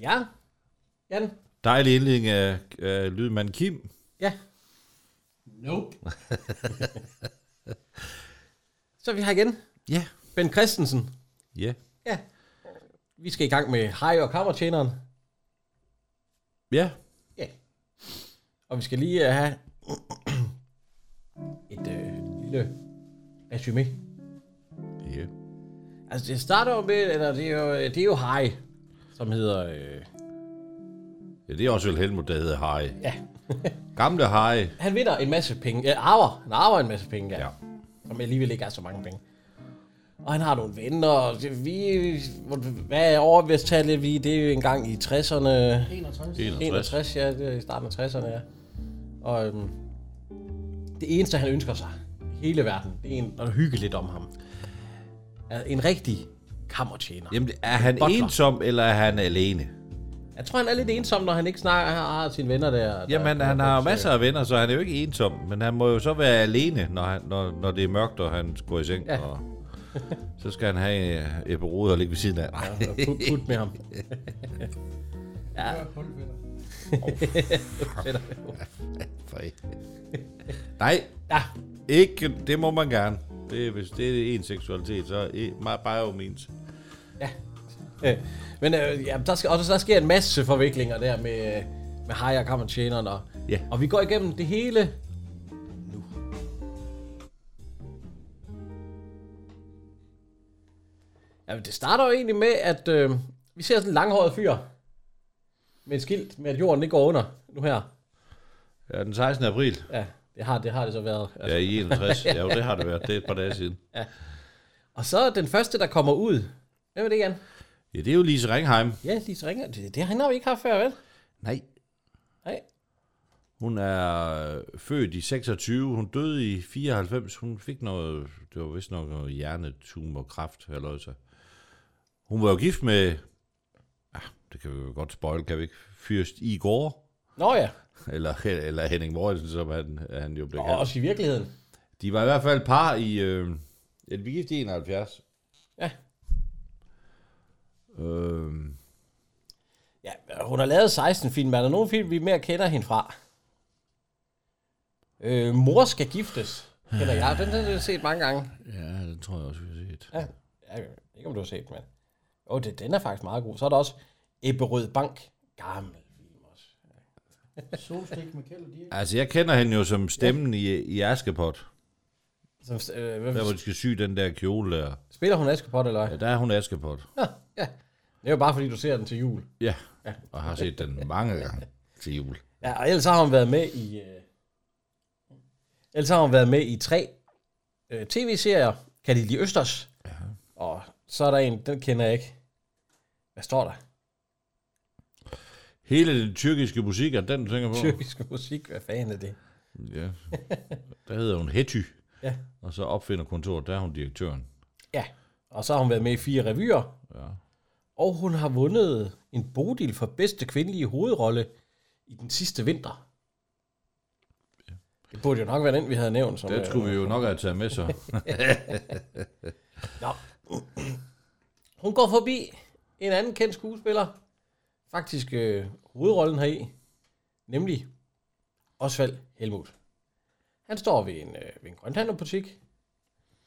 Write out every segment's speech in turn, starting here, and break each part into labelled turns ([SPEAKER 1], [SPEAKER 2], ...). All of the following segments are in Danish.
[SPEAKER 1] Ja. Jan?
[SPEAKER 2] Dejlig indledning af øh, lydmand Kim.
[SPEAKER 1] Ja.
[SPEAKER 3] Nope.
[SPEAKER 1] Så er vi her igen.
[SPEAKER 2] Ja.
[SPEAKER 1] Ben Christensen.
[SPEAKER 2] Ja.
[SPEAKER 1] Ja. Vi skal i gang med Hej og Kammertjeneren.
[SPEAKER 2] Ja.
[SPEAKER 1] Ja. Og vi skal lige øh, have et øh, lille resume.
[SPEAKER 2] Ja.
[SPEAKER 1] Altså det starter jo med, eller det er jo, det er jo Hej, som hedder... Øh,
[SPEAKER 2] ja. det er også vel Helmut, der hedder Harry.
[SPEAKER 1] ja.
[SPEAKER 2] Gamle Harry.
[SPEAKER 1] Han vinder en masse penge. Øh, arver. Han arver en masse penge, ja.
[SPEAKER 2] Ja.
[SPEAKER 1] ja. Som alligevel ikke er så mange penge. Og han har nogle venner, og det, vi, hvad er overværstallet vi? Det er jo engang i 60'erne.
[SPEAKER 2] 61.
[SPEAKER 1] 61, ja, det er i starten af 60'erne, ja. Og øhm, det eneste, han ønsker sig i hele verden, det er en, at hygge lidt om ham. Er En rigtig kammertjener.
[SPEAKER 2] Jamen, er han
[SPEAKER 1] Butler.
[SPEAKER 2] ensom, eller er han alene?
[SPEAKER 1] Jeg tror, han er lidt ensom, når han ikke snakker han har sine venner der.
[SPEAKER 2] Jamen,
[SPEAKER 1] der,
[SPEAKER 2] han har masser af venner, så han er jo ikke ensom. Men han må jo så være alene, når, han, når, når det er mørkt, og han går i seng.
[SPEAKER 1] Ja.
[SPEAKER 2] Ja. Og så skal han have øh, et rode og ligge ved siden af. Nej.
[SPEAKER 1] Put, put med ham.
[SPEAKER 2] For Nej,
[SPEAKER 1] Ja,
[SPEAKER 2] ikke. Det må man gerne. Det, er- hvis det er en seksualitet, så er bare jo means.
[SPEAKER 1] ja. Øh, Men øh, ja, der, skal, og der sker en masse forviklinger der med, øh, med Hej og kammertjeneren. Og,
[SPEAKER 2] Ja.
[SPEAKER 1] og vi går igennem det hele. Ja, det starter jo egentlig med, at øh, vi ser sådan en langhåret fyr med et skilt med, at jorden ikke går under nu her.
[SPEAKER 2] Ja, den 16. april.
[SPEAKER 1] Ja, det har det, har det så været. Ja.
[SPEAKER 2] Ja, i 61. Ja, jo, det har det været. Det er et par dage siden.
[SPEAKER 1] Og så den første, der kommer ud. Hvem er det igen?
[SPEAKER 2] Ja, det er jo Lise Ringheim.
[SPEAKER 1] Ja, Lise Ringer. Det, det han har vi ikke haft før, vel?
[SPEAKER 2] Nej.
[SPEAKER 1] Nej.
[SPEAKER 2] Hun er øh, født i 26, hun døde i 94, hun fik noget, det var vist nok noget hjernetumor, kræft, eller så. Hun var jo gift med, ah, det kan vi jo godt spoil, kan vi ikke, Fyrst Igor,
[SPEAKER 1] Nå ja,
[SPEAKER 2] eller, eller Henning Morgensen, som han, han jo blev
[SPEAKER 1] og
[SPEAKER 2] kaldt.
[SPEAKER 1] også i virkeligheden.
[SPEAKER 2] De var i hvert fald par i, øh, ja, de var gift i 71.
[SPEAKER 1] Ja.
[SPEAKER 2] Øh,
[SPEAKER 1] ja, hun har lavet 16 film. Er der nogen film, vi mere kender hende fra? Øh, mor skal giftes, kender jeg. Den, den har jeg set mange gange.
[SPEAKER 2] ja, den tror jeg også, vi har set.
[SPEAKER 1] Ja, jeg ved ikke, om du har set den, men... Åh, oh, den er faktisk meget god. Så er der også Ebberød Bank. Gammel film også.
[SPEAKER 3] Solstik med Kjeld og Dirk.
[SPEAKER 2] Altså, jeg kender hende jo som stemmen i, i Askepot.
[SPEAKER 1] Som, øh, hvem,
[SPEAKER 2] Der, hvor de skal sy den der kjole der.
[SPEAKER 1] Spiller hun Askepot, eller
[SPEAKER 2] Ja,
[SPEAKER 1] hvad?
[SPEAKER 2] der er hun Askepot.
[SPEAKER 1] Ja. ja. Det er jo bare, fordi du ser den til jul.
[SPEAKER 2] Ja, og har set den mange gange til jul.
[SPEAKER 1] Ja, og ellers har hun været med i... Øh... Ellers har hun været med i tre øh, tv-serier. Kan de lide Østers? Ja. Og så er der en, den kender jeg ikke. Hvad står der?
[SPEAKER 2] Hele den tyrkiske musik, er den, du tænker på?
[SPEAKER 1] Tyrkisk musik, hvad fanden er det?
[SPEAKER 2] Ja. Der hedder hun Hety.
[SPEAKER 1] Ja.
[SPEAKER 2] Og så opfinder kontoret, der er hun direktøren.
[SPEAKER 1] Ja, og så har hun været med i fire revyer.
[SPEAKER 2] Ja.
[SPEAKER 1] Og hun har vundet en Bodil for bedste kvindelige hovedrolle i den sidste vinter. Det burde jo nok være den, vi havde nævnt. Som, øh,
[SPEAKER 2] Den skulle vi jo nok have taget med så.
[SPEAKER 1] Nå. Hun går forbi en anden kendt skuespiller. Faktisk øh, hovedrollen her i. Nemlig Osvald Helmut. Han står ved en, øh, ved en grønthandlerbutik.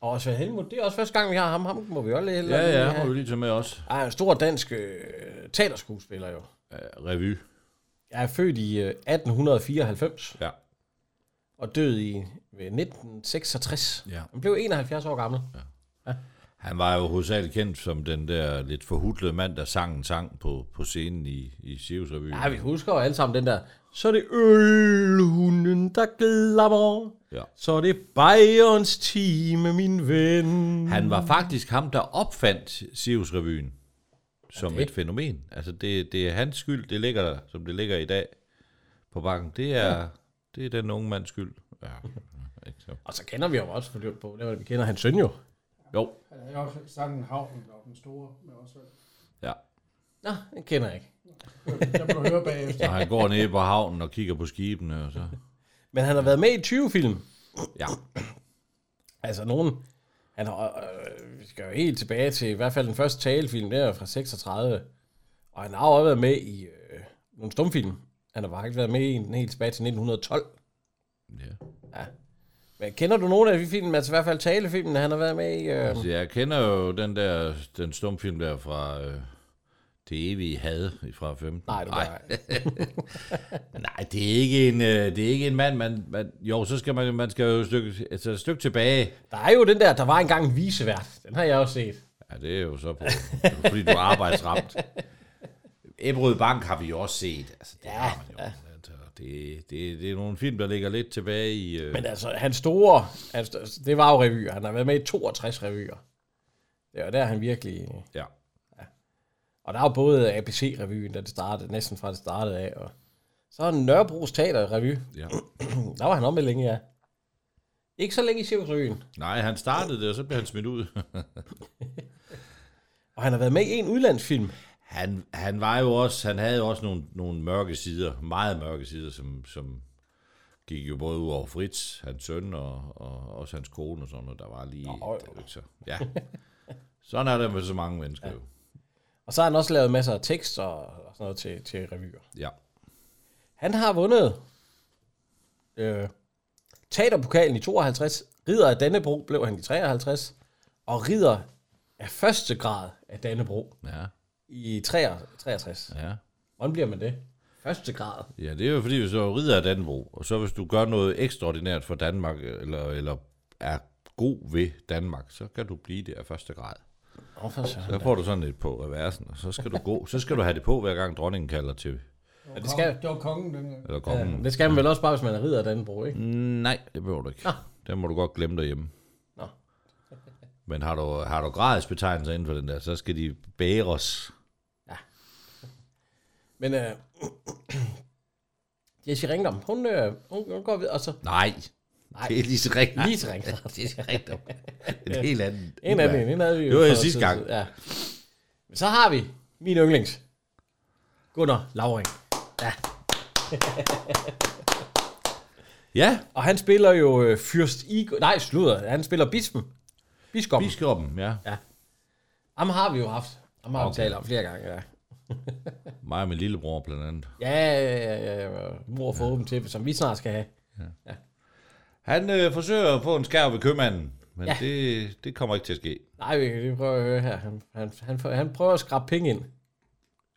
[SPEAKER 1] Og Osvald Helmut, det er også første gang, vi har ham. Ham må vi jo lige
[SPEAKER 2] Ja, ja, må vi lige tage med også.
[SPEAKER 1] Ej, en stor dansk øh, teaterskuespiller jo.
[SPEAKER 2] Ja, revy.
[SPEAKER 1] Jeg er født i øh, 1894
[SPEAKER 2] Ja.
[SPEAKER 1] og død i ved 1966.
[SPEAKER 2] Ja.
[SPEAKER 1] Han blev 71 år gammel.
[SPEAKER 2] Han var jo hovedsageligt kendt som den der lidt forhudlede mand, der sang en sang på, på scenen i, i Sirius-revyen.
[SPEAKER 1] Ja, vi husker jo alle sammen den der. Så er det ølhunden, der glammer.
[SPEAKER 2] Ja.
[SPEAKER 1] Så er det Bayerns time, min ven.
[SPEAKER 2] Han
[SPEAKER 1] Mm.
[SPEAKER 2] var faktisk ham, der opfandt Sirius-revyen som
[SPEAKER 1] Okay.
[SPEAKER 2] et fænomen. Altså, det, det er hans skyld, det ligger der, som det ligger i dag på banken. Det er, ja. det er den unge mands skyld. Ja. ikke så.
[SPEAKER 1] Og så kender vi jo også, for det er på, det vi kender hans søn jo.
[SPEAKER 2] Jo,
[SPEAKER 4] Han havde også sangen Havnen og den store med os selv.
[SPEAKER 2] ja.
[SPEAKER 1] Nå, den kender jeg ikke.
[SPEAKER 4] Der må du høre bagefter.
[SPEAKER 2] Og han går ned på havnen og kigger på skibene. Og så.
[SPEAKER 1] Men han har været med i 20 film.
[SPEAKER 2] Ja.
[SPEAKER 1] Altså nogen... Han har, øh, vi skal jo helt tilbage til i hvert fald den første talefilm, der er fra 36. Og han har også været med i øh, nogle stumfilm. Han har faktisk været med i en helt tilbage til 1912.
[SPEAKER 2] ja.
[SPEAKER 1] Men kender du nogen af de film, altså i hvert fald talefilmen, han har været med i? Øh,
[SPEAKER 2] Altså, jeg kender jo den der den stumfilm der fra øh, Det evige had fra 15.
[SPEAKER 1] nej, du nej.
[SPEAKER 2] Nej, det er ikke en, øh, det er ikke en mand, man, man, jo, så skal man, man skal jo et stykke, altså et stykke tilbage.
[SPEAKER 1] Der er jo den der, der var engang en visevært. Den har jeg også set.
[SPEAKER 2] Ja, det er jo så på, fordi du er arbejdsramt. Ebberød Bank har vi jo også set. Altså, det ja, har man jo. Ja. Det, det, det er nogle film, der ligger lidt tilbage i... Øh,
[SPEAKER 1] Men altså, hans store... Altså, det var jo revyer. Han har været med i 62 revyer. Det var der, han virkelig...
[SPEAKER 2] ja.
[SPEAKER 1] Og der er jo både ABC-revyen, da det startede, næsten fra det startede af, og så er Nørrebro's Teater-revy.
[SPEAKER 2] ja.
[SPEAKER 1] Der var han om med længe, ja. Ikke så længe i Cirkusrevyen.
[SPEAKER 2] Nej, han startede det, og så blev han smidt ud.
[SPEAKER 1] Og han har været med i en udlandsfilm.
[SPEAKER 2] Han, han var jo også, han havde jo også nogle, nogle mørke sider, meget mørke sider, som, som gik jo både ud over Fritz, hans søn, og, og også hans kone og sådan noget, der var lige...
[SPEAKER 1] Nå,
[SPEAKER 2] der, ikke så, ja. Sådan er der med så mange mennesker ja. jo.
[SPEAKER 1] Og så har han også lavet masser af tekst og, og sådan noget til, til revyer.
[SPEAKER 2] Ja.
[SPEAKER 1] Han har vundet øh, teaterpokalen i 52, ridder af Dannebro blev han i 53, og ridder af første grad af Dannebro
[SPEAKER 2] Ja,
[SPEAKER 1] i 63.
[SPEAKER 2] ja.
[SPEAKER 1] Hvordan bliver man det? Første grad.
[SPEAKER 2] Ja, det er jo fordi, hvis du rider af Danbro, og så hvis du gør noget ekstraordinært for Danmark, eller, eller er god ved Danmark, så kan du blive det af første grad.
[SPEAKER 1] Åh, for søren.
[SPEAKER 2] Så får du sådan lidt på reversen, og så skal du gå, så skal du have det på, hver gang dronningen kalder til,
[SPEAKER 1] Ja, det skal,
[SPEAKER 4] Det var kongen dengang.
[SPEAKER 2] eller
[SPEAKER 1] Ja,
[SPEAKER 2] kongen.
[SPEAKER 1] det skal man vel også bare, hvis man er ridder af Dannebro, ikke?
[SPEAKER 2] Mm, Nej, det behøver du ikke.
[SPEAKER 1] Nå.
[SPEAKER 2] Den må du godt glemme derhjemme.
[SPEAKER 1] Nå.
[SPEAKER 2] Men har du, har du gradsbetegnelser inden for den der, så skal de bæres.
[SPEAKER 1] Men øh, Jessie Ringdom, hun, øh, hun, hun går videre, og så
[SPEAKER 2] Nej,
[SPEAKER 1] Nej.
[SPEAKER 2] det er lige så rigtigt.
[SPEAKER 1] lige til Ringdom.
[SPEAKER 2] Det er rigtigt. En helt anden.
[SPEAKER 1] En af dem, en havde vi jo
[SPEAKER 2] Det var
[SPEAKER 1] for
[SPEAKER 2] jo
[SPEAKER 1] noget
[SPEAKER 2] sidste
[SPEAKER 1] tid
[SPEAKER 2] gang.
[SPEAKER 1] siden, Ja. Men så har vi min yndlings. Gunnar Lauring.
[SPEAKER 2] Ja,
[SPEAKER 1] Og han spiller jo øh, Fyrst Igor. Nej, sludder. Han spiller bispen. Biskoppen. Bis-
[SPEAKER 2] biskoppen, ja.
[SPEAKER 1] Ham har vi jo haft. Ham har vi
[SPEAKER 2] Okay.
[SPEAKER 1] talt om flere gange, ja.
[SPEAKER 2] Mig og min lillebror blandt andet.
[SPEAKER 1] Ja, ja, ja, ja. Mor for åben til, som vi snart skal have.
[SPEAKER 2] Han øh, forsøger at få en skærv ved købmanden, men
[SPEAKER 1] Ja.
[SPEAKER 2] ja. det, det kommer ikke til at ske.
[SPEAKER 1] Nej, vi kan lige prøve at høre her. Han, han, han, han prøver at skrabe penge ind.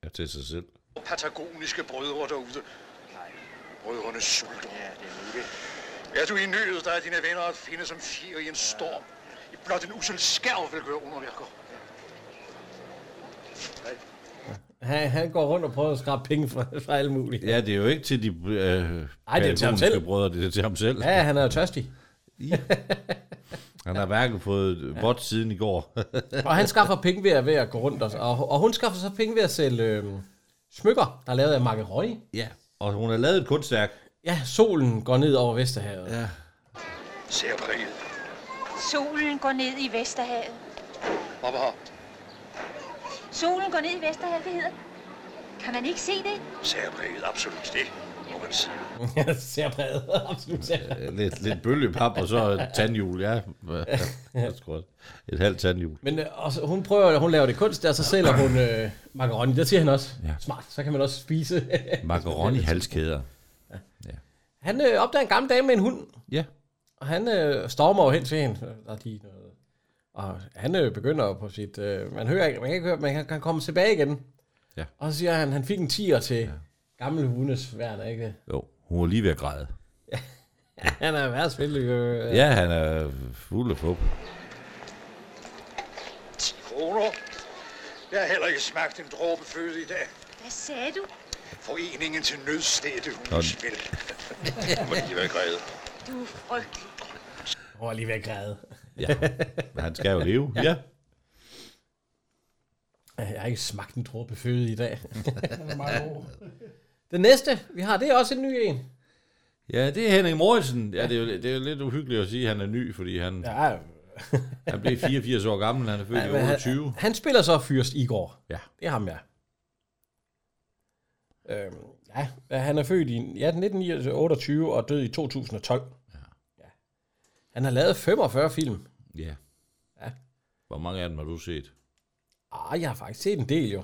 [SPEAKER 2] Ja, til sig selv.
[SPEAKER 5] patagoniske brødre derude. Nej, brødrene sulter. Ja, det er det. Er du i nød, der er dine venner at finde som fjer i en storm. I blot en usel skærv vil gøre underværker.
[SPEAKER 1] Han, han går rundt og prøver at skrabe penge fra, fra alle mulige.
[SPEAKER 2] Ja, det er jo ikke til de øh,
[SPEAKER 1] Ej, det er til ham
[SPEAKER 2] pædagogiske
[SPEAKER 1] selv.
[SPEAKER 2] brødre, det er til ham selv. Ja.
[SPEAKER 1] Ja, han er jo tørstig.
[SPEAKER 2] Han har hverken fået ja. vådt siden i går.
[SPEAKER 1] Og han skaffer penge ved at, ved at gå rundt. Og, og, og hun skaffer så penge ved at sælge øh, smykker, der er lavet af Marke Røg.
[SPEAKER 2] ja, og hun har lavet et kunstværk.
[SPEAKER 1] Ja, solen går ned over Vesterhavet. Ja.
[SPEAKER 5] Ser på riget.
[SPEAKER 6] Solen går ned i Vesterhavet.
[SPEAKER 5] Hvorfor har?
[SPEAKER 6] Solen går ned i Vesterhavet, det hedder. Kan man ikke se det?
[SPEAKER 5] Ser på riget, absolut det, må man sige.
[SPEAKER 1] ser præget. Absolut ser.
[SPEAKER 2] Øh, Lidt, lidt bølgepap og så et tandhjul, ja. Jeg tror også. Et halvt tandhjul.
[SPEAKER 1] Men øh, og så, hun prøver, hun laver det kunst, der så sælger hun øh, macaroni. Der siger han også, ja.
[SPEAKER 2] Ja.
[SPEAKER 1] smart, så kan man også spise.
[SPEAKER 2] Macaroni halskæder.
[SPEAKER 1] han øh, opdager en gammel dame med en hund,
[SPEAKER 2] Ja.
[SPEAKER 1] og han øh, stormer jo hen til hende. Der er de noget. Og han øh, begynder på sit... Øh, man hører ikke, man kan ikke høre, man kan, kan komme tilbage igen.
[SPEAKER 2] Ja.
[SPEAKER 1] Og så siger han, han fik en tiger til ja. gammel hundes værn, ikke det?
[SPEAKER 2] Jo, hun var lige ved at græde.
[SPEAKER 1] Han er værd spillet. Øh,
[SPEAKER 2] Ja, han er fuld af fup.
[SPEAKER 5] kroner. Jeg har heller ikke smagt en dråbe føde i dag.
[SPEAKER 6] Hvad sagde du?
[SPEAKER 5] Foreningen til nødstede husspil. Nu må de være græde.
[SPEAKER 6] Du er frygtelig.
[SPEAKER 1] Hun var lige ved at græde.
[SPEAKER 2] Men han skal jo leve. ja.
[SPEAKER 1] Jeg har ikke smagt en dråbe føde i dag.
[SPEAKER 4] Den er meget god.
[SPEAKER 1] Den næste, vi har, det er også en ny en.
[SPEAKER 2] Ja, det er Henning Morrison. Ja, det er, jo, det er jo lidt uhyggeligt at sige, at han er ny, fordi han, ja.
[SPEAKER 1] Ja,
[SPEAKER 2] han blev 84 år gammel, han er født
[SPEAKER 1] men han-
[SPEAKER 2] i 28.
[SPEAKER 1] Han spiller så Fyrst Igor.
[SPEAKER 2] Ja.
[SPEAKER 1] Det er ham, ja. Øhm, ja, ja, han er født i ja, 1928 og død i 2012. Ja. ja. Han har lavet 45 film.
[SPEAKER 2] Ja.
[SPEAKER 1] Ja.
[SPEAKER 2] Hvor mange af dem har du set?
[SPEAKER 1] Ah, jeg har faktisk set en del jo.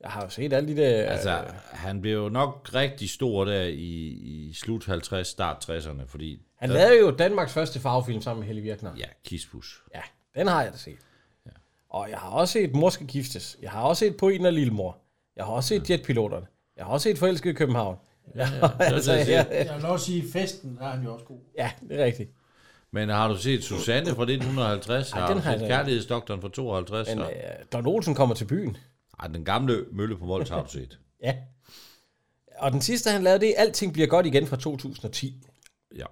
[SPEAKER 1] Jeg har jo set alle de der...
[SPEAKER 2] Altså, han blev jo nok rigtig stor der i, i slut 50, start 60'erne, fordi...
[SPEAKER 1] han
[SPEAKER 2] der,
[SPEAKER 1] lavede jo Danmarks første farvefilm sammen med Helle Virkner.
[SPEAKER 2] Ja, Kispus.
[SPEAKER 1] Ja, den har jeg da set. Ja. Og jeg har også set Mor skal giftes. Jeg har også set På en og Lillemor. Jeg har også set Jetpiloterne. Jeg har også set Forelskede i København. Ja, ja, altså,
[SPEAKER 2] det, jeg
[SPEAKER 1] ja,
[SPEAKER 4] Jeg vil også sige, at festen, der er han jo også god.
[SPEAKER 1] ja, det er rigtigt.
[SPEAKER 2] Men har du set Susanne fra 1950? Ej, har
[SPEAKER 1] den
[SPEAKER 2] du
[SPEAKER 1] har jeg
[SPEAKER 2] set
[SPEAKER 1] da ikke.
[SPEAKER 2] Kærlighedsdoktoren fra 52?
[SPEAKER 1] Men
[SPEAKER 2] Men, øh...
[SPEAKER 1] øh, Don Olsen kommer til byen.
[SPEAKER 2] Ej, den gamle mølle på Mols har du set.
[SPEAKER 1] Ja. Og den sidste, han lavede, det er Alting bliver godt igen fra 2010.
[SPEAKER 2] Ja.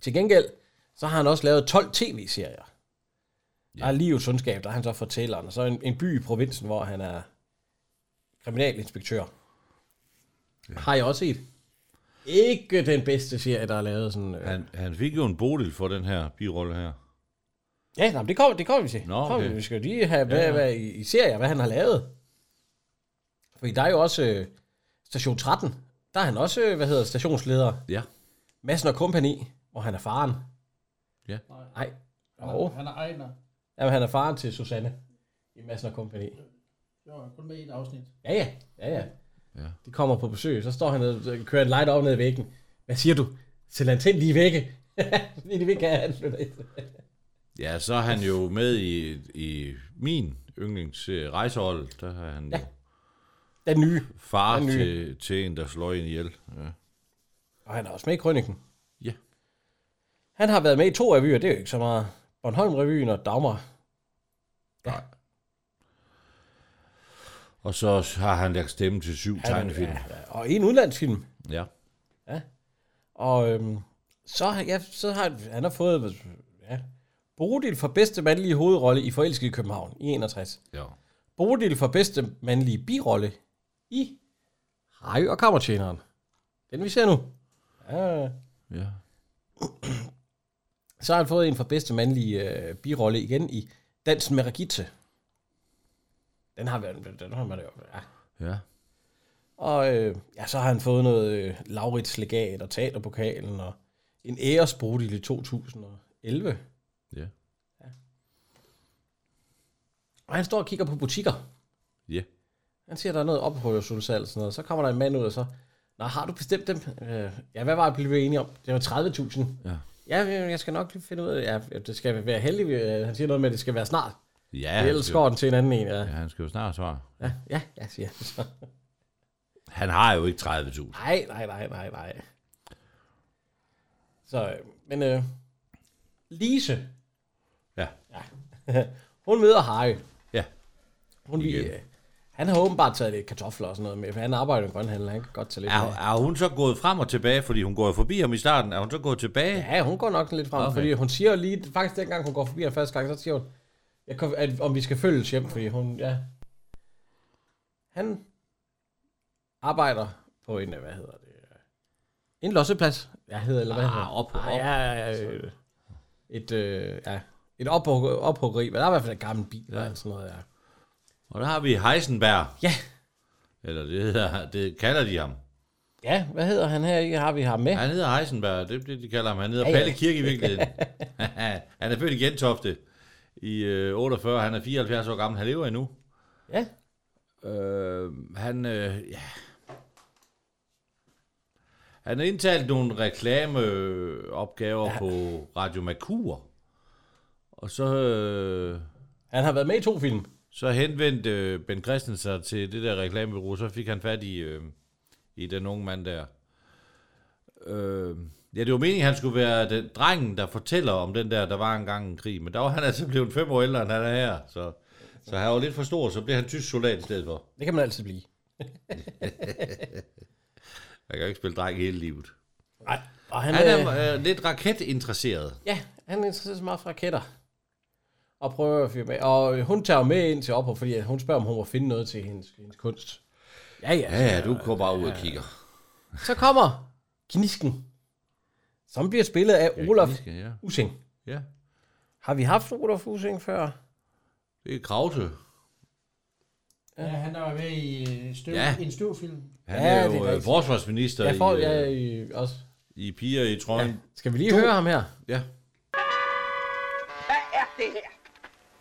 [SPEAKER 1] Til gengæld, så har han også lavet 12 tv-serier. Der er Livets Sundskab, der er han så fortælleren. Og så en, en by i provinsen, hvor han er kriminalinspektør. Ja. Har jeg også set. Ikke den bedste serie, der er lavet sådan... Øh.
[SPEAKER 2] Han, han fik jo en bodil for den her birolle her.
[SPEAKER 1] Ja, nej, men det kommer, det kommer vi til.
[SPEAKER 2] Nå,
[SPEAKER 1] Nå, okay.
[SPEAKER 2] okay.
[SPEAKER 1] Vi skal jo lige have, hvad, ja. hvad, i, i serier, hvad han har lavet. Fordi der er jo også øh, Station 13. Der er han også, øh, hvad hedder, stationsleder.
[SPEAKER 2] Ja.
[SPEAKER 1] Madsen og Kompani, hvor han er faren.
[SPEAKER 2] Ja.
[SPEAKER 1] Nej.
[SPEAKER 4] Han er,
[SPEAKER 1] Jo.
[SPEAKER 4] han er Ejner.
[SPEAKER 1] Jamen, han er faren til Susanne i Madsen og Kompani.
[SPEAKER 4] Jo, han er kun med i et afsnit.
[SPEAKER 1] Ja, ja. ja, ja.
[SPEAKER 2] Ja.
[SPEAKER 1] De kommer på besøg, så står han og kører en light op ned i væggen. Hvad siger du? Sæt antenn lige vække. Fordi de vil ikke have, at han flytter ind.
[SPEAKER 2] Ja, så er han jo med i, i min yndlings øh, rejsehold. Der har han ja. jo
[SPEAKER 1] Den nye.
[SPEAKER 2] far
[SPEAKER 1] Den nye.
[SPEAKER 2] til, til en, der slår en ihjel. Ja.
[SPEAKER 1] Og han er også med i Krøniken.
[SPEAKER 2] Ja.
[SPEAKER 1] Han har været med i to revyer, det er jo ikke så meget. Bornholm-revyen og Dagmar.
[SPEAKER 2] Og så har han lagt stemme til syv tegnefilm. Ja.
[SPEAKER 1] Ja, og en udlandsfilm.
[SPEAKER 2] ja.
[SPEAKER 1] Og øhm, så, har- ja, så har han har fået ja, Bodil for bedste mandlige hovedrolle i Forelsket i København i 61.
[SPEAKER 2] ja.
[SPEAKER 1] Bodil for bedste mandlige birolle i Harry og Kammertjeneren. Den vi ser nu. Ja.
[SPEAKER 2] ja.
[SPEAKER 1] Så har han fået en for bedste mandlige øh, birolle igen i Dansen med Regitze. Den har været, den har man jo. Ja.
[SPEAKER 2] ja.
[SPEAKER 1] Og øh, ja, så har han fået noget øh, Laurits legat og teaterpokalen og en æresbodil i 2011.
[SPEAKER 2] Ja.
[SPEAKER 1] Og han står og kigger på butikker.
[SPEAKER 2] Ja.
[SPEAKER 1] Han siger, der er noget opholdsudsalg og sådan noget. Så kommer der en mand ud og så, Nå, har du bestemt dem? Øh, ja, hvad var det, vi blev enige om? Det var 30.000.
[SPEAKER 2] Ja.
[SPEAKER 1] Ja, øh, jeg skal nok lige finde ud af det. Ja, det skal være heldigt. Øh, Han siger noget med, at det skal være snart.
[SPEAKER 2] Ja,
[SPEAKER 1] Ja,
[SPEAKER 2] han
[SPEAKER 1] Ellers
[SPEAKER 2] skal,
[SPEAKER 1] går den til en anden en. Ja,
[SPEAKER 2] ja, han skal jo snart svare.
[SPEAKER 1] ja, ja, ja siger han så.
[SPEAKER 2] Han har jo ikke 30.000.
[SPEAKER 1] Nej, nej, nej, nej, nej. Så, øh, men øh, Lise,
[SPEAKER 2] Ja.
[SPEAKER 1] hun møder Harry.
[SPEAKER 2] Ja.
[SPEAKER 1] Hun lige,
[SPEAKER 2] Igen.
[SPEAKER 1] øh, han har åbenbart taget lidt kartofler og sådan noget med, for han arbejder i en grønhandel, han kan godt tage lidt
[SPEAKER 2] Er,
[SPEAKER 1] med.
[SPEAKER 2] er hun så gået frem og tilbage, fordi hun går jo forbi ham i starten? Er hun så gået tilbage? Ja.
[SPEAKER 1] Ja, hun går nok lidt frem,
[SPEAKER 2] Okay.
[SPEAKER 1] okay. fordi hun siger jo lige, faktisk dengang hun går forbi ham første gang, så siger hun, jeg kom, at, om vi skal følges hjem, fordi hun, ja. Han arbejder på en, hvad hedder det, øh, en losseplads, jeg hedder, eller hvad
[SPEAKER 2] Ah,
[SPEAKER 1] hedder det?
[SPEAKER 2] op-
[SPEAKER 1] Ah,
[SPEAKER 2] op.
[SPEAKER 1] ja, ja, ja, øh, et, øh, ja, et ophug- ophuggeri, men der er i hvert fald en gammel bil, ja. og sådan noget, ja.
[SPEAKER 2] Og der har vi Heisenberg.
[SPEAKER 1] Ja.
[SPEAKER 2] Eller det, hedder, det kalder de ham.
[SPEAKER 1] Ja, hvad hedder han her, ikke? har vi ham med?
[SPEAKER 2] Han hedder Heisenberg, det er det, de kalder ham. Han hedder
[SPEAKER 1] Ja,
[SPEAKER 2] ja,
[SPEAKER 1] ja.
[SPEAKER 2] ja. Palle Kirke i virkeligheden. han er født i Gentofte i øh, 48. Han er 74 år gammel. Han lever endnu.
[SPEAKER 1] Ja,
[SPEAKER 2] Øh, han, øh, ja. han har indtalt nogle reklameopgaver ja. på Radio Mercur. Og så, øh,
[SPEAKER 1] han har været med i to film.
[SPEAKER 2] så henvendte øh, Ben Christensen sig til det der reklamebureau, så fik han fat i, øh, i den unge mand der. Øh, ja, det var meningen, han skulle være den drengen, der fortæller om den der, der var engang en krig, men der var han altså blevet fem år ældre, end han er her, så Så han var lidt for stor, så blev han tysk soldat i stedet for.
[SPEAKER 1] Det kan man altid blive.
[SPEAKER 2] Jeg kan jo ikke spille dreng hele livet.
[SPEAKER 1] Nej, og han,
[SPEAKER 2] Han
[SPEAKER 1] øh,
[SPEAKER 2] er øh, lidt raketinteresseret.
[SPEAKER 1] Ja, han interesserer sig meget for raketter. Og prøver at fyre med. Og øh, hun tager jo med ind til Opera, fordi at hun spørger, om hun må finde noget til hendes, hendes kunst. Ja, ja.
[SPEAKER 2] Ja, ja, du går bare ud og kigger.
[SPEAKER 1] Så kommer Gnisken, som bliver spillet af Olaf
[SPEAKER 2] Ja, kniske, ja.
[SPEAKER 1] Using.
[SPEAKER 2] ja.
[SPEAKER 1] Har vi haft Olaf Using før?
[SPEAKER 2] Det er Krause.
[SPEAKER 4] Ja, han der var med i øh, støv,
[SPEAKER 2] Ja.
[SPEAKER 4] ja. en støvfilm.
[SPEAKER 2] Han
[SPEAKER 1] Ja,
[SPEAKER 2] ja, er
[SPEAKER 1] det er
[SPEAKER 2] jo øh,
[SPEAKER 1] rigtigt.
[SPEAKER 2] forsvarsminister
[SPEAKER 1] Jeg får,
[SPEAKER 2] i, øh,
[SPEAKER 1] ja, i, også.
[SPEAKER 2] i piger i trøjen.
[SPEAKER 1] Skal vi lige høre ham her?
[SPEAKER 2] Ja. ja.
[SPEAKER 7] Hvad er det her?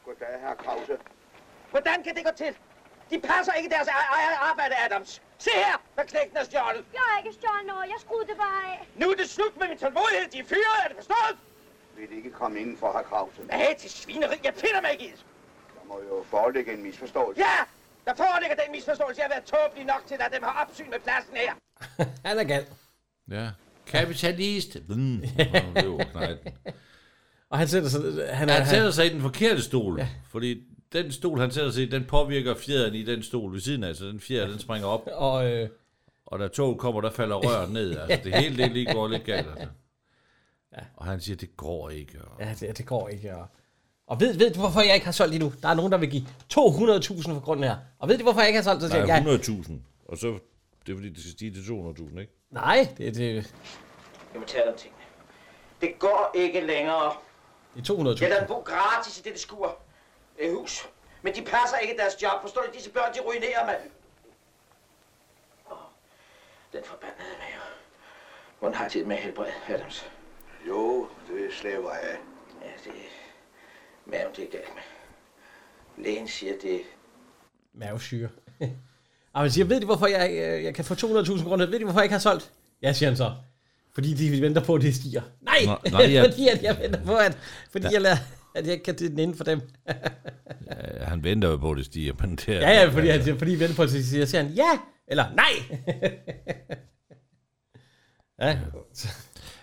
[SPEAKER 5] Goddag, herr Krause.
[SPEAKER 7] Hvordan kan det gå til? De passer ikke deres eget eget arbejde, Adams. Se her, hvad knægten er stjålet.
[SPEAKER 6] Jeg har ikke stjålet noget. Jeg skruede det bare af.
[SPEAKER 7] Nu er det slut med min tålmodighed. De er fyret, er det forstået?
[SPEAKER 5] Vil ikke komme indenfor, herr Krause?
[SPEAKER 7] Nej, til svineri. Jeg finder mig ikke i det.
[SPEAKER 5] Der må jo foreligge en misforståelse.
[SPEAKER 7] Ja, der foreligger den misforståelse, jeg har været tåbelig nok til, at dem har opsyn med pladsen her.
[SPEAKER 1] Han er gal.
[SPEAKER 2] ja. Kapitalist. Mm. Nå, det var knejten.
[SPEAKER 1] Og han sætter sig... Han er,
[SPEAKER 2] Han
[SPEAKER 1] han,
[SPEAKER 2] sætter sig i den forkerte stol, ja. fordi den stol, han sætter sig i, den påvirker fjeren i den stol ved siden af, så den fjer, den springer op,
[SPEAKER 1] og øh,
[SPEAKER 2] og da toget kommer, der falder røret ned. Altså, det hele det lige går lidt galt. Altså. Ja. Og han siger, det går ikke. Og...
[SPEAKER 1] ja, det, det går ikke. Og, og ved, ved du, hvorfor jeg ikke har solgt lige nu? Der er nogen, der vil give 200.000 for grunden her. Og ved du, hvorfor jeg ikke har solgt? Så siger jeg, ja,
[SPEAKER 2] 100.000, og så det er fordi, det skal stige til 200.000, ikke?
[SPEAKER 1] nej, det, det,
[SPEAKER 7] Jeg må tale om tingene. Det går ikke længere.
[SPEAKER 1] det er 200.000.
[SPEAKER 7] Jeg lader dem bo gratis i dette skur. Øh, hus. Men de passer ikke deres job. Forstår du? Disse børn, de ruinerer mig. Åh, Den forbandede mave. Hvordan har tid med helbred, Adams?
[SPEAKER 5] Jo, det slæver af.
[SPEAKER 7] Ja, det er... Maven, det er galt med. Lægen siger, det er
[SPEAKER 1] mavesyre. og man siger, ved de hvorfor jeg, øh, jeg kan få 200.000 kroner? Ved de hvorfor jeg ikke har solgt? Ja, siger han så. Fordi de venter på, at det stiger. Nej,
[SPEAKER 2] Nå, nej, jeg-
[SPEAKER 1] fordi at jeg venter på, at, fordi ja. jeg lader, at jeg ikke kan det inden for dem.
[SPEAKER 2] Ja, han venter jo på, at det stiger, men det er...
[SPEAKER 1] ja, ja, fordi, altså. fordi de venter på, at det stiger, siger han ja, eller nej. ja,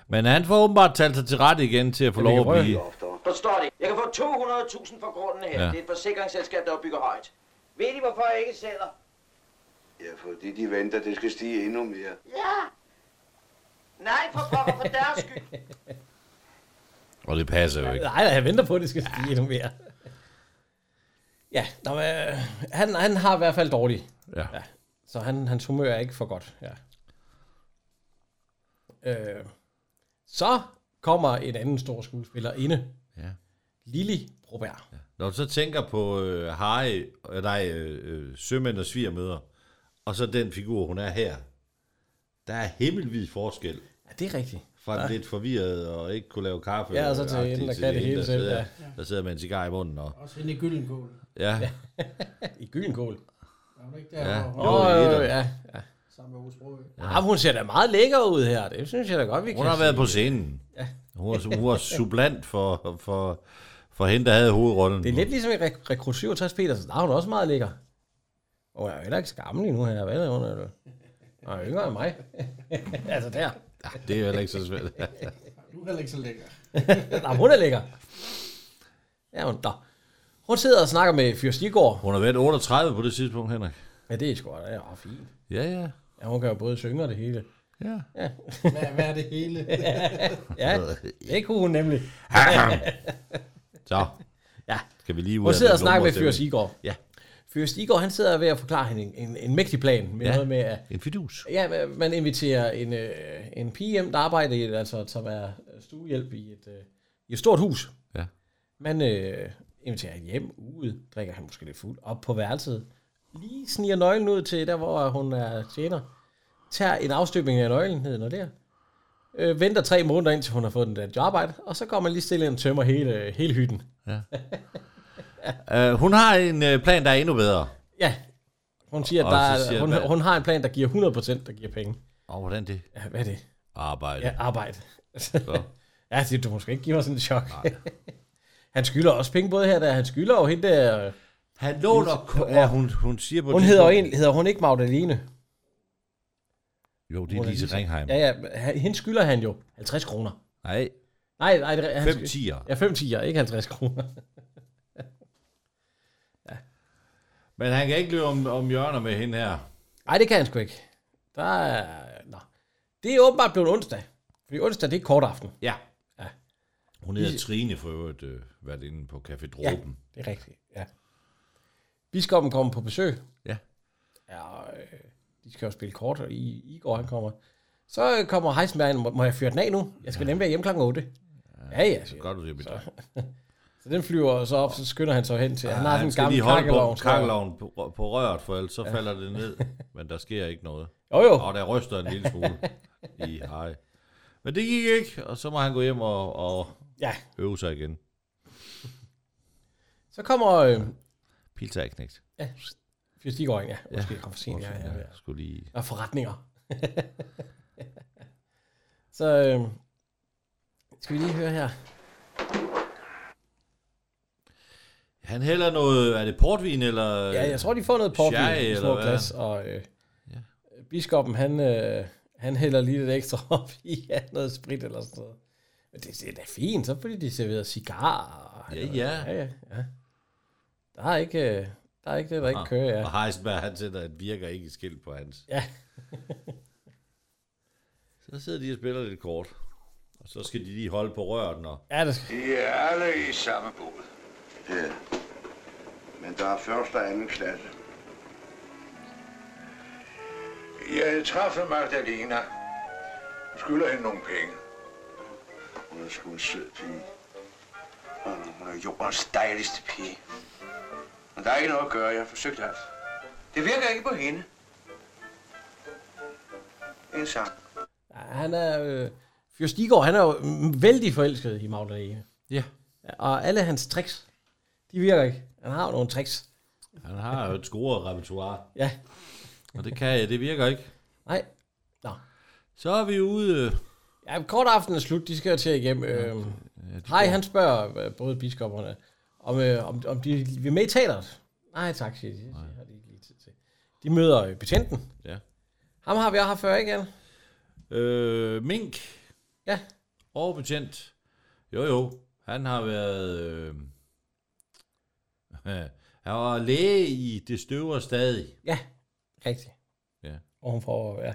[SPEAKER 2] Men han får åbenbart talt sig til rette igen til at få
[SPEAKER 1] vi
[SPEAKER 2] lov
[SPEAKER 1] kan
[SPEAKER 2] at
[SPEAKER 1] røre
[SPEAKER 2] blive...
[SPEAKER 7] Forstår det? Jeg kan få 200.000 for grunden her.
[SPEAKER 2] Ja.
[SPEAKER 7] Ja. Det er et forsikringsselskab, der bygger højt. Ved I, hvorfor jeg ikke sælger?
[SPEAKER 5] Ja, fordi de venter, det skal stige endnu mere.
[SPEAKER 7] Ja. Nej, for pokker, for deres skyld.
[SPEAKER 2] Og det passer jo ikke.
[SPEAKER 1] Nej, nej, jeg venter på, at det skal stige endnu mere. Ja, nå, men, øh, han, han har i hvert fald dårligt.
[SPEAKER 2] Ja.
[SPEAKER 1] Så han, hans humør er ikke for godt. Ja. Øh, så kommer en anden stor skuespiller inde.
[SPEAKER 2] Ja.
[SPEAKER 1] Lili Robert. Ja.
[SPEAKER 2] Når du så tænker på øh, Harry, øh, nej, øh, øh, sømænd og svigermøder, og så den figur, hun er her, der er himmelvid forskel
[SPEAKER 1] ja, det er rigtigt.
[SPEAKER 2] fra ja. lidt forvirret og ikke kunne lave kaffe.
[SPEAKER 1] Ja, og så til
[SPEAKER 2] agtigt
[SPEAKER 1] hende, der kan det hele selv,
[SPEAKER 2] sidder,
[SPEAKER 1] ja.
[SPEAKER 2] Der sidder med en cigar i munden. Og,
[SPEAKER 4] Også hende i Gyllengål.
[SPEAKER 2] ja, ja.
[SPEAKER 1] I Gyllenkål.
[SPEAKER 4] Var hun ikke der,
[SPEAKER 2] Ja.
[SPEAKER 4] ja. hvor hun
[SPEAKER 2] Jo,
[SPEAKER 4] oh.
[SPEAKER 2] i
[SPEAKER 1] Åh,
[SPEAKER 2] etteren.
[SPEAKER 1] øh, ja. ja.
[SPEAKER 4] sammen med Osbro?
[SPEAKER 1] Ja, hun ser da meget lækker ud her. Det synes jeg da godt, vi
[SPEAKER 2] Hun
[SPEAKER 1] kan
[SPEAKER 2] har
[SPEAKER 1] sige.
[SPEAKER 2] været på scenen. Ja. Hun, var, hun var sublant for, for, for hende, der havde hovedrollen.
[SPEAKER 1] Det er lidt ligesom i Rek- Rekrut 67 Petersen. Der er hun også meget lækker. Og hun er jo heller ikke så gammel endnu her. Hvad er hun? Er hun er yngre end mig. altså der.
[SPEAKER 2] det er jo heller ikke så svært.
[SPEAKER 4] Du er heller ikke så lækker.
[SPEAKER 1] Nå, hun er lækker. Ja, hun, nå. hun sidder og snakker med Fyrst Igor.
[SPEAKER 2] Hun har været 38 på det tidspunkt, Henrik.
[SPEAKER 1] Ja, det er sgu da ja, fint.
[SPEAKER 2] Ja, ja.
[SPEAKER 1] Ja, hun kan jo både synge og det hele.
[SPEAKER 2] ja.
[SPEAKER 4] Hvad, hvad er det hele?
[SPEAKER 1] Ja, det kunne hun nemlig.
[SPEAKER 2] Så,
[SPEAKER 1] Ja.
[SPEAKER 2] skal vi lige ud
[SPEAKER 1] Hun
[SPEAKER 2] af
[SPEAKER 1] sidder
[SPEAKER 2] den
[SPEAKER 1] og snakker med
[SPEAKER 2] lumre
[SPEAKER 1] Fyrst
[SPEAKER 2] stemning.
[SPEAKER 1] Igor.
[SPEAKER 2] Ja.
[SPEAKER 1] Fyrst Igor, han sidder ved at forklare hende en, en, en mægtig plan. Med
[SPEAKER 2] Ja.
[SPEAKER 1] ja. noget med, at
[SPEAKER 2] En fidus.
[SPEAKER 1] ja, man inviterer en, øh, en pige hjem, der arbejder i et, altså, som er stuehjælp i et, øh, i et stort hus.
[SPEAKER 2] Ja.
[SPEAKER 1] Man øh, inviterer hende hjem ude, drikker han måske lidt fuld, op på værelset. Lige sniger nøglen ud til der, hvor hun er tjener. Tager en afstøbning af nøglen ned og der. Øh, venter tre måneder, indtil hun har fået den der jobarbejde. Og så går man lige stille ind og tømmer hele, hele hytten.
[SPEAKER 2] Uh, hun har en uh, plan, der er endnu bedre.
[SPEAKER 1] Ja, hun siger, at
[SPEAKER 2] Og
[SPEAKER 1] der,
[SPEAKER 2] så
[SPEAKER 1] er-
[SPEAKER 2] siger
[SPEAKER 1] hun,
[SPEAKER 2] hvad?
[SPEAKER 1] hun har en plan, der giver 100%, der giver penge.
[SPEAKER 2] Og oh, hvordan det?
[SPEAKER 1] Ja, hvad er det?
[SPEAKER 2] Arbejde.
[SPEAKER 1] Ja,
[SPEAKER 2] Ja.
[SPEAKER 1] arbejde. Altså,
[SPEAKER 2] Så.
[SPEAKER 1] Ja, siger, du måske ikke give mig sådan en chok. han skylder også penge både her, der han skylder jo hende der.
[SPEAKER 2] Han låner... ko- Ja, hun, hun siger på
[SPEAKER 1] Hun
[SPEAKER 2] det
[SPEAKER 1] hedder, jo
[SPEAKER 2] tidspunkt-
[SPEAKER 1] egentlig, hedder hun ikke Magdalene?
[SPEAKER 2] Jo, det er Lise Ringheim.
[SPEAKER 1] Ja, ja, h- hende skylder han jo 50 kroner.
[SPEAKER 2] Nej,
[SPEAKER 1] Nej, nej, det er- han
[SPEAKER 2] fem
[SPEAKER 1] sky-
[SPEAKER 2] tiger.
[SPEAKER 1] Ja, 5 tiger, ikke 50 kroner. ja.
[SPEAKER 2] Men han kan ikke løbe om, om hjørner med hende her.
[SPEAKER 1] Nej, det kan han sgu ikke. Der er... Nå. Det er åbenbart blevet onsdag. Fordi onsdag, det er kort aften.
[SPEAKER 2] Ja.
[SPEAKER 1] Ja.
[SPEAKER 2] Hun hedder Trine for øvrigt, øh, været inde på Café Dråben.
[SPEAKER 1] Det er rigtigt, ja. Biskoppen kommer på besøg.
[SPEAKER 2] Ja.
[SPEAKER 1] Ja, og, øh, de skal jo spille kort, og I, Igor han kommer. Så øh, kommer Heisenberg, ind. må, må jeg fyre den af nu? Jeg skal nemlig være hjemme klokken 8. Ja, ja.
[SPEAKER 2] Så
[SPEAKER 1] siger
[SPEAKER 2] godt du det, mit
[SPEAKER 1] han. Så den flyver så op, så skynder han sig hen til. Han har sådan en
[SPEAKER 2] skal
[SPEAKER 1] gammel
[SPEAKER 2] lige holde på
[SPEAKER 1] kakkelovn. tror jeg.
[SPEAKER 2] kakkeloven på, på røret, for ellers så falder det ned. Men der sker ikke noget.
[SPEAKER 1] Jo, jo.
[SPEAKER 2] Og der ryster en lille smule i hej. Men det gik ikke, og så må han gå hjem og, og
[SPEAKER 1] Ja.
[SPEAKER 2] øve sig igen.
[SPEAKER 1] Så kommer øh,
[SPEAKER 2] Pilsa er knægt.
[SPEAKER 1] Fyr Stigård ind, ja. Måske jeg kommer for sent, ja, ja, ja.
[SPEAKER 2] Jeg skulle lige...
[SPEAKER 1] Og forretninger. så øh, skal vi lige høre her.
[SPEAKER 2] Han hælder noget... Er det portvin, eller...
[SPEAKER 1] Ja, jeg tror, de får noget portvin
[SPEAKER 2] Øh, Sherry,
[SPEAKER 1] i
[SPEAKER 2] eller
[SPEAKER 1] små
[SPEAKER 2] hvad?
[SPEAKER 1] glas, og øh, ja. biskoppen, han, øh, han hælder lige lidt ekstra op i ja, noget sprit eller sådan noget. Men det, det er da fint, så fordi de serverer cigarer.
[SPEAKER 2] Ja, ja.
[SPEAKER 1] ja, ja, ja. Der er ikke, øh, der er ikke det, der
[SPEAKER 2] Ah,
[SPEAKER 1] ikke kører, ja.
[SPEAKER 2] Og Heisenberg, han sætter et virker ikke skilt på hans.
[SPEAKER 1] Ja.
[SPEAKER 2] så sidder de og spiller lidt kort. Og så skal de lige holde på røret, når...
[SPEAKER 1] Ja, det skal,
[SPEAKER 8] I er alle i samme båd.
[SPEAKER 5] Ja.
[SPEAKER 8] Men der er første og anden klasse.
[SPEAKER 5] Jeg træffede Magdalena. Jeg skylder hende nogle penge.
[SPEAKER 8] Hun er sgu en sød pige. Hun, hun er jordens dejligste pige. Men der er ikke noget at gøre. Jeg har forsøgt alt. Det virker ikke på hende. En sang.
[SPEAKER 1] ja, han er... Øh, Fyr Stigård, han er jo mm, vældig forelsket i Magdalene.
[SPEAKER 2] Ja.
[SPEAKER 1] Ja, Og alle hans tricks, de virker ikke. Han har jo nogle tricks.
[SPEAKER 2] Han har jo et score-repertoire,
[SPEAKER 1] Ja,
[SPEAKER 2] og det kan jeg, det virker ikke.
[SPEAKER 1] nej. Nå.
[SPEAKER 2] Så er vi ude... øh,
[SPEAKER 1] Ja, kort aften er slut. De skal jo til at hjem. Øh, Hej, han spørger øh, både biskopperne, om, øh, om, om de vil med i teateret. Nej tak, siger de. Det har de ikke lige tid til. De møder øh, betjenten.
[SPEAKER 2] Ja.
[SPEAKER 1] Ham har vi også haft før, ikke? Anne?
[SPEAKER 2] Øh, Mink,
[SPEAKER 1] Ja.
[SPEAKER 2] overbetjent. Jo, jo, han har været... Øh, han var læge i det støver stadig.
[SPEAKER 1] Ja, rigtigt.
[SPEAKER 2] Ja.
[SPEAKER 1] Og hun får, ja.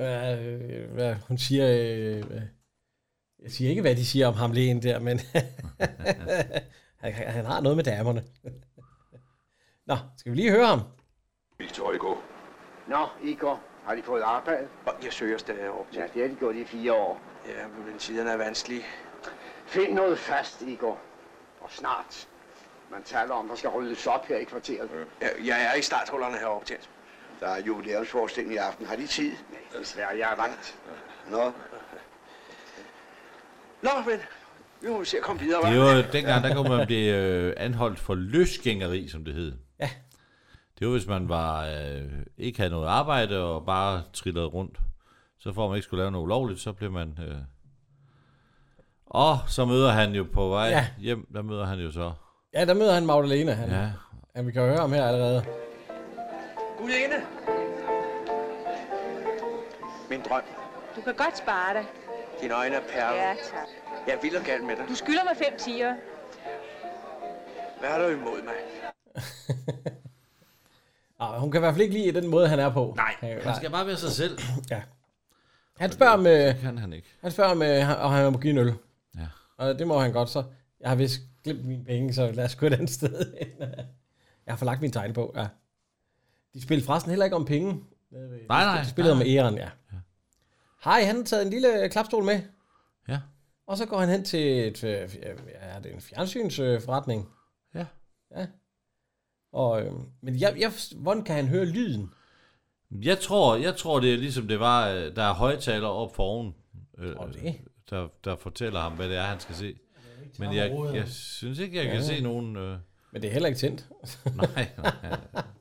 [SPEAKER 1] Ja, øh, hvad, hun siger, øh, hvad- jeg siger ikke, hvad de siger om ham lægen der, men han, han har noget med damerne. Nå, skal vi lige høre ham?
[SPEAKER 5] Victor Hugo.
[SPEAKER 9] Nå, Igor, har de fået arbejde?
[SPEAKER 8] Og jeg søger stadig op til.
[SPEAKER 9] Ja, det har de gjort i fire år.
[SPEAKER 8] Ja, men tiderne er vanskelige.
[SPEAKER 9] Find noget fast, Igor. Og snart. Man taler om, der skal ryddes op her i kvarteret.
[SPEAKER 7] Øh,
[SPEAKER 8] Jeg, jeg er i starthullerne heroppe til.
[SPEAKER 9] Der er jubilæumsforestilling i aften. Har de tid? Nej, desværre, jeg er vagt.
[SPEAKER 8] Nå. Nå, men vi må se at komme videre,
[SPEAKER 2] Det
[SPEAKER 8] hva'?
[SPEAKER 2] var dengang, der kunne man blive øh, anholdt for løsgængeri, som det hed.
[SPEAKER 1] Ja.
[SPEAKER 2] Det var, hvis man var, øh, ikke havde noget arbejde og bare trillede rundt. Så for at man ikke skulle lave noget ulovligt, så blev man... Øh... Og så møder han jo på vej
[SPEAKER 1] Ja.
[SPEAKER 2] ja. hjem, der møder han jo så...
[SPEAKER 1] Ja, der møder han Magdalena. Han, ja.
[SPEAKER 2] Ja,
[SPEAKER 1] han, vi kan jo høre ham her allerede.
[SPEAKER 8] Gudinde! Min drøm.
[SPEAKER 6] Du kan godt spare dig.
[SPEAKER 8] Dine øjne er perle.
[SPEAKER 6] Ja,
[SPEAKER 8] Ja.
[SPEAKER 6] tak.
[SPEAKER 8] Jeg er vild og gal med dig.
[SPEAKER 6] Du skylder mig fem tiger.
[SPEAKER 8] Hvad har du imod mig?
[SPEAKER 1] Ah, hun kan i hvert fald ikke lide den måde, han er på.
[SPEAKER 2] Nej,
[SPEAKER 1] han,
[SPEAKER 2] han skal bare være sig selv.
[SPEAKER 1] ja. han spørger om, øh,
[SPEAKER 2] Det kan han ikke.
[SPEAKER 1] han spørger om, øh, om han må give en øl.
[SPEAKER 2] Ja.
[SPEAKER 1] Og det må han godt, så jeg har vist glemt mine penge, så lad os gå et andet sted. hen. jeg har forlagt min tegn på, ja. De spillede forresten heller ikke om penge.
[SPEAKER 2] Nej, nej.
[SPEAKER 1] De spillede om
[SPEAKER 2] nej.
[SPEAKER 1] æren, ja. Hej, han har taget en lille øh, klapstol med.
[SPEAKER 2] Ja.
[SPEAKER 1] Og så går han hen til et, øh, ja, er det en fjernsynsforretning.
[SPEAKER 2] Ja.
[SPEAKER 1] Ja. Og, øh, men jeg, jeg, hvordan kan han høre lyden?
[SPEAKER 2] Jeg tror, jeg tror, det er ligesom det var, øh, der er højtaler op foroven, øh,
[SPEAKER 1] Tror du det?
[SPEAKER 2] der, der fortæller ham, hvad det er, han skal se. Men jeg, jeg synes ikke, jeg kan se nogen... Øh,
[SPEAKER 1] Men det er heller ikke tændt.
[SPEAKER 2] nej, nej,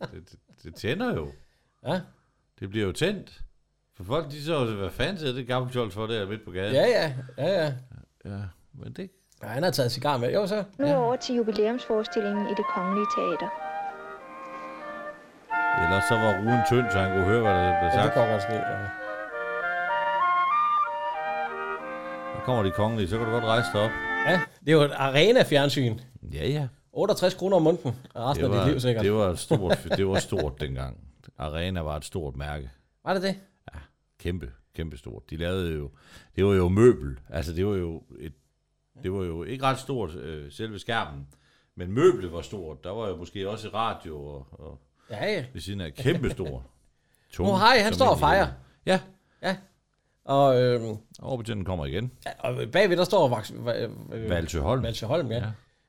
[SPEAKER 2] det, det, det tænder jo.
[SPEAKER 1] Ja.
[SPEAKER 2] Det bliver jo tændt. For folk, de så, hvad fanden sidder det gammelt fjols for der midt på gaden?
[SPEAKER 1] Ja, ja, ja, ja.
[SPEAKER 2] ja. Men det...
[SPEAKER 1] Ja, han har taget cigar med. Jo, så.
[SPEAKER 10] Nu over til jubilæumsforestillingen i det kongelige teater.
[SPEAKER 2] Ellers så var ruden tynd, så han kunne høre, hvad der blev
[SPEAKER 1] Ja, det
[SPEAKER 2] sagt.
[SPEAKER 1] går godt ske. Ja.
[SPEAKER 2] Der kommer de kongelige, så kan du godt rejse dig op.
[SPEAKER 1] ja, det er jo et arena-fjernsyn.
[SPEAKER 2] Ja, ja.
[SPEAKER 1] 68 kroner om måneden resten
[SPEAKER 2] det
[SPEAKER 1] af
[SPEAKER 2] var,
[SPEAKER 1] dit liv, sikkert.
[SPEAKER 2] det var stort, det var stort dengang. Arena var et stort mærke.
[SPEAKER 1] Var det det?
[SPEAKER 2] Ja, kæmpe, kæmpe stort. De lavede jo, det var jo møbel. Altså det var jo et, det var jo ikke ret stort øh, selve skærmen, men møblet var stort. Der var jo måske også radio og, og
[SPEAKER 1] Ja, ja.
[SPEAKER 2] ved siden af kæmpe stort. Tung,
[SPEAKER 1] nu har I, han
[SPEAKER 2] som
[SPEAKER 1] står og
[SPEAKER 2] en lille-
[SPEAKER 1] fejrer.
[SPEAKER 2] Ja.
[SPEAKER 1] Ja. Og, øhm,
[SPEAKER 2] Overbetjenten kommer igen.
[SPEAKER 1] ja, og bagved, der står Vaks, va, øh,
[SPEAKER 2] Valsø Holm.
[SPEAKER 1] Valsø Holm, ja. ja.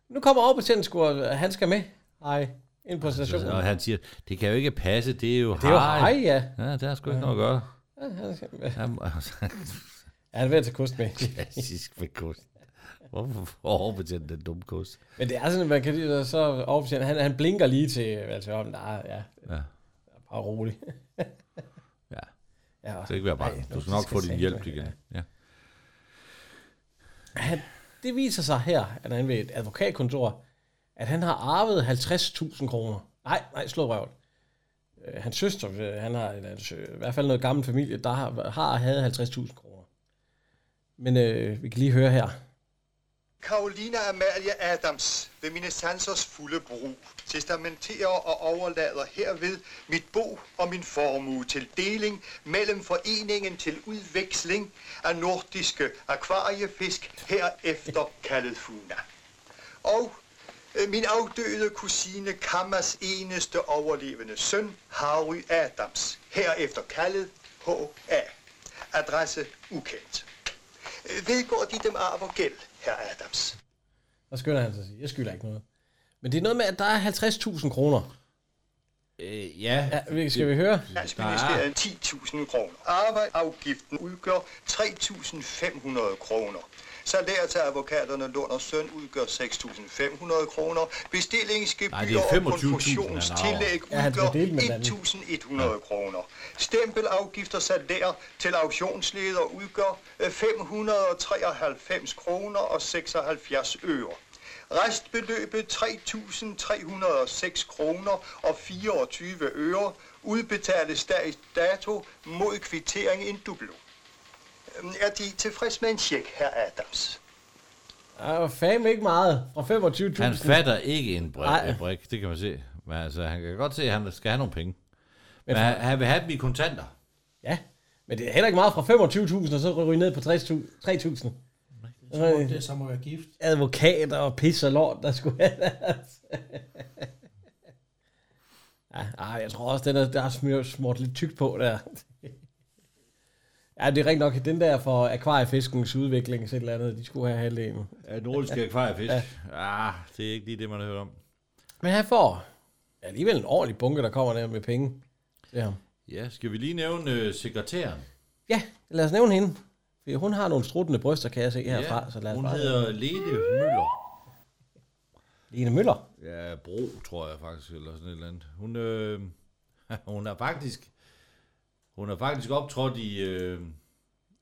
[SPEAKER 1] Nu kommer overbetjenten sgu, og han skal med. Hej, ind på stationen.
[SPEAKER 2] Altså, Og han siger, det kan jo ikke passe, det er jo
[SPEAKER 1] Det er jo hej, ja.
[SPEAKER 2] Ja, der er sgu ikke noget at gøre.
[SPEAKER 1] Ja, han skal med.
[SPEAKER 2] Jamen, altså,
[SPEAKER 1] Ja, han er ved at tage kost med.
[SPEAKER 2] Klassisk med kost. Hvorfor overbetjente den dumme kost?
[SPEAKER 1] Men det er sådan, at man kan lide, så overbetjenten, han, han blinker lige til Valsø Holm. Nej, ja.
[SPEAKER 2] Ja.
[SPEAKER 1] Bare rolig.
[SPEAKER 2] Ja.
[SPEAKER 1] ja.
[SPEAKER 2] Du skal ikke være bange. Du skal nok få din hjælp igen. Ja.
[SPEAKER 1] han, det viser sig her, at han ved et advokatkontor, at han har arvet 50.000 kroner. Nej, nej, slå røven. Øh, Hans søster, øh, han har eller, hans, øh, i hvert fald noget gammel familie, der har, har havde 50.000 kroner. Men øh, vi kan lige høre her.
[SPEAKER 11] Karolina Amalie Adams ved mine sansers fulde brug testamenterer og overlader herved mit bo og min formue til deling mellem foreningen til udveksling af nordiske akvariefisk herefter kaldet Funa. Og øh, min afdøde kusine Kammas eneste overlevende søn, Harry Adams, herefter kaldet H.A. Adresse ukendt. Øh, Vedgår de dem arv og gæld, herr Adams?
[SPEAKER 1] Der skynder han sig at sige, jeg skylder ikke noget. Men det er noget med, at der er 50.000 kroner.
[SPEAKER 2] Øh, ja.
[SPEAKER 1] ja vi- skal vi høre?
[SPEAKER 11] Finansministeriet 10.000 kroner. Arbejdsafgiften udgør 3.500 kroner. Salær til advokaterne Lund og Søn udgør 6.500 kroner.
[SPEAKER 2] Nej, det
[SPEAKER 11] Bestillingsgebyr
[SPEAKER 2] er
[SPEAKER 11] og
[SPEAKER 2] 25.000, han
[SPEAKER 11] konfusionstillæg
[SPEAKER 2] arver. Ja, han skal
[SPEAKER 11] udgør
[SPEAKER 2] dele med den anden.
[SPEAKER 11] 1.100 kroner. Stempelafgift og salær til auktionsleder udgør øh, 593 kroner og 76 øre. Restbeløbet 3.306 kroner og 24 øre udbetales dags dato mod kvittering en dublo. Øhm, Er de tilfreds med en tjek, herr Adams?
[SPEAKER 1] Der er fandme ikke meget fra 25.000.
[SPEAKER 2] Han fatter ikke en brik,
[SPEAKER 1] Nej.
[SPEAKER 2] en brik, det kan man se. Men altså, han kan godt se, at han skal have nogle penge.
[SPEAKER 1] Men
[SPEAKER 2] Men
[SPEAKER 1] for-
[SPEAKER 2] han, han vil have dem i kontanter.
[SPEAKER 1] Ja, men det er heller ikke meget fra 25.000, og så ryger vi ned på 60.000 3.000. Øh,
[SPEAKER 4] tror, det er som at være gift.
[SPEAKER 1] Advokater og pis og lort, der skulle have deres. ja, ah, jeg tror også, den er, der er smør, smurt lidt tykt på der. ja, det er rigtig nok den der for akvariefiskens udvikling, så et eller andet, de skulle have halvdelen.
[SPEAKER 2] Ja, nordiske akvariefisk. Ja. Ah, det er ikke lige det, man har hørt om.
[SPEAKER 1] Men han får alligevel en ordentlig bunke, der kommer der med penge. Ja.
[SPEAKER 2] Ja, skal vi lige nævne øh, sekretæren?
[SPEAKER 1] ja, lad os nævne hende. Fordi hun har nogle struttende bryster, kan jeg se herfra.
[SPEAKER 2] ja,
[SPEAKER 1] så lad os
[SPEAKER 2] hun
[SPEAKER 1] bare...
[SPEAKER 2] hedder Lene Møller.
[SPEAKER 1] Lene Møller.
[SPEAKER 2] Ja, Bro, tror jeg faktisk, eller sådan et eller andet. Hun, øh, hun er faktisk hun er faktisk optrådt i, øh,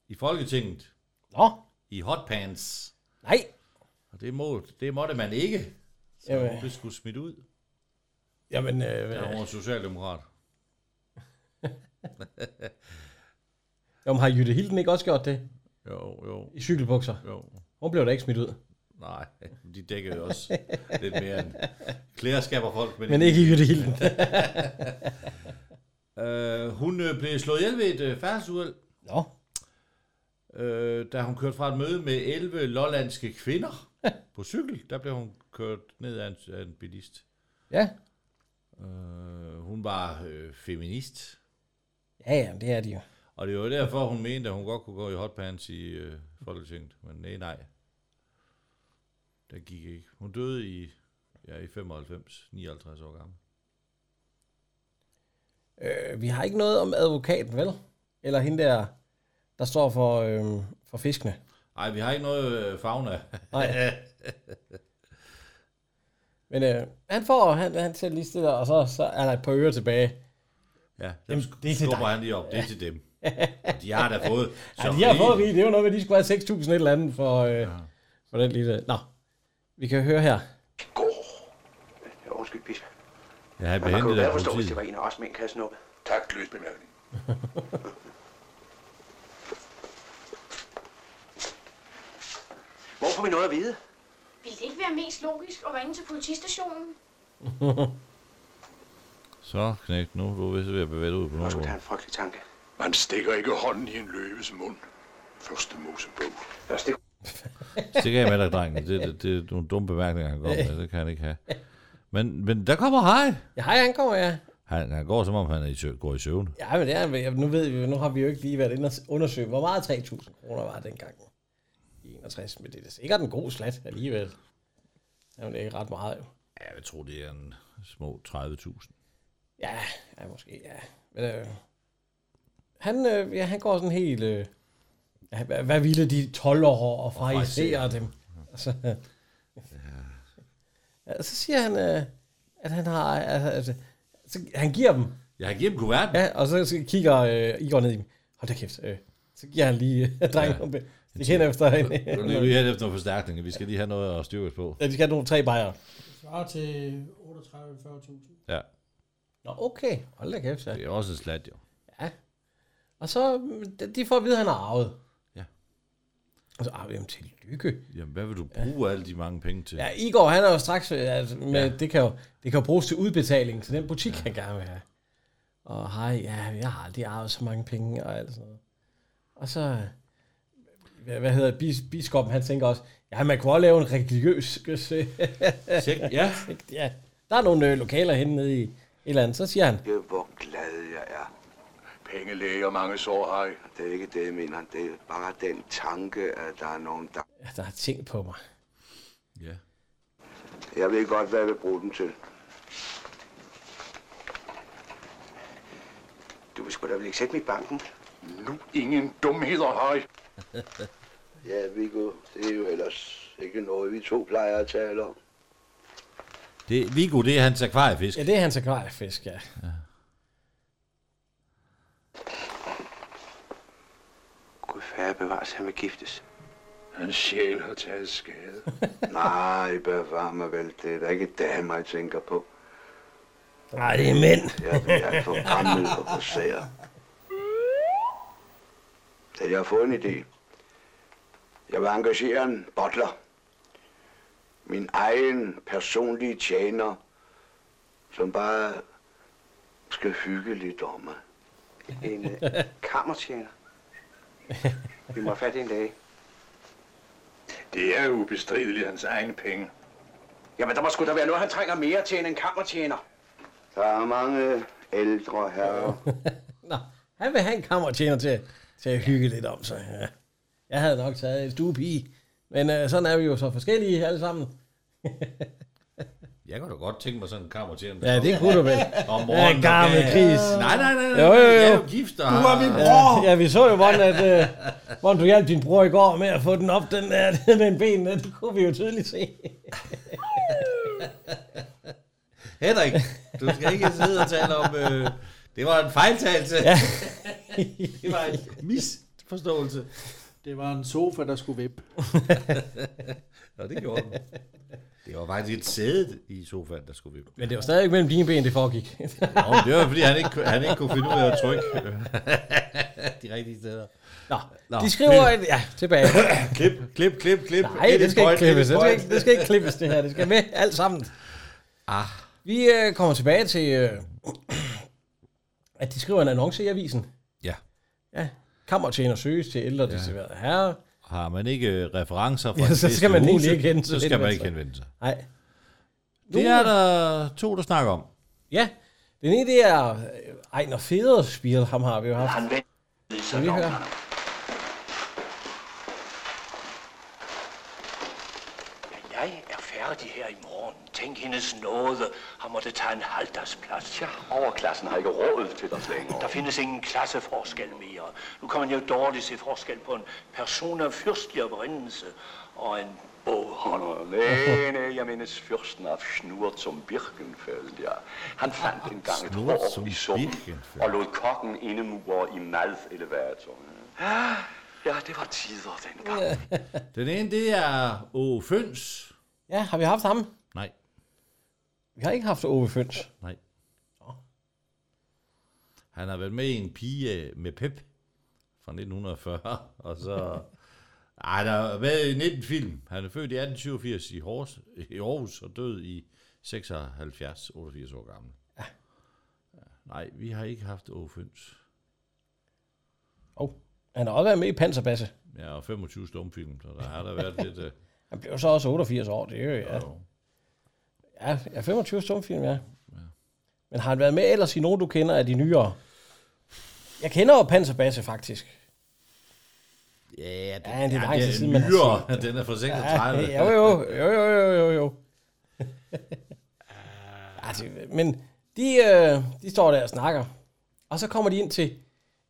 [SPEAKER 2] i Folketinget.
[SPEAKER 1] Nå.
[SPEAKER 2] I hotpants.
[SPEAKER 1] Nej.
[SPEAKER 2] Og det, må, det måtte man ikke. Så
[SPEAKER 1] Jamen.
[SPEAKER 2] Jamen. hun blev sgu smidt ud.
[SPEAKER 1] Jamen, øh,
[SPEAKER 2] Ja, hun var socialdemokrat.
[SPEAKER 1] Jamen, har Jytte Hilden ikke også gjort det?
[SPEAKER 2] Jo, jo.
[SPEAKER 1] I cykelbukser?
[SPEAKER 2] Jo.
[SPEAKER 1] Hun blev da ikke smidt ud.
[SPEAKER 2] Nej, de dækker jo også lidt mere end klæderskaber folk.
[SPEAKER 1] Men ikke i Jytte Hilden.
[SPEAKER 2] øh, hun øh, blev slået ihjel ved et øh, færdsuheld.
[SPEAKER 1] Nå.
[SPEAKER 2] Øh, da hun kørte fra et møde med 11 lollandske kvinder på cykel, der blev hun kørt ned af en, af en bilist.
[SPEAKER 1] Ja.
[SPEAKER 2] Øh, hun var øh, feminist,
[SPEAKER 1] Ja, ja, det er de jo.
[SPEAKER 2] og det var derfor, hun mente, at hun godt kunne gå i hotpants i øh, Folketinget. Men nej, nej. Det gik ikke. Hun døde i, ja, i 95, 59 år gammel.
[SPEAKER 1] Øh, vi har ikke noget om advokaten, vel? Eller hende der, der står for, øh, for fiskene.
[SPEAKER 2] Nej, vi har ikke noget øh, fauna.
[SPEAKER 1] Nej. Men øh, han får, han, han tæller lige stille, og så, så er der et par ører tilbage.
[SPEAKER 2] Ja, dem
[SPEAKER 1] Jamen, det er til
[SPEAKER 2] skubber
[SPEAKER 1] dig.
[SPEAKER 2] han lige op. Det er til dem. Og de har da fået
[SPEAKER 1] Ja, de
[SPEAKER 2] så
[SPEAKER 1] har
[SPEAKER 2] rigeligt.
[SPEAKER 1] fået rigeligt. Det var noget med, at de skulle have 6.000 et eller andet for, øh, ja. for den lille... Nå, vi kan høre her.
[SPEAKER 7] Ja, undskyld, bisp.
[SPEAKER 2] Ja,
[SPEAKER 7] Men
[SPEAKER 2] han blev
[SPEAKER 7] man kan jo
[SPEAKER 2] hentet
[SPEAKER 7] bedre
[SPEAKER 2] af
[SPEAKER 7] forstå, hvis det
[SPEAKER 2] politiet.
[SPEAKER 7] var en af os mænd, kan jeg snuppe. Tak, løs bemærkning. Hvor får vi noget at vide?
[SPEAKER 12] Ville det ikke være mest logisk at ringe til politistationen?
[SPEAKER 2] Så, knægt, nu er du vist ved at bevæge dig ud på
[SPEAKER 8] Jeg
[SPEAKER 2] noget.
[SPEAKER 8] skulle have en frygtelig tanke. Man stikker ikke hånden i en løves mund. Første Mosebog. Første
[SPEAKER 2] Stik af med dig, drengen. Det, det, det er nogle dumme bemærkninger, han kommer med. Det kan han ikke have. Men, men der kommer hej.
[SPEAKER 1] Ja, hej, han kommer, ja.
[SPEAKER 2] Han, han går, som om han er i sø, går i søvn.
[SPEAKER 1] Ja, men det er, ja, nu ved vi jo- nu har vi jo ikke lige været inde og undersøge, hvor meget 3.000 kroner var dengang i 61, men det er da sikkert en god slat alligevel. Jamen, det er ikke ret meget jo.
[SPEAKER 2] Ja, jeg tror, det er en små 30.000.
[SPEAKER 1] Ja, ja måske, ja. Men, øh, han, øh, ja, han går sådan helt... Øh, ja, hvad, hvad ville de 12 år og fraisere dem? Altså, ja, så siger han, øh, at han har... Altså, altså, så, han giver dem.
[SPEAKER 2] Ja, han giver dem kuverten.
[SPEAKER 1] Ja, og så, så kigger øh, Igor ned i dem. Hold da kæft. Øh, så giver han lige øh, drengen ja. nogle Det kender efter en.
[SPEAKER 2] Nu er vi lige hen efter nogle forstærkninger. Vi skal lige have noget at styrke os på.
[SPEAKER 1] Ja, de skal have nogle tre bajere.
[SPEAKER 4] Det svarer til 38-40.000.
[SPEAKER 2] Ja.
[SPEAKER 1] Nå, okay. Hold da kæft, ja.
[SPEAKER 2] Det er også en slat, jo.
[SPEAKER 1] Ja. Og så, mm, de- de får at vide, at han har arvet.
[SPEAKER 2] Ja.
[SPEAKER 1] Og så, ah, jamen, tillykke.
[SPEAKER 2] Jamen, hvad vil du bruge alle de mange penge til?
[SPEAKER 1] Ja, Igor, han er jo straks, øh, altså, med,
[SPEAKER 2] Ja.
[SPEAKER 1] ja. det, kan jo, det kan jo bruges til udbetaling til den butik, ja. han gerne vil have. Og hej, ja, jeg har aldrig arvet så mange penge og alt sådan noget. Og så, øh, hvad, hvad hedder det, bis, biskoppen, han tænker også, ja, man kunne også lave en religiøs
[SPEAKER 2] Sekt, ja.
[SPEAKER 1] Sekt, ja. Der er nogle øh, lokaler henne nede i et eller andet, så siger han,
[SPEAKER 13] Ja, hvor glad jeg er. Penge læger mange sår har Det er ikke det, jeg mener. Det er bare den tanke, at der er nogen, der...
[SPEAKER 1] ja, der er ting på mig.
[SPEAKER 13] Jeg ved godt, hvad jeg vil bruge dem til.
[SPEAKER 8] Du vil sgu da vel ikke sætte mig i banken? Nu ingen dumheder, Harry.
[SPEAKER 13] Ja, Viggo, det er jo ellers ikke noget, vi to plejer at tale om.
[SPEAKER 2] Det, Viggo, det er hans akvariefisk.
[SPEAKER 1] Ja, det er hans akvariefisk, ja.
[SPEAKER 8] Gud færre bevares, han vil giftes.
[SPEAKER 13] Hans sjæl har taget skade. Nej, bevar mig vel. Det er da ikke damer, jeg tænker på.
[SPEAKER 1] Nej, det er mænd.
[SPEAKER 13] Jeg er alt for gammel og for sær. Så jeg har fået en idé. Jeg vil engagere en butler. Min egen personlige tjener, som bare skal hygge lidt om mig.
[SPEAKER 7] En øh, kammertjener. Vi må have fat i en dag.
[SPEAKER 8] Det er ubestrideligt hans egne penge.
[SPEAKER 7] Jamen, der må sgu da være noget, han trænger mere til end en kammertjener.
[SPEAKER 13] Der er mange ældre herrer.
[SPEAKER 1] Nå, han vil have en kammertjener til, til at hygge lidt om sig. Ja. Jeg havde nok taget en stuepige, men øh, sådan er vi jo så forskellige alle sammen.
[SPEAKER 2] Jeg kunne da godt tænke mig sådan en kammertjener.
[SPEAKER 1] Ja, det kunne du vel.
[SPEAKER 2] Om morgenen.
[SPEAKER 1] Ja, gammel
[SPEAKER 2] og-
[SPEAKER 1] gris.
[SPEAKER 2] Nej, nej, nej. nej.
[SPEAKER 1] Jo, jo, jo.
[SPEAKER 2] Jeg er jo gift. Og...
[SPEAKER 1] Ja, ja, vi så jo, hvordan, at, øh, hvordan du hjalp din bror i går med at få den op, den, der, den ben. Det kunne vi jo tydeligt se.
[SPEAKER 2] Henrik, du skal ikke sidde og tale om... Øh, det var en fejltagelse.
[SPEAKER 1] Ja.
[SPEAKER 2] det var en misforståelse.
[SPEAKER 4] Det var en sofa, der skulle vippe.
[SPEAKER 2] Nå, det gjorde den. Det var faktisk et sæde i sofaen, der skulle vippe.
[SPEAKER 1] Men det var stadig mellem dine ben, det foregik.
[SPEAKER 2] Nå, men det var fordi, han ikke, kunne- han ikke kunne finde ud af at trykke de rigtige steder.
[SPEAKER 1] Nå, de skriver
[SPEAKER 2] klip.
[SPEAKER 1] et- ja, tilbage.
[SPEAKER 2] klip, klip, klip, klip.
[SPEAKER 1] Nej, det skal ikke klippes. Det skal ikke, det skal ikke klippes, det her. Det skal med alt sammen.
[SPEAKER 2] Ah.
[SPEAKER 1] Vi øh, kommer tilbage til, øh, at de skriver en annonce i avisen.
[SPEAKER 2] Ja.
[SPEAKER 1] Ja. Kammertjener søges til ældre ja. desserverede herrer.
[SPEAKER 2] Har man ikke øh, referencer fra
[SPEAKER 1] Ja,
[SPEAKER 2] det
[SPEAKER 1] så
[SPEAKER 2] bedste
[SPEAKER 1] skal man
[SPEAKER 2] huse,
[SPEAKER 1] egentlig ikke henvende
[SPEAKER 2] Så skal man ikke henvende sig.
[SPEAKER 1] Nej.
[SPEAKER 2] Det er der to, der snakker om.
[SPEAKER 1] Ja. Den ene, det er øh, Ejner Federspiel, ham har vi jo haft. Han vi høre?
[SPEAKER 14] Jeg er færdig her i morgen. Tænk hendes nåde har måttet tage en halvdagsplads. Ja, overklassen har ikke råd til det længere. Der findes ingen klasseforskel mere. Nu kan man jo dårligt se forskel på en person af fyrstlig oprindelse og en bogholder.
[SPEAKER 13] Nej, nej, jeg menes fyrsten af Schnur zum Birkenfeld, ja. Han fandt engang et
[SPEAKER 14] Schnur
[SPEAKER 13] hår
[SPEAKER 14] zum
[SPEAKER 13] i suppen
[SPEAKER 14] Birkenfeld.
[SPEAKER 13] og lod kokken indemure i madelevator.
[SPEAKER 14] Ah,
[SPEAKER 13] Ja, Ja, det var tider dengang.
[SPEAKER 2] Den ene, det er O. Føns.
[SPEAKER 1] Ja, har vi haft ham?
[SPEAKER 2] Nej.
[SPEAKER 1] Vi har ikke haft Ove Føns.
[SPEAKER 2] Nej. Han har været med i en pige med pep fra 1940, og så... Ej, der har været i 19 film. Han er født i 1887 i, Hors, i Aarhus og død i 76, 88 år gammel. Ja. Nej, vi har ikke haft Åføns.
[SPEAKER 1] Han har også været med i Panserbasse.
[SPEAKER 2] Ja, og 25 stumfilm, så der har der været lidt... øh,
[SPEAKER 1] Han blev så også 88 år, det er jo, ja. Ja, ja 25 stumfilm, ja. ja. Men har han været med ellers i nogen, du kender af de nyere? Jeg kender jo Panserbasse, faktisk.
[SPEAKER 2] Ja, det,
[SPEAKER 1] Ja, det er lang tid siden, man har
[SPEAKER 2] nyere.
[SPEAKER 1] set det.
[SPEAKER 2] Den er fra 36.
[SPEAKER 1] Ja, jo, jo, jo, jo, jo, jo, jo. ja, det, men de, øh, de står der og snakker. Og så kommer de ind til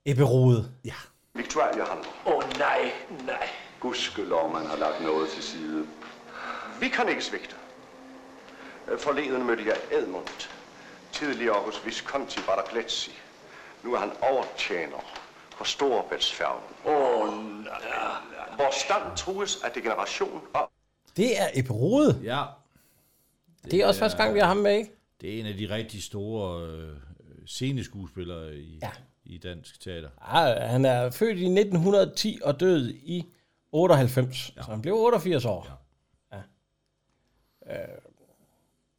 [SPEAKER 1] Ebberode. Ja.
[SPEAKER 8] Victoria, jeg har noget.
[SPEAKER 14] Åh oh, nej, nej.
[SPEAKER 8] Gudskelov, man har lagt noget til side. Vi kan ikke svigte. Forleden mødte jeg Edmund. Tidligere hos Visconti var der Gletsi. Nu er han overtjener på Storebæltsfærgen. Åh, oh, nej, nej. Vores stand trues af degeneration og
[SPEAKER 1] Det er Ebberode.
[SPEAKER 2] Ja.
[SPEAKER 1] Det, det er også første gang, vi har ham med, ikke?
[SPEAKER 2] Det er en af de rigtig store øh, sceneskuespillere i, ja. i dansk teater.
[SPEAKER 1] Ah, han er født i 1910 og død i 98, ja. så han blev 88 år. Ja. Ja. Øh,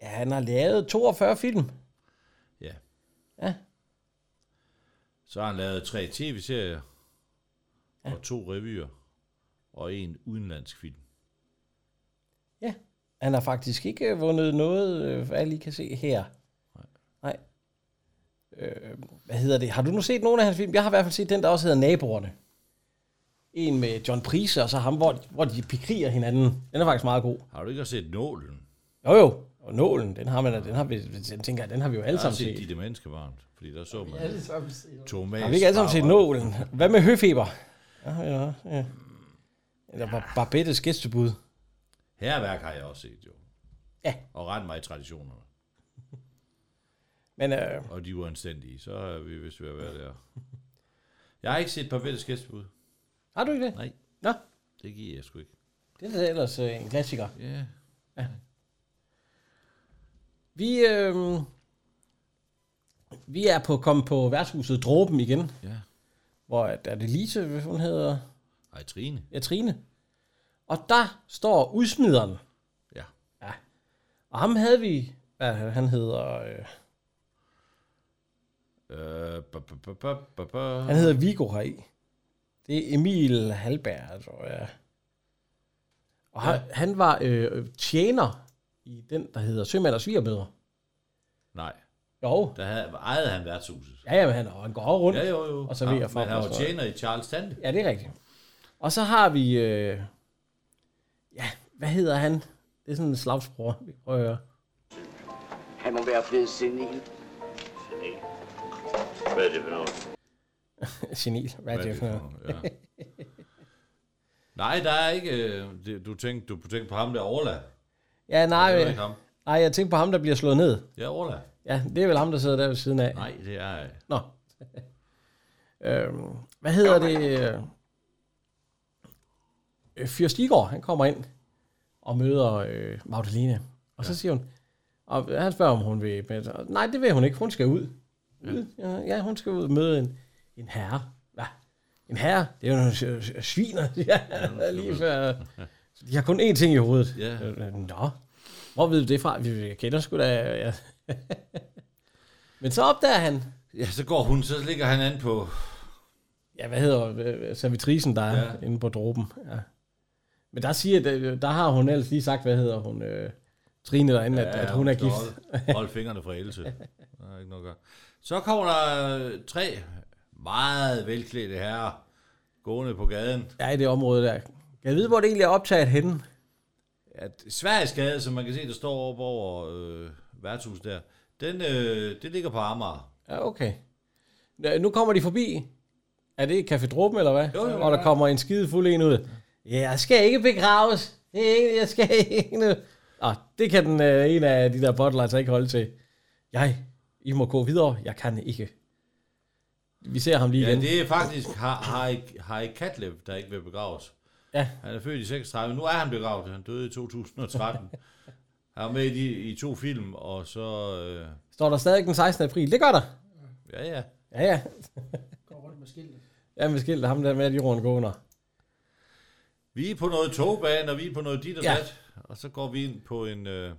[SPEAKER 1] ja, han har lavet 42 film.
[SPEAKER 2] Ja.
[SPEAKER 1] Ja.
[SPEAKER 2] Så har han lavet tre tv-serier ja. og to revyer og en udenlandsk film.
[SPEAKER 1] Han har faktisk ikke øh, vundet noget, øh, hvad jeg lige kan se her. Nej. Nej. Øh, hvad hedder det? Har du nu set nogen af hans film? Jeg har i hvert fald set den, der også hedder Naboerne. En med John Price, og så ham, hvor, hvor de pikriger hinanden. Den er faktisk meget god.
[SPEAKER 2] Har du ikke også set Nålen?
[SPEAKER 1] Jo jo, og nålen, den har man, da- den har vi, den tænker jeg, den har vi jo alle
[SPEAKER 2] Jeg har
[SPEAKER 1] sammen
[SPEAKER 2] set
[SPEAKER 1] set.
[SPEAKER 2] De Demenske Barn, fordi der så man
[SPEAKER 4] alle sammen set.
[SPEAKER 2] Thomas
[SPEAKER 1] Har vi ikke alle sammen set
[SPEAKER 2] Bauer.
[SPEAKER 1] nålen? Hvad med høfeber? Ja, ja, ja. Eller ja. Barbettes gæstebud.
[SPEAKER 2] Herværk har jeg også set, jo.
[SPEAKER 1] Ja.
[SPEAKER 2] Og ret mig i traditionerne.
[SPEAKER 1] Men, øh,
[SPEAKER 2] Og de er uanstændige, så er vi vist ved at være der. Jeg har ikke set Pavettes gæstebud.
[SPEAKER 1] Har du ikke det?
[SPEAKER 2] Nej.
[SPEAKER 1] Nå.
[SPEAKER 2] Det giver jeg sgu ikke.
[SPEAKER 1] Det er da ellers øh, en klassiker.
[SPEAKER 2] Ja.
[SPEAKER 1] ja. Vi, øh, vi er på kommet på værtshuset Dråben igen.
[SPEAKER 2] Ja.
[SPEAKER 1] Hvor at- er det Lise, hvad hun hedder?
[SPEAKER 2] Ej, Trine.
[SPEAKER 1] Ja, Trine. Og der står udsmideren.
[SPEAKER 2] Ja.
[SPEAKER 1] ja. Og ham havde vi, hvad han hedder, øh,
[SPEAKER 2] Øh, ba, ba, ba, ba, ba, ba.
[SPEAKER 1] han hedder Vigo heri. Det er Emil Halberg, tror jeg. Og han, ja. han var øh, tjener i den, der hedder Sømand og Svigerbøder.
[SPEAKER 2] Nej.
[SPEAKER 1] Jo.
[SPEAKER 2] Der havde, ejede han værtshuset.
[SPEAKER 1] Ja, ja, men han, og han går også rundt.
[SPEAKER 2] Ja, jo, jo.
[SPEAKER 1] Og så ved jeg
[SPEAKER 2] for. Men han var tjener i Charles Tante.
[SPEAKER 1] Ja, det er rigtigt. Og så har vi, øh, ja, hvad hedder han? Det er sådan en slagsbror. Vi prøver at høre.
[SPEAKER 7] Han må være blevet senil.
[SPEAKER 14] Hvad er det for noget?
[SPEAKER 1] Genil. Hvad er det for noget?
[SPEAKER 2] Ja. Nej, der er ikke... øh, det- Du tænkte, du tænkte på ham der, Orla.
[SPEAKER 1] Ja, nej.
[SPEAKER 2] Det er
[SPEAKER 1] øh,
[SPEAKER 2] ikke ham.
[SPEAKER 1] Nej, jeg tænkte på ham, der bliver slået ned.
[SPEAKER 2] Ja, Orla.
[SPEAKER 1] Ja, det er vel ham, der sidder der ved siden af.
[SPEAKER 2] Nej, det er... øh,
[SPEAKER 1] Nå. øhm, hvad hedder det? Øh, Fyrst Igor, han kommer ind og møder øh, Magdalene. Og så siger hun, og han spørger, om hun vil... med- og Nej, det vil hun ikke. Hun skal ud. ud. Ja. ja, hun skal ud og møde en, en herre. Hvad? En herre? Det er jo nogle s- s- sviner. Ja, lige før. De har kun én ting i hovedet.
[SPEAKER 2] Ja.
[SPEAKER 1] Øh, Nå, hvor ved du det fra? Vi jeg kender sgu da... Ja. Men så opdager han,
[SPEAKER 2] Ja, så går hun, så ligger han an på...
[SPEAKER 1] Ja, hvad hedder øh, servitrisen, der er ja. inde på dråben. Ja. Men der siger, der, der har hun ellers lige sagt, hvad hedder hun, øh, Trine derinde, ja, at, at hun er
[SPEAKER 2] skal
[SPEAKER 1] gift.
[SPEAKER 2] Holde, holde fingrene fra Else. Der er ikke noget at gøre. Så kommer der øh, tre meget velklædte herrer gående på gaden.
[SPEAKER 1] Ja, i det område der. Kan jeg vide, hvor det egentlig er optaget henne?
[SPEAKER 2] At Sveriges gade, som man kan se, der står oppe over øh, værtshuset der, den, øh, det ligger på Amager.
[SPEAKER 1] Ja, okay. Nå, Nu kommer de forbi. Er det Café Dråben, eller hvad? Jo, jo, Hvor der kommer en skide fuld en ud. Ja, jeg skal ikke begraves. Det er ikke- Jeg skal ikke nu. Nå, det kan den, øh, en af de der bottler altså ikke holde til. Jeg, I må gå videre. Jeg kan ikke. Vi ser ham lige
[SPEAKER 2] Ja,
[SPEAKER 1] igen.
[SPEAKER 2] det er faktisk Har- Harry, Harry Katlev, der ikke vil begraves.
[SPEAKER 1] Ja.
[SPEAKER 2] Han er født i 36, nu er han begravet. Han døde i 2013. han var med i, de- i to film, og så... Øh,
[SPEAKER 1] Står der stadig den 16. april? Det gør der.
[SPEAKER 2] ja, ja.
[SPEAKER 1] Ja, ja.
[SPEAKER 4] Går rundt med skiltet.
[SPEAKER 1] Ja, med skilt ham der med, at jorden går under.
[SPEAKER 2] Vi er på noget togbane, og vi er på noget dit og
[SPEAKER 1] Ja.
[SPEAKER 2] ja. dat. Og så går vi ind på en... Øh,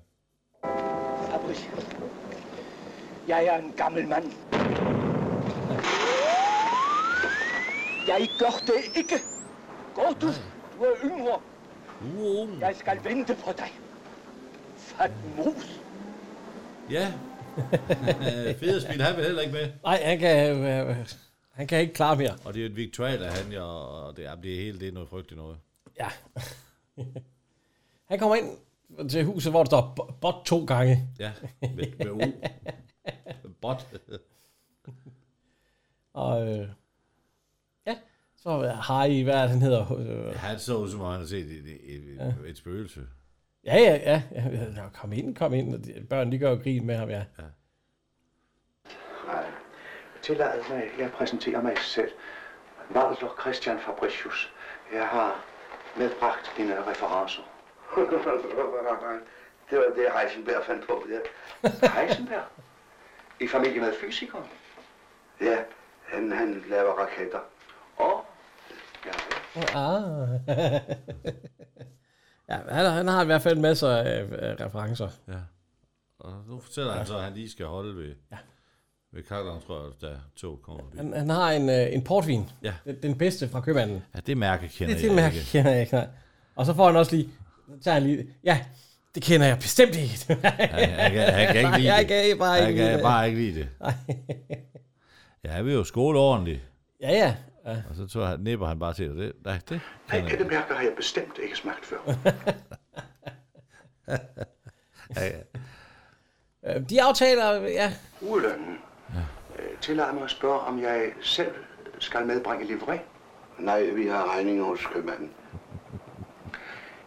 [SPEAKER 14] Fabris. Jeg er en gammel mand. Jeg gør det ikke. Gå du. Du er yngre. Jeg skal vente på dig. Fat mus.
[SPEAKER 2] ja. Federspil, han vil heller ikke med.
[SPEAKER 1] Nej, han kan, øh, øh, han kan ikke klare mere.
[SPEAKER 2] Og det er et Victualer, han, ja, og det, jamen, det er helt det er noget frygteligt noget.
[SPEAKER 1] Ja. han kommer ind til huset, hvor der står bo- bot to gange.
[SPEAKER 2] Ja, med, med O. Bot.
[SPEAKER 1] Og øh, ja, så har I, hvad er det, han hedder? Øh,
[SPEAKER 2] Han så ud, som om han har set et, et,
[SPEAKER 1] Ja.
[SPEAKER 2] ja. et spøgelse.
[SPEAKER 1] Ja, ja, ja. ja. Nå, kom ind, kom ind. Og de- Børn, de gør jo grin med ham, ja.
[SPEAKER 15] Tillad mig, jeg præsenterer mig selv. Walter Christian Fabricius. Jeg har medbragt dine referencer.
[SPEAKER 13] det var det, Heisenberg fandt på. Ja.
[SPEAKER 15] Heisenberg? I familie med fysikere?
[SPEAKER 13] Ja, han, han laver raketter.
[SPEAKER 1] Ah. ja, han, han har i hvert fald masser af, af referencer.
[SPEAKER 2] Ja. Og nu fortæller han så, at han lige skal holde ved, ja. ved Karl tror jeg, da tog kommer forbi.
[SPEAKER 1] Han, han har en, øh, en portvin.
[SPEAKER 2] Ja.
[SPEAKER 1] Den, den bedste fra købmanden.
[SPEAKER 2] Ja, det mærke kender
[SPEAKER 1] Det, det
[SPEAKER 2] jeg
[SPEAKER 1] mærke
[SPEAKER 2] ikke.
[SPEAKER 1] kender jeg ikke. nej. Og så får han også lige... Så tager han lige... Ja, det kender jeg bestemt ikke. han,
[SPEAKER 2] Han kan, han kan ikke lide
[SPEAKER 1] jeg
[SPEAKER 2] det.
[SPEAKER 1] Kan bare
[SPEAKER 2] han
[SPEAKER 1] ikke
[SPEAKER 2] kan
[SPEAKER 1] lide det.
[SPEAKER 2] bare ikke lide det. Ja, han vil jo skole ordentligt.
[SPEAKER 1] Ja, ja. ja.
[SPEAKER 2] Og så tror han, nipper han bare til og det. Nej, det
[SPEAKER 15] Nej,
[SPEAKER 2] kan han
[SPEAKER 15] dette
[SPEAKER 2] ikke.
[SPEAKER 15] mærke har jeg bestemt ikke smagt før.
[SPEAKER 2] Ja, ja.
[SPEAKER 1] Øh, De aftaler... Ja.
[SPEAKER 15] Ulønnen. Ja. Øh, Tillad mig at spørge, om jeg selv skal medbringe livret.
[SPEAKER 13] Nej, vi har regninger hos købmanden.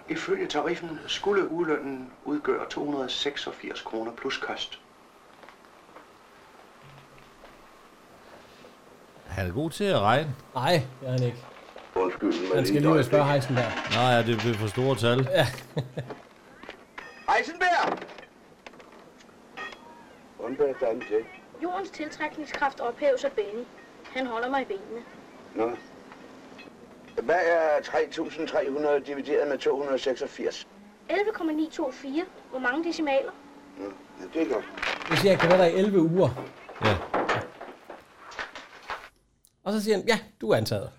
[SPEAKER 15] Ifølge tariffen skulle ulønnen udgøre 286 kroner plus kost.
[SPEAKER 2] Han er god til at regne.
[SPEAKER 1] Nej, det er han ikke.
[SPEAKER 13] Undskyld,
[SPEAKER 1] Han skal lige ud og spørge Heisenberg.
[SPEAKER 2] Nå ja, det blev for store tal.
[SPEAKER 1] Ja.
[SPEAKER 13] Heisenberg! Undvær dig til.
[SPEAKER 12] Jordens tiltrækningskraft ophæves af Benny. Han holder mig i benene.
[SPEAKER 13] Nå. Hvad er 3.300 divideret med 286?
[SPEAKER 12] 11,924. Hvor mange decimaler?
[SPEAKER 13] Ja, det er godt.
[SPEAKER 1] Nu siger, jeg kan være der i 11 uger.
[SPEAKER 2] Ja.
[SPEAKER 1] Og så siger han, ja, du er antaget.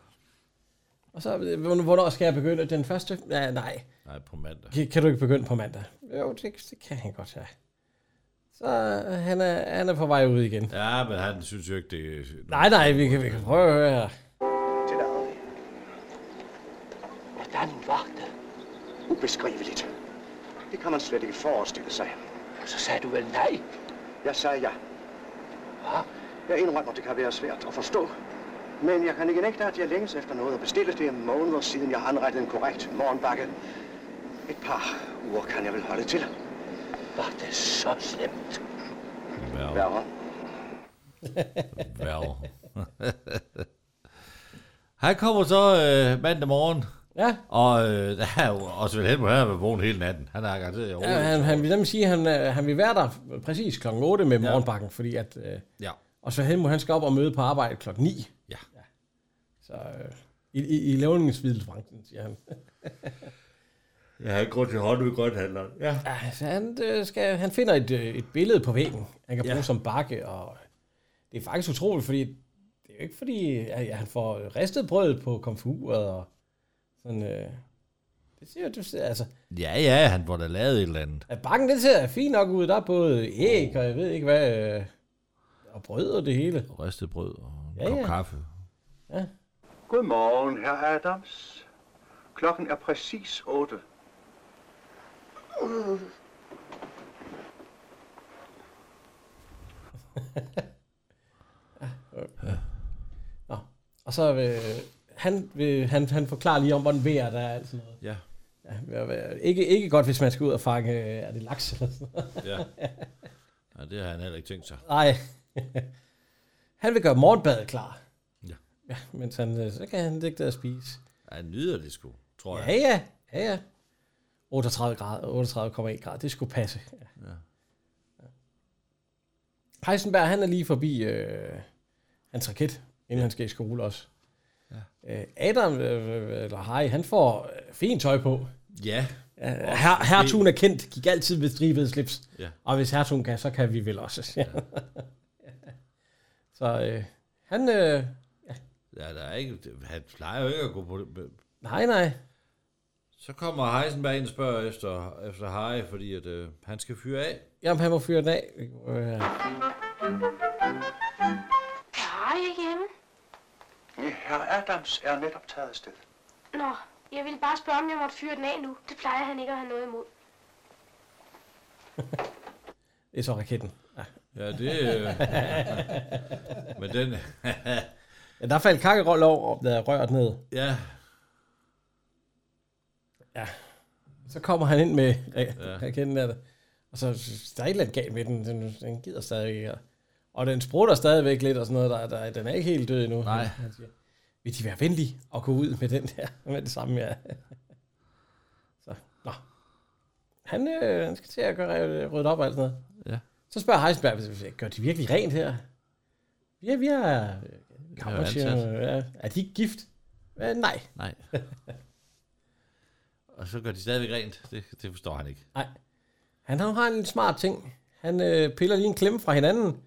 [SPEAKER 1] Og så, øh, "Hvorn- hvornår skal jeg begynde? Den første? Ja, nej.
[SPEAKER 2] Nej, på mandag.
[SPEAKER 1] Kan, kan du ikke begynde på mandag? Jo, det, det kan han godt, ja. Så øh, han er, han er på vej ud igen.
[SPEAKER 2] Ja, men han synes jo ikke, det er...
[SPEAKER 1] Nej, nej, vi kan, vi kan prøve at høre her.
[SPEAKER 7] Hvordan var det? Ubeskriveligt. Det kan man slet ikke forestille sig. Så sagde du vel nej? Jeg sagde ja. Hva? Jeg indrømmer, det kan være svært at forstå. Men jeg kan ikke nægte, at jeg længes efter noget at bestille. Det er måneder siden, jeg har anrettet en korrekt morgenbakke. Et par uger kan jeg vel holde til. Var det så slemt?
[SPEAKER 2] Værre.
[SPEAKER 7] Værre.
[SPEAKER 2] Værre. han kommer så øh, mandag morgen.
[SPEAKER 1] Ja.
[SPEAKER 2] Og øh, der er jo også vel hen på her med vågen hele natten. Han har garanteret overhovedet.
[SPEAKER 1] Ja, han, han vil nemlig sige, at han, øh, han vil være der præcis kl. 8 med morgenbakken, fordi at... Øh,
[SPEAKER 2] Ja.
[SPEAKER 1] Og så Helmut, han skal op og møde på arbejde kl. 9.
[SPEAKER 2] Ja.
[SPEAKER 1] Så øh, i, i, i lavningsvidelsbranchen, siger han.
[SPEAKER 2] Jeg har ikke grund til hånd ud grønthandleren. Ja.
[SPEAKER 1] Altså, han, øh, skal, han finder et, øh, et billede på væggen, han kan
[SPEAKER 2] Ja.
[SPEAKER 1] bruge som bakke, og det er faktisk utroligt, fordi det er jo ikke fordi, at ja, han får ristet brødet på komfuret, og sådan, øh, det ser jo, det ser, altså,
[SPEAKER 2] Ja, ja, han får da lavet et eller andet.
[SPEAKER 1] at bakken, det ser fint nok ud, der er både æg, og jeg ved ikke hvad, øh, og brød og det hele.
[SPEAKER 2] Ristet brød og
[SPEAKER 1] Ja, ja.
[SPEAKER 2] kaffe.
[SPEAKER 15] Godmorgen, herr Adams. Klokken er præcis 8.
[SPEAKER 1] Nå. Og så øh, han, vil, han, han forklarer lige om, hvordan vejret er og alt sådan noget.
[SPEAKER 2] Ja.
[SPEAKER 1] ja vejr- ikke, ikke godt, hvis man skal ud og fange, øh, er det laks eller sådan noget.
[SPEAKER 2] Ja. ja, det har han heller ikke tænkt sig.
[SPEAKER 1] Nej. han vil gøre morgenbadet klar.
[SPEAKER 2] Ja.
[SPEAKER 1] ja mens han, øh, så kan han ligge der og spise.
[SPEAKER 2] Han nyder det sgu, tror jeg.
[SPEAKER 1] Ja, ja. Ja, ja. 38 grader, 38,1 grader, det skulle passe. Ja.
[SPEAKER 2] Ja.
[SPEAKER 1] Heisenberg, han er lige forbi øh, hans raket, inden ja. han skal i skole også. Ja. Adam, øh, eller Harry, han får øh, fint tøj på.
[SPEAKER 2] Ja.
[SPEAKER 1] Øh, Her, hertugen er kendt, gik altid med stribede slips.
[SPEAKER 2] Ja.
[SPEAKER 1] Og hvis hertugen kan, så kan vi vel også. Ja. så øh, han, øh,
[SPEAKER 2] Ja, der er ikke, han plejer jo ikke at gå på det.
[SPEAKER 1] nej nej,
[SPEAKER 2] Så kommer Heisenberg ind og spørger efter, efter Harry, fordi at, øh, han skal fyre af.
[SPEAKER 1] jamen han må fyre den af. Øh,
[SPEAKER 12] Er I ikke hjemme?
[SPEAKER 15] Ja, herr Adams er netop taget afsted.
[SPEAKER 12] Nå, jeg ville bare spørge, om jeg måtte fyre den af nu. Det plejer han ikke at have noget imod.
[SPEAKER 1] det er så raketten. Ja,
[SPEAKER 2] Ja, det... Øh, men den...
[SPEAKER 1] ja der faldt kakkeroll over, og der er rørt ned.
[SPEAKER 2] ja,
[SPEAKER 1] Så kommer han ind med
[SPEAKER 2] Ja.
[SPEAKER 1] ja. raketten der, og så der er et eller andet galt med den, den, den gider stadig ikke. og- Og den sprutter stadigvæk lidt og sådan noget, der, der, den er ikke helt død endnu. Nej. Vil de være venlige og gå ud med den der, med det samme, ja. Så, nå. Han, øh, han skal til at gøre øh, ryddet op og alt sådan noget.
[SPEAKER 2] Ja.
[SPEAKER 1] Så spørger Heisenberg, hvis- hvis- gør de virkelig rent her? Ja, vi er...
[SPEAKER 2] ansat.
[SPEAKER 1] Øh, ja. Er de ikke gift? Øh, nej.
[SPEAKER 2] Nej. og så gør de stadigvæk rent. Det, det forstår han ikke.
[SPEAKER 1] Nej. Han har, har en smart ting. Han øh, piller lige en klemme fra hinanden,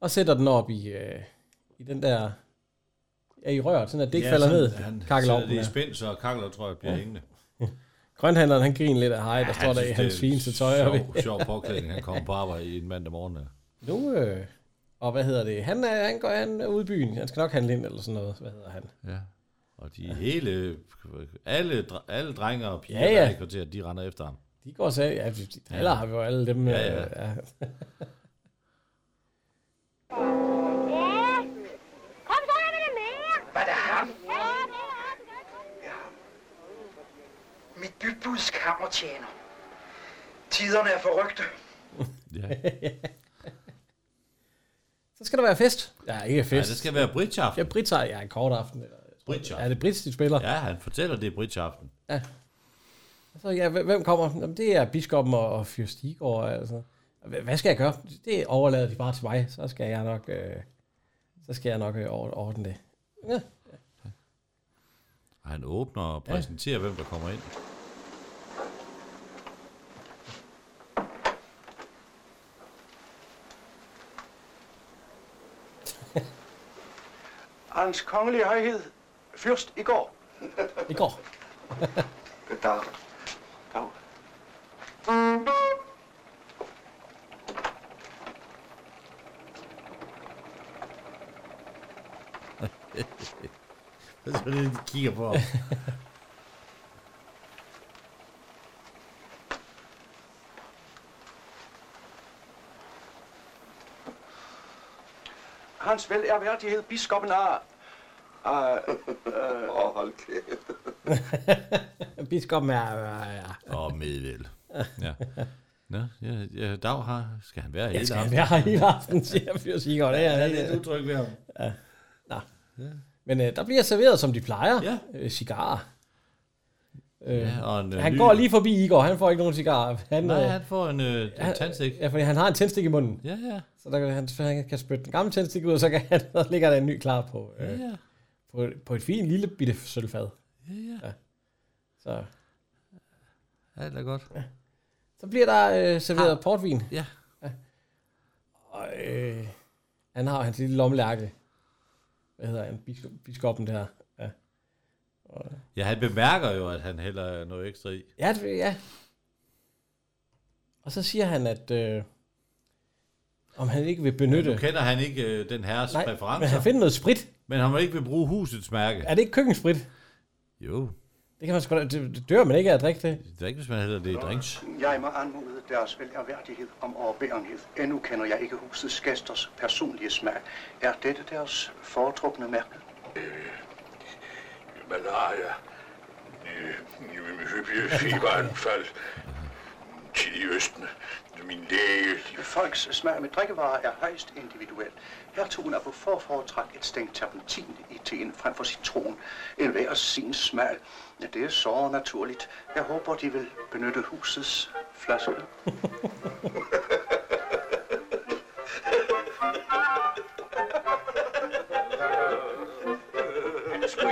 [SPEAKER 1] og sætter den op i, øh, i den der... Ja, i røret, sådan at det ikke ja, falder
[SPEAKER 2] sådan,
[SPEAKER 1] ned.
[SPEAKER 2] Han sætter
[SPEAKER 1] Kakkelovnen
[SPEAKER 2] det i
[SPEAKER 1] er.
[SPEAKER 2] spind, så kakkelovn tror jeg bliver
[SPEAKER 1] Ja.
[SPEAKER 2] ja. hængende.
[SPEAKER 1] Grønhandleren, han griner lidt af hej, der
[SPEAKER 2] Ja,
[SPEAKER 1] står der i
[SPEAKER 2] synes,
[SPEAKER 1] hans
[SPEAKER 2] det er
[SPEAKER 1] fineste tøj. og-
[SPEAKER 2] Sjov, sjov påklædning, han kommer på arbejde i en mandag morgen. ja.
[SPEAKER 1] nu, øh, og hvad hedder det? Han, er, han går han er ude i byen. Han skal nok handle ind, eller sådan noget. Hvad hedder han?
[SPEAKER 2] Ja. Og de hele, alle, dre- alle drenge og piger,
[SPEAKER 1] Ja,
[SPEAKER 2] ja,
[SPEAKER 1] ja.
[SPEAKER 2] ja. der er i kvarteret, de render efter ham.
[SPEAKER 1] De går og sagde, ja, de de driller har vi jo alle dem.
[SPEAKER 2] Ja, ja.
[SPEAKER 1] øh, ja.
[SPEAKER 12] Kom så, jeg vil have mere!
[SPEAKER 11] Var det ham? Ja. Mit bybuds kammertjener. Tiderne er forrygte.
[SPEAKER 1] så skal der være fest. Ja, ikke fest.
[SPEAKER 2] Nej, det skal være bridgeaften.
[SPEAKER 1] Ja, Brita, ja, en kort aften. Eller,
[SPEAKER 2] Bridge
[SPEAKER 1] er det Brits, de spiller?
[SPEAKER 2] Ja, han fortæller, det er bridgeaften.
[SPEAKER 1] Ja. Så ja, hvem hvem kommer? Jamen, det er biskoppen og, og Fyr Stigård. Altså. Hva- Hvad skal jeg gøre? Det overlader de bare til mig. Så skal jeg nok, øh, så skal jeg nok øh, or- ordne det. Ja.
[SPEAKER 2] Og han åbner og præsenterer, ja. hvem der kommer ind.
[SPEAKER 15] Hans kongelige højhed, fyrst i går.
[SPEAKER 1] I går.
[SPEAKER 15] Dag. Dag.
[SPEAKER 2] Det er sådan, de kigger på ham.
[SPEAKER 15] Hans vel erhverdighed, biskoppen er... er øh,
[SPEAKER 13] Åh, hold kæft.
[SPEAKER 1] biskoppen er... Ja, ja.
[SPEAKER 2] Og medvel. Ja. Nå, ja, ja, Dag har, skal han være
[SPEAKER 1] Jeg
[SPEAKER 2] hele
[SPEAKER 1] skal
[SPEAKER 2] aftenen?
[SPEAKER 1] være her hele aften, siger Fyr Stigård. Det
[SPEAKER 2] Han
[SPEAKER 1] er
[SPEAKER 2] er
[SPEAKER 1] ikke-
[SPEAKER 2] lidt utryg ved ham.
[SPEAKER 1] Ja. Nå. Men øh, der bliver serveret, som de plejer. Ja. Øh, cigarer. Øh,
[SPEAKER 2] Ja, og en, øh,
[SPEAKER 1] han
[SPEAKER 2] ny-
[SPEAKER 1] går lige forbi Igor. Han får ikke nogen cigarer. Han,
[SPEAKER 2] Nej,
[SPEAKER 1] øh,
[SPEAKER 2] han får en øh,
[SPEAKER 1] Ja,
[SPEAKER 2] tandstik.
[SPEAKER 1] Ja, fordi han har en tændstik i munden.
[SPEAKER 2] Ja, ja.
[SPEAKER 1] Så der kan han, han kan spytte den gamle tændstik ud, og så, kan han, så ligger der en ny klar på. Øh,
[SPEAKER 2] Ja.
[SPEAKER 1] på, på et fint lille bitte sølvfad.
[SPEAKER 2] Ja, ja.
[SPEAKER 1] Så,
[SPEAKER 2] Alt er godt.
[SPEAKER 1] så bliver der øh, serveret portvin.
[SPEAKER 2] Ja.
[SPEAKER 1] ja. Og øh, han har hans lille lommelærke. Hvad hedder han? Biskop, biskoppen der. Ja. Og,
[SPEAKER 2] Ja, han bemærker jo, at han hælder noget ekstra i.
[SPEAKER 1] Ja, det, ja. Og så siger han, at øh, om han ikke vil benytte...
[SPEAKER 2] Nu kender han ikke øh, den herres
[SPEAKER 1] Nej,
[SPEAKER 2] præferencer.
[SPEAKER 1] men han finder noget sprit.
[SPEAKER 2] Men han må ikke vil bruge husets mærke.
[SPEAKER 1] Er det ikke køkkensprit?
[SPEAKER 2] Jo,
[SPEAKER 1] Det kan man sgu da... Det, det dør man ikke af at drikke det.
[SPEAKER 2] det er ikke, hvis man hælder det i drinks.
[SPEAKER 15] Jeg må anmode deres velerværdighed om overbærenhed. Endnu kender jeg ikke husets gæsters personlige smag. Er dette deres foretrukne mærke?
[SPEAKER 5] Malaria. øh, øh, Hyppige feberanfald. Tid i Østen. Min læge.
[SPEAKER 15] Folks smag med drikkevarer er højst individuel. Hertugen er på forforetræk et stænk terpentin i teen frem for citron. En hver sin smag. Det er så naturligt. Jeg håber, de vil benytte husets flaske.
[SPEAKER 14] Han er sgu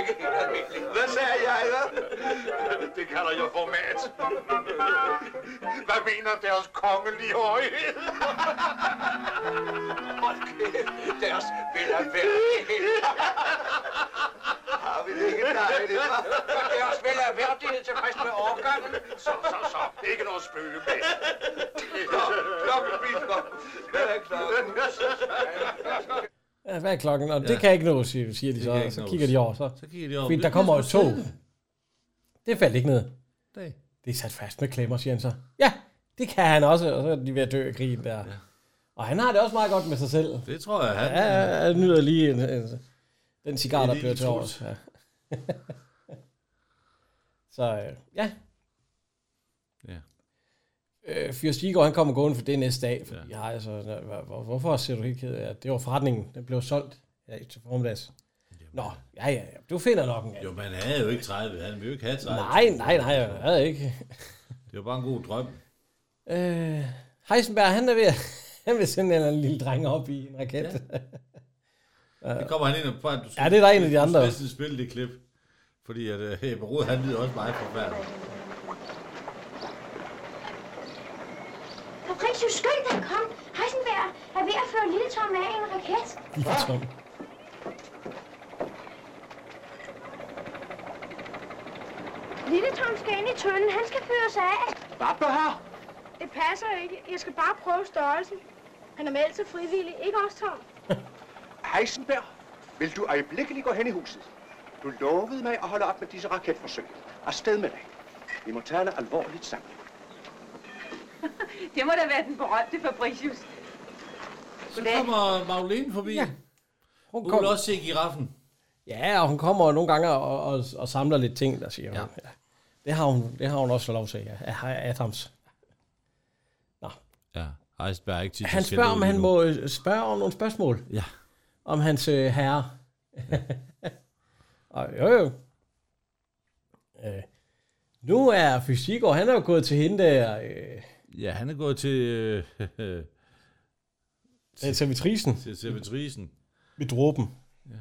[SPEAKER 5] Hvad sagde jeg, da? Det kalder jeg format. Hvad mener deres kongelige højhed? Hold kæft, deres vil have Har vi det ikke dejligt, hva'?
[SPEAKER 7] Deres vel er værdighed tilfreds med overgangen.
[SPEAKER 5] Så, så, så. Ikke noget spøge med. Nå, klokken bisker. Hvad er klokken?
[SPEAKER 1] Ja, hvad er klokken? Og ja. det kan ikke nås, siger siger de
[SPEAKER 2] Det
[SPEAKER 1] så.
[SPEAKER 2] kan ikke
[SPEAKER 1] Så
[SPEAKER 2] nås.
[SPEAKER 1] kigger de over. Så,
[SPEAKER 2] Så kigger de over.
[SPEAKER 1] Fordi
[SPEAKER 2] Det
[SPEAKER 1] der
[SPEAKER 2] bliver
[SPEAKER 1] kommer et
[SPEAKER 2] sgu
[SPEAKER 1] tog.
[SPEAKER 2] siddende.
[SPEAKER 1] Det faldt ikke ned.
[SPEAKER 2] Nej.
[SPEAKER 1] Det er sat fast med klemmer, siger han så. Ja, det kan han også. Og så er de ved at dø af krigen der. Ja. Og han har det også meget godt med sig selv.
[SPEAKER 2] Det tror jeg, han-
[SPEAKER 1] Ja, ja, han nyder lige en, en, den cigar,
[SPEAKER 2] En
[SPEAKER 1] der
[SPEAKER 2] lille
[SPEAKER 1] bliver til års.
[SPEAKER 2] trus.
[SPEAKER 1] Ja. så øh, ja.
[SPEAKER 2] Ja.
[SPEAKER 1] Øh, Fyrst Igor, han kommer gående for det næste dag. Fordi, ja. hej, så, hvor- hvor, hvorfor ser du helt ked af det? Det var forretningen, den blev solgt ja, til formiddags. Nå, ja, ja, ja, du finder nok en
[SPEAKER 2] Jo, men han havde jo ikke 30. Han ville jo ikke have 30.
[SPEAKER 1] Nej, nej, nej, jeg havde ikke.
[SPEAKER 2] Det var bare en god drøm.
[SPEAKER 1] Øh, Heisenberg, han er ved at, han vil sende en eller anden lille dreng op i en raket. Ja.
[SPEAKER 2] Det kommer han ind og på, at du
[SPEAKER 1] Ja, det er der en af de andre.
[SPEAKER 2] Du skal næsten spille det klip. Fordi at uh, Ebbe Rode, han lyder også meget forfærdelig.
[SPEAKER 12] Fabricius, skynd dig, kom. Heisenberg er ved at føre lille Tom af i en raket.
[SPEAKER 1] Lille Tom.
[SPEAKER 12] Lille Tom skal ind i tønden. Han skal fyres af.
[SPEAKER 7] Hvad her?
[SPEAKER 12] Det passer ikke. Jeg skal bare prøve størrelsen. Han er med altid frivillig. Ikke også, Tom?
[SPEAKER 15] Heisenberg, vil du øjeblikkeligt gå hen i huset? Du lovede mig at holde op med disse raketforsøg. Afsted med dig. Vi må tale alvorligt sammen.
[SPEAKER 16] Det må da være den berømte Fabricius.
[SPEAKER 2] Så kommer Maglene forbi. Ja. Hun,
[SPEAKER 1] kom-
[SPEAKER 2] vil også se giraffen.
[SPEAKER 1] Ja, og hun kommer nogle gange og, og, og samler lidt ting, der siger ja. hun. Ja. Det har hun, det har hun også fået lov til, ja. ja. hej, Adams.
[SPEAKER 2] Ja, Heisenberg er ikke tit,
[SPEAKER 1] Han spørger, om han må øh, spørge om nogle spørgsmål.
[SPEAKER 2] Ja.
[SPEAKER 1] Om hans øh, herre. og, jo, jo. Øh, nu er Fysikor, han er jo gået til hende der... Øh,
[SPEAKER 2] Ja, han er gået til... Øh,
[SPEAKER 1] Til servitrisen.
[SPEAKER 2] Til servitrisen.
[SPEAKER 1] Ved dråben.
[SPEAKER 2] Ja.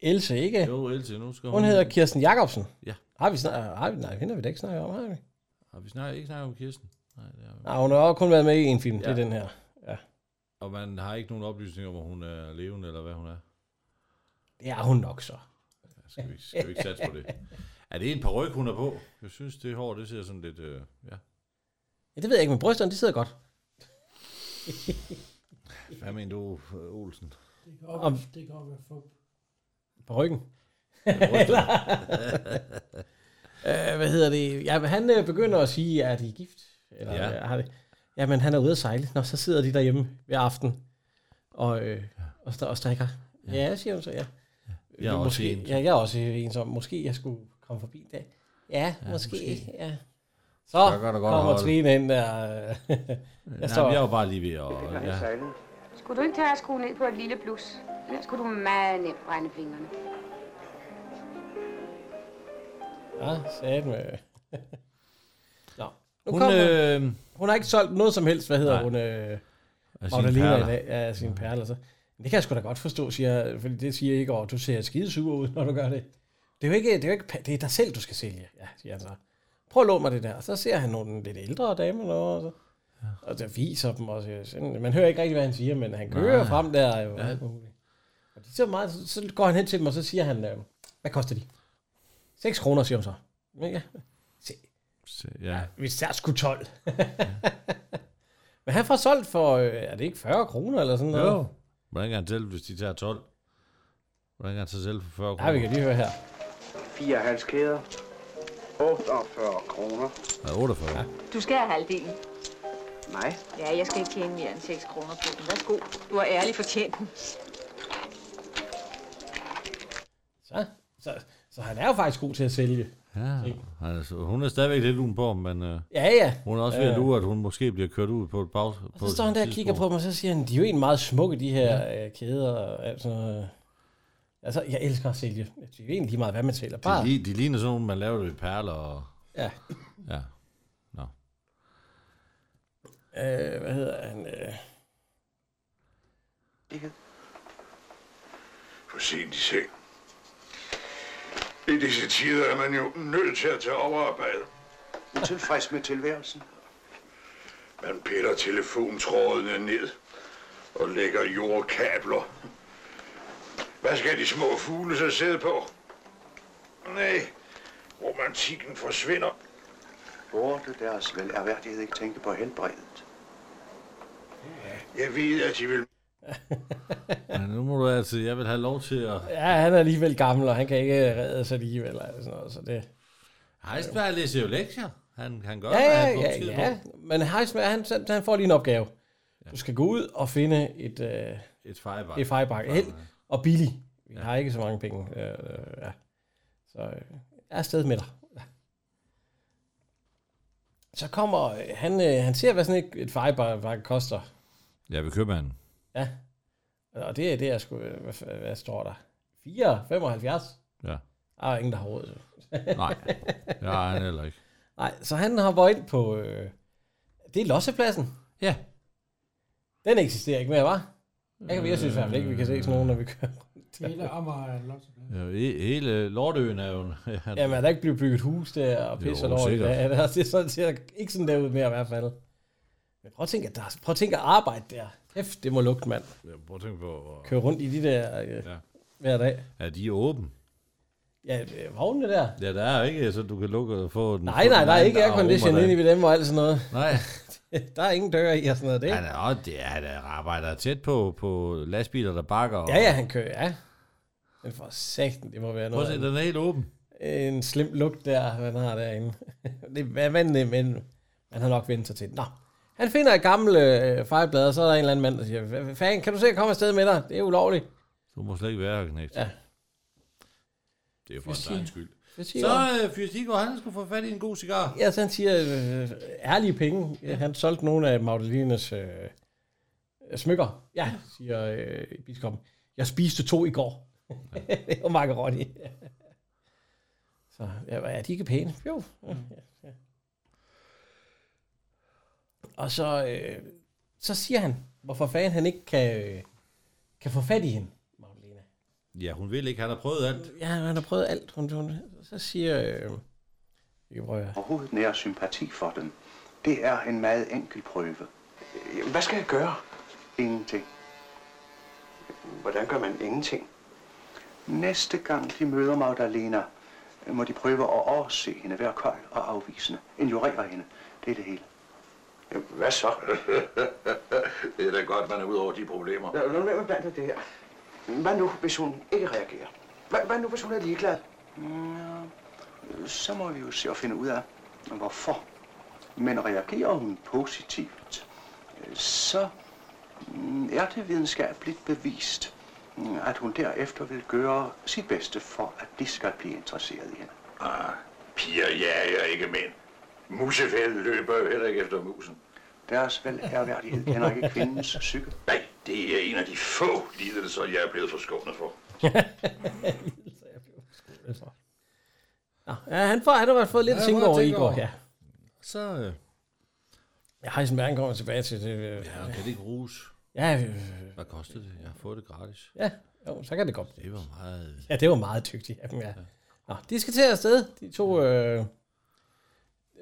[SPEAKER 1] Else, ikke?
[SPEAKER 2] Jo, Else, nu skal
[SPEAKER 1] hun...
[SPEAKER 2] hun...
[SPEAKER 1] Hun hedder Kirsten Jacobsen.
[SPEAKER 2] Ja.
[SPEAKER 1] Har vi snakket... Har vi... Nej, hende har vi da ikke snakket om, har vi?
[SPEAKER 2] Har vi snakket, ikke snakket om Kirsten? Nej, det har vi.
[SPEAKER 1] Nej, hun har også kun været med i en film. Ja. Det er
[SPEAKER 2] Ja.
[SPEAKER 1] den her. Ja.
[SPEAKER 2] Og man har ikke nogen oplysninger om, om hun er levende, eller hvad hun er.
[SPEAKER 1] Det er hun nok så.
[SPEAKER 2] Ja, Skal vi, skal vi ikke satse på det? Er det en paryk, hun er på? Jeg synes, det hår, det ser sådan lidt... Øh, ja.
[SPEAKER 1] Ja, det ved jeg ikke, men brysterne, de sidder godt.
[SPEAKER 2] Hvad mener du, øh, Olsen?
[SPEAKER 4] Det kan op,
[SPEAKER 1] Om-
[SPEAKER 4] det kan op være fup.
[SPEAKER 1] På ryggen.
[SPEAKER 2] brysterne.
[SPEAKER 1] Eller... øh, hvad hedder det? Ja, men han øh, begynder at sige, at de er gift. Eller,
[SPEAKER 2] Ja.
[SPEAKER 1] ja. har det... Jamen, han er ude at sejle. Nå, så sidder de derhjemme ved aften og, øh, og, st- og strikker. Ja. ja, siger hun så, ja.
[SPEAKER 2] Jeg er
[SPEAKER 1] Du,
[SPEAKER 2] også
[SPEAKER 1] måske,
[SPEAKER 2] ensom.
[SPEAKER 1] Ja, jeg er også ensom. Måske jeg skulle komme forbi en dag. Ja, ja måske. måske. Ja. Så
[SPEAKER 2] Så kan du godt
[SPEAKER 1] kommer
[SPEAKER 2] holde.
[SPEAKER 1] Trine ind der. jeg,
[SPEAKER 2] Jeg, Nej, men jeg var bare lige ved at... Ja.
[SPEAKER 16] Skulle du ikke tage at skrue ned på et lille blus? Ellers skulle du meget nemt brænde fingrene.
[SPEAKER 1] Ja, sagde med. Nå, nu hun,
[SPEAKER 2] Hun,
[SPEAKER 1] kommer,
[SPEAKER 2] øh,
[SPEAKER 1] øh, hun har ikke solgt noget som helst, hvad hedder
[SPEAKER 2] Nej.
[SPEAKER 1] hun? Øh,
[SPEAKER 2] Af sine
[SPEAKER 1] Magdalena i
[SPEAKER 2] perler.
[SPEAKER 1] dag, ja, af sine perler. Så. Men det kan jeg sgu da godt forstå, siger, fordi det siger ikke, og du ser skide sur ud, når du gør det. Det er jo ikke, det er, jo ikke, pa- det er dig selv, du skal sælge, ja, siger han så. Prøv at låne mig det der. Og så ser han nogle lidt ældre damer, og, så, og der viser dem også. ja, sådan- Man hører ikke rigtig, hvad han siger, men han kører
[SPEAKER 2] Nej.
[SPEAKER 1] frem der. Jo,
[SPEAKER 2] Ja.
[SPEAKER 1] ja. Og de så, meget, så, så går han hen til dem, og så siger han, øh, hvad koster de? 6 kroner, siger hun så. Men ja,
[SPEAKER 2] Så, ja.
[SPEAKER 1] hvis der skulle 12. Men han får solgt for, øh, er det ikke 40 kroner eller sådan noget?
[SPEAKER 2] Jo. Hvordan kan han selv, hvis de tager 12? Hvordan kan han sig selv for 40 kroner?
[SPEAKER 1] Nej, vi kan lige høre her.
[SPEAKER 15] Fire halskæder. 48 kroner.
[SPEAKER 2] Ja, 48. Ja.
[SPEAKER 16] Du skal have halvdelen.
[SPEAKER 15] Nej.
[SPEAKER 16] Ja, jeg skal ikke tjene mere end 6 kroner på den. Værsgo. Du har ærligt fortjent den.
[SPEAKER 1] Så, så, så han er jo faktisk god til at sælge.
[SPEAKER 2] Ja, altså, hun er stadigvæk lidt lun på, men øh,
[SPEAKER 1] Ja, ja.
[SPEAKER 2] hun er også
[SPEAKER 1] Ja,
[SPEAKER 2] ved at
[SPEAKER 1] ja.
[SPEAKER 2] lure, at hun måske bliver kørt ud på et pause.
[SPEAKER 1] Og så står han der og kigger på dem, og så siger han, de er jo egentlig meget smukke, de her ja. øh, kæder. og alt sådan noget. Altså, jeg elsker at sælge. Det er jo egentlig lige meget, hvad man sælger. Bare,
[SPEAKER 2] De, li- de ligner sådan nogle, man laver det i perler. Og...
[SPEAKER 1] Ja.
[SPEAKER 2] Ja. Nå.
[SPEAKER 1] øh, hvad hedder han? Øh,
[SPEAKER 5] For sent i seng. I disse tider er man jo nødt til at tage overarbejde.
[SPEAKER 15] Utilfreds med tilværelsen.
[SPEAKER 5] Man piller telefontrådene ned og lægger jordkabler. Hvad skal de små fugle så sidde på? Nej, romantikken forsvinder.
[SPEAKER 15] Burde deres velerværdighed ikke tænke på helbredet?
[SPEAKER 5] Jeg ved, at de vil...
[SPEAKER 2] Ja, nu må du altså, jeg vil have lov til at...
[SPEAKER 1] Ja, han er alligevel gammel, og han kan ikke redde sig alligevel. Eller sådan noget, så det...
[SPEAKER 2] Heisberg læser jo lektier. Han, han gør,
[SPEAKER 1] Ja,
[SPEAKER 2] hvad han
[SPEAKER 1] ja,
[SPEAKER 2] får
[SPEAKER 1] ja,
[SPEAKER 2] besked
[SPEAKER 1] ja.
[SPEAKER 2] på.
[SPEAKER 1] Men Heisman, han, han får lige en opgave. Du skal gå ud og finde et... Øh,
[SPEAKER 2] Et fejebark.
[SPEAKER 1] Et fejebark. Held og billig. Vi har ikke så mange penge. Øh, øh, ja. Så øh, jeg er afsted med dig. Så kommer... øh, Han, øh, han ser, hvad sådan et, et fejebark koster.
[SPEAKER 2] Jeg vil købe han.
[SPEAKER 1] Ja. Og det, er- det er sgu... øh, Hvad, f- hvad står der? 4,75?
[SPEAKER 2] Ja.
[SPEAKER 1] Der er ingen, der har råd. til.
[SPEAKER 2] Nej, det har han heller ikke.
[SPEAKER 1] Nej, så han hopper ind på... Øh, det er lossepladsen.
[SPEAKER 2] Ja.
[SPEAKER 1] Den eksisterer ikke mere, var? Jeg, kan, jeg synes i hvert fald ikke, vi kan se sådan nogen, når vi kører rundt.
[SPEAKER 4] Hele Amager er lotto.
[SPEAKER 2] Ja, he- hele Lortøen er jo... Ja,
[SPEAKER 1] Jamen, er der ikke blevet bygget hus der og
[SPEAKER 2] Jo,
[SPEAKER 1] pisse over det?
[SPEAKER 2] sikkert.
[SPEAKER 1] Ja, det er det er sådan, det ser ikke sådan der ud mere i hvert fald. Men prøv at tænke, at der, prøv at tænke at arbejde der. Hæft, det må lugte, mand.
[SPEAKER 2] Ja, prøv at tænke på... hvor-
[SPEAKER 1] Køre rundt i de der øh,
[SPEAKER 2] Ja.
[SPEAKER 1] ja. hver dag.
[SPEAKER 2] Ja, de er åbne.
[SPEAKER 1] Ja, øh, vognene der.
[SPEAKER 2] Ja, der er jo ikke, så du kan lukke og få den.
[SPEAKER 1] Nej, nej, der er ikke aircondition inde i
[SPEAKER 2] det.
[SPEAKER 1] dem og alt sådan noget.
[SPEAKER 2] Nej.
[SPEAKER 1] der er ingen døre i og sådan noget. Det, er
[SPEAKER 2] Han er, også, det er, han er- arbejder tæt på, på lastbiler, der bakker. Og,
[SPEAKER 1] Ja, ja, han kører, ja. Men for satan, det må være
[SPEAKER 2] Prøv
[SPEAKER 1] noget.
[SPEAKER 2] at se,
[SPEAKER 1] andet.
[SPEAKER 2] den er helt åben.
[SPEAKER 1] En slim lugt der, han har derinde. det er vandet, men man har nok vendt sig til det. Nå. Han finder et gammelt øh, fejlblad, og så er der en eller anden mand, der siger, "Hvad fanden, kan du se at komme afsted med dig? Det er ulovligt.
[SPEAKER 2] Du må slet ikke være her, knægt.
[SPEAKER 1] Ja.
[SPEAKER 2] Det er jo for
[SPEAKER 1] Fysik.
[SPEAKER 2] en egen skyld.
[SPEAKER 1] Fysik.
[SPEAKER 2] Så øh, Fysik og han skulle få fat i en god cigar.
[SPEAKER 1] Ja, så han siger, øh, ærlige penge. Ja, han solgte nogle af Magdalenas øh, smykker. Ja, siger øh, biskoppen. Jeg spiste to i går. det var macaroni. så ja, er de ikke pæne? Jo. Ja, ja. Og så, øh, så siger han, hvorfor fanden han ikke kan, øh, kan få fat i hende.
[SPEAKER 2] Ja, hun vil ikke. Han har prøvet alt.
[SPEAKER 1] Ja, han har prøvet alt. Hun, hun, så siger... Øh, vi kan prøve her.
[SPEAKER 15] Overhovedet nære sympati for den. Det er en meget enkel prøve. Hvad skal jeg gøre? Ingenting. Hvordan gør man ingenting? Næste gang de møder Magdalena, må de prøve at overse hende, være kold og afvisende. Ignorere hende. Det er det hele.
[SPEAKER 8] Hvad så? det er da godt, man er ud over de problemer.
[SPEAKER 7] Lad lad nu være med blandt det her. Hvad nu, hvis hun ikke reagerer? Hvad, hvad nu, hvis hun er ligeglad?
[SPEAKER 15] Ja, så må vi jo se at finde ud af, hvorfor. Men reagerer hun positivt, øh, så mm, er det videnskabeligt bevist, mm, at hun derefter vil gøre sit bedste for, at de skal blive interesseret i hende.
[SPEAKER 8] Ah, piger jager ikke mænd. Musefælden løber jo heller ikke efter musen.
[SPEAKER 15] Deres velærværdighed kender ikke kvindens psyke.
[SPEAKER 8] Nej, det er en af de få lidelser, jeg er blevet forskånet for.
[SPEAKER 1] Nå, ja, han, får, han har fået lidt
[SPEAKER 2] Ja,
[SPEAKER 1] at tænke
[SPEAKER 2] prøv at
[SPEAKER 1] over i
[SPEAKER 2] tænke
[SPEAKER 1] går,
[SPEAKER 2] over.
[SPEAKER 1] ja.
[SPEAKER 2] Så øh,
[SPEAKER 1] Ja, Heisenberg han kommer tilbage til det. øh,
[SPEAKER 2] ja, kan det ikke rus.
[SPEAKER 1] Ja, øh,
[SPEAKER 2] Hvad kostede det? Jeg har fået det gratis.
[SPEAKER 1] ja, jo, så kan det godt.
[SPEAKER 2] Det var meget...
[SPEAKER 1] Ja, det var meget dygtigt af dem, ja. Nå, de skal til afsted, de to... Øh,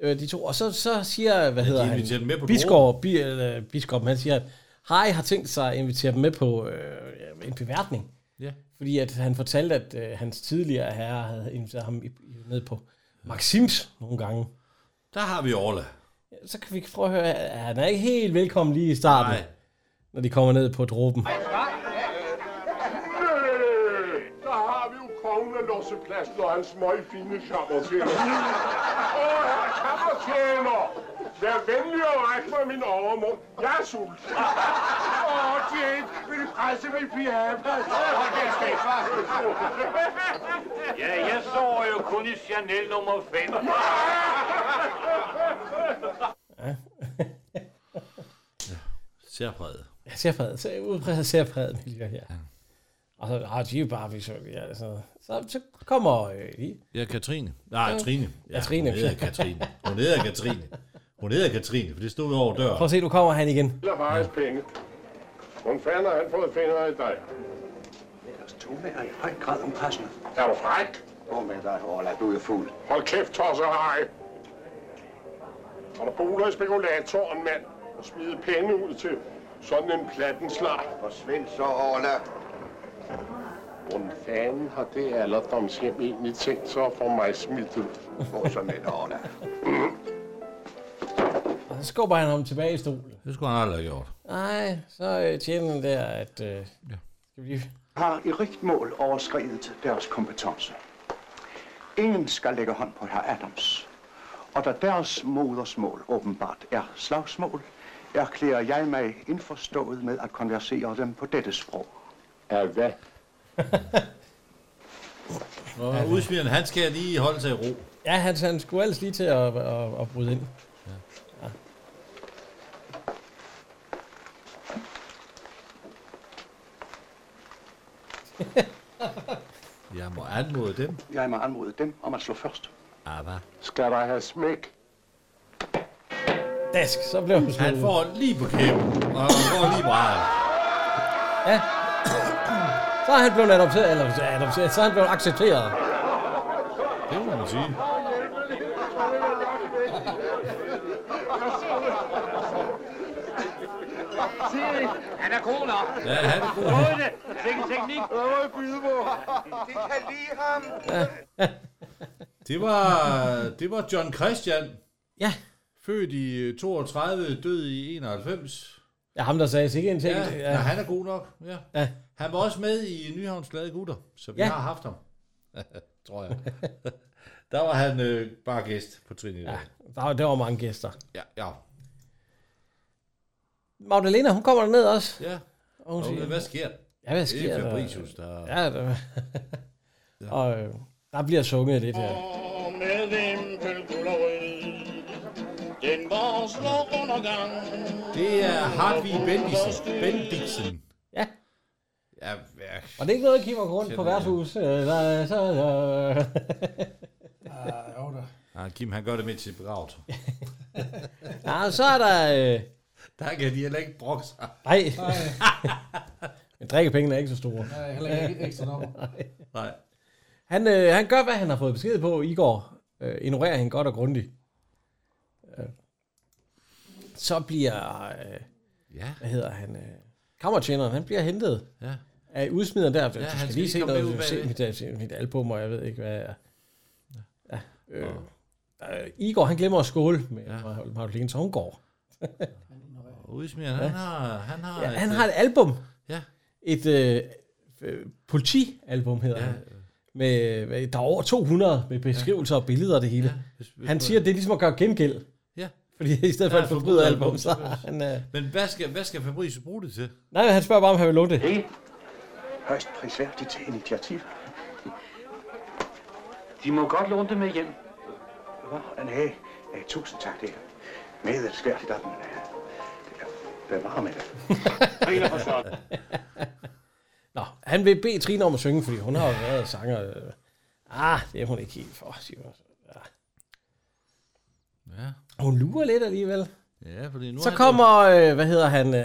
[SPEAKER 1] øh, de to, og så, så siger, hvad
[SPEAKER 2] Ja, de
[SPEAKER 1] hedder
[SPEAKER 2] inviterer dem med på
[SPEAKER 1] han, Biskov, bi, eller, biskoppen, han siger, at Harry har tænkt sig at invitere dem med på øh, ja, en beværtning.
[SPEAKER 2] Ja.
[SPEAKER 1] Fordi at han fortalte, at øh, hans tidligere herre havde inviteret ham i, i- ned på Maxims nogle gange.
[SPEAKER 2] Der har vi Orla.
[SPEAKER 1] Så kan vi prøve at høre, at han er ikke helt velkommen lige i starten, Nej. når de kommer ned på dråben.
[SPEAKER 17] Øh, Der har vi jo kongen af Lossepladsen og hans meget fine kammertjener. Åh, herr kammertjener! Vær venlig og ræk mig min overmund. Jeg er sulten. Åh, Jane, vil du presse min pyjamas?
[SPEAKER 18] Hold kæft, Stefan. Ja, jeg sover jo kun i Chanel nummer 5.
[SPEAKER 2] Særpræget.
[SPEAKER 1] Ja, særpræget. Så udpræget særpræget miljø her. Ja. Og så har de er jo bare visuelt. Ja, så, så, så kommer øh, de.
[SPEAKER 2] Ja, Katrine. Nej,
[SPEAKER 1] Ja.
[SPEAKER 2] Trine.
[SPEAKER 1] Ja, Trine.
[SPEAKER 2] Hun hedder Katrine. Hun hedder Katrine. Hun hedder Katrine, for det stod over døren.
[SPEAKER 1] Prøv at se, nu kommer han igen.
[SPEAKER 17] Eller Harrys penge. Hun fanden har han fået fingre i dig.
[SPEAKER 15] Deres tone er i høj grad upassende.
[SPEAKER 17] Er du fræk?
[SPEAKER 8] Gå med dig, Orla, du er fuld.
[SPEAKER 17] Hold kæft, tosser, hej. Og der boler i spekulatoren, mand, og smide penge ud til sådan en plattenslag.
[SPEAKER 8] Forsvind så, Orla.
[SPEAKER 17] Hvordan fanden har det alderdomshjem egentlig tænkt sig at få mig smidt ud? Hvor så med, Orla?
[SPEAKER 1] Og så skubber han ham tilbage i stolen.
[SPEAKER 2] Det skulle han aldrig have gjort.
[SPEAKER 1] Nej, så øh, tjener den der, at... Øh, ja. skal vi lige...
[SPEAKER 15] har i rigt mål overskrevet deres kompetence. Ingen skal lægge hånd på herr Adams. Og da deres modersmål åbenbart er slagsmål, erklærer jeg mig indforstået med at konversere dem på dette sprog.
[SPEAKER 17] Ja, hvad?
[SPEAKER 2] Og ja, udsmigeren, han skal lige holde sig i ro.
[SPEAKER 1] Ja, han, han skulle ellers lige til at, at, at bryde ind.
[SPEAKER 2] Jeg må anmode dem.
[SPEAKER 15] Jeg må anmode dem om at slå først.
[SPEAKER 2] Ah, hvad?
[SPEAKER 17] Skal der have smæk?
[SPEAKER 1] Dask, så blev han
[SPEAKER 2] Han får lige på kæben, og han får lige meget.
[SPEAKER 1] Ja. Så er han blevet adopteret, eller så er han adopteret, så er han blevet accepteret.
[SPEAKER 2] Det må man sige.
[SPEAKER 18] Han er god nok.
[SPEAKER 2] Ja, han er god.
[SPEAKER 18] Både det. Sikke teknik.
[SPEAKER 11] Hvad må jeg byde på? Det kan lide ham.
[SPEAKER 2] Det var, det var John Christian.
[SPEAKER 1] Ja.
[SPEAKER 2] Født i 32, død i 91.
[SPEAKER 1] Ja, ham der sagde sikkert en ting.
[SPEAKER 2] Ja, ja. han er god nok. Ja.
[SPEAKER 1] Ja.
[SPEAKER 2] Han var også med i Nyhavns Glade Gutter, så vi
[SPEAKER 1] Ja.
[SPEAKER 2] ja. har haft ham. Tror jeg. Der var han øh, bare gæst på Trinidad. Ja.
[SPEAKER 1] Der var, der var mange gæster.
[SPEAKER 2] Ja, ja.
[SPEAKER 1] Magdalena, hun kommer derned også.
[SPEAKER 2] Ja.
[SPEAKER 1] Og hun
[SPEAKER 2] Nå,
[SPEAKER 1] siger,
[SPEAKER 2] men øh, hvad sker der?
[SPEAKER 1] Ja, hvad
[SPEAKER 2] Det er
[SPEAKER 1] sker der?
[SPEAKER 2] Fabricius, der-
[SPEAKER 1] Ja, der... og øh, der bliver sunget lidt her.
[SPEAKER 19] Og med vimpel gulerød, den vores lår undergang.
[SPEAKER 2] Det er Hartvig Bendiksen. Bendiksen.
[SPEAKER 1] Ja.
[SPEAKER 2] Ja, ja.
[SPEAKER 1] Og det er ikke noget, der kigger rundt på
[SPEAKER 2] Kender jeg.
[SPEAKER 1] værtshus. Øh, der, er- så, øh.
[SPEAKER 2] Ah, Kim, han gør det med til begravet.
[SPEAKER 1] ja, så er der... Øh,
[SPEAKER 2] Der kan de heller ikke brokke sig.
[SPEAKER 1] Nej. Men drikkepengene er ikke så store.
[SPEAKER 4] Nej, heller ikke ekstra nummer.
[SPEAKER 2] Nej.
[SPEAKER 1] Han, øh, han gør, hvad han har fået besked på i går. Øh, ignorerer hende godt og grundigt. Øh. Så bliver... Øh,
[SPEAKER 2] ja.
[SPEAKER 1] Hvad hedder han? Øh, kammertjeneren, han bliver hentet.
[SPEAKER 2] Ja.
[SPEAKER 1] Af udsmider der. Ja, du
[SPEAKER 2] han
[SPEAKER 1] skal,
[SPEAKER 2] skal
[SPEAKER 1] lige
[SPEAKER 2] lige
[SPEAKER 1] se
[SPEAKER 2] komme
[SPEAKER 1] noget.
[SPEAKER 2] med
[SPEAKER 1] Du
[SPEAKER 2] ud
[SPEAKER 1] se
[SPEAKER 2] bagved.
[SPEAKER 1] mit, øh, se mit album, og jeg ved ikke, hvad jeg... Ja. Øh, øh, Igor, han glemmer at skåle med ja. Magdalene, så hun går.
[SPEAKER 2] Udsmigeren, han har... Han har,
[SPEAKER 1] Ja, han har et album.
[SPEAKER 2] Ja.
[SPEAKER 1] Et øh, øh, politialbum hedder ja. han. Med, med- der er over 200 med beskrivelser og billeder og det hele. Ja. Han siger, at det er ligesom at gøre gengæld.
[SPEAKER 2] Ja.
[SPEAKER 1] Fordi i stedet for
[SPEAKER 2] Ja,
[SPEAKER 1] et forbryderalbum, så har han... Øh,
[SPEAKER 2] Men hvad skal, hvad skal Fabrice bruge det til?
[SPEAKER 1] nej, han spørger bare, om han vil låne det.
[SPEAKER 15] Højst prisværdigt initiativ.
[SPEAKER 14] De må godt låne det med hjem.
[SPEAKER 15] Hvad? Nej, nej, tusind tak, det er meget svært i dag, men øh, det er varme det. Griner for sådan.
[SPEAKER 1] Nå, han vil bede Trine om at synge, fordi hun har jo været sanger. øh. Ah, det er hun ikke helt for, siger hun.
[SPEAKER 2] Ja.
[SPEAKER 1] Hun lurer lidt alligevel.
[SPEAKER 2] Ja, fordi nu
[SPEAKER 1] så
[SPEAKER 2] er han-
[SPEAKER 1] kommer, øh, hvad hedder han? Øh, det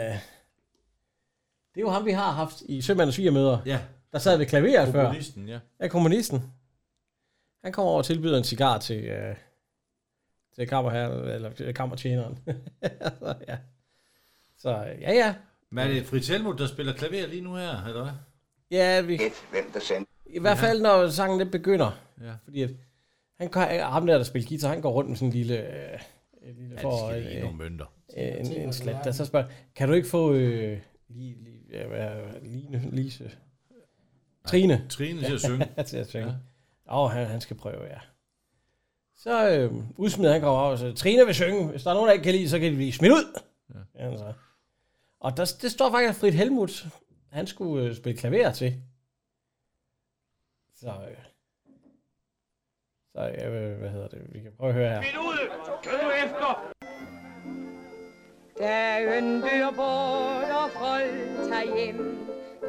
[SPEAKER 1] er jo ham, vi har haft i Sømandens Svigermøder.
[SPEAKER 2] Ja.
[SPEAKER 1] Der sad ved klaveret før.
[SPEAKER 2] Komponisten, ja.
[SPEAKER 1] Ja, kommunisten. Han kommer over og tilbyder en cigar til, øh, til kammerherren, eller til kammertjeneren. så, ja. så øh, ja, ja.
[SPEAKER 2] Men er det Fritz Helmut, der spiller klaver lige nu her, eller hvad?
[SPEAKER 1] Ja, vi...
[SPEAKER 13] Et, hvem der sendte.
[SPEAKER 1] I hvert fald, når sangen lidt begynder.
[SPEAKER 2] Ja.
[SPEAKER 1] Fordi at han, kan- ham der, der spiller guitar, han går rundt med sådan en lille... Øh, en lille
[SPEAKER 2] Ja,
[SPEAKER 1] får,
[SPEAKER 2] de skal
[SPEAKER 1] øh,
[SPEAKER 2] lige nogle mønter.
[SPEAKER 1] øh, En, en slat, der så spørger, kan du ikke få... Øh, lige, lige, ja, hvad- Line, Lise... Trine.
[SPEAKER 2] Trine til at synge.
[SPEAKER 1] til at synge. Ja. Åh, han, han skal prøve, ja. Så øh, udsmider han kommer op og siger, Trine vil synge. Hvis der er nogen, der ikke kan lide, så kan de blive smidt ud. Ja. Altså. Og der, det står faktisk, at Frit Helmut, han skulle øh, spille klaver til. Så, øh, så øh, hvad hedder det? Vi kan prøve at høre her.
[SPEAKER 18] Smidt ud. Hør nu efter.
[SPEAKER 20] Dagen dør bort og folk tager hjem.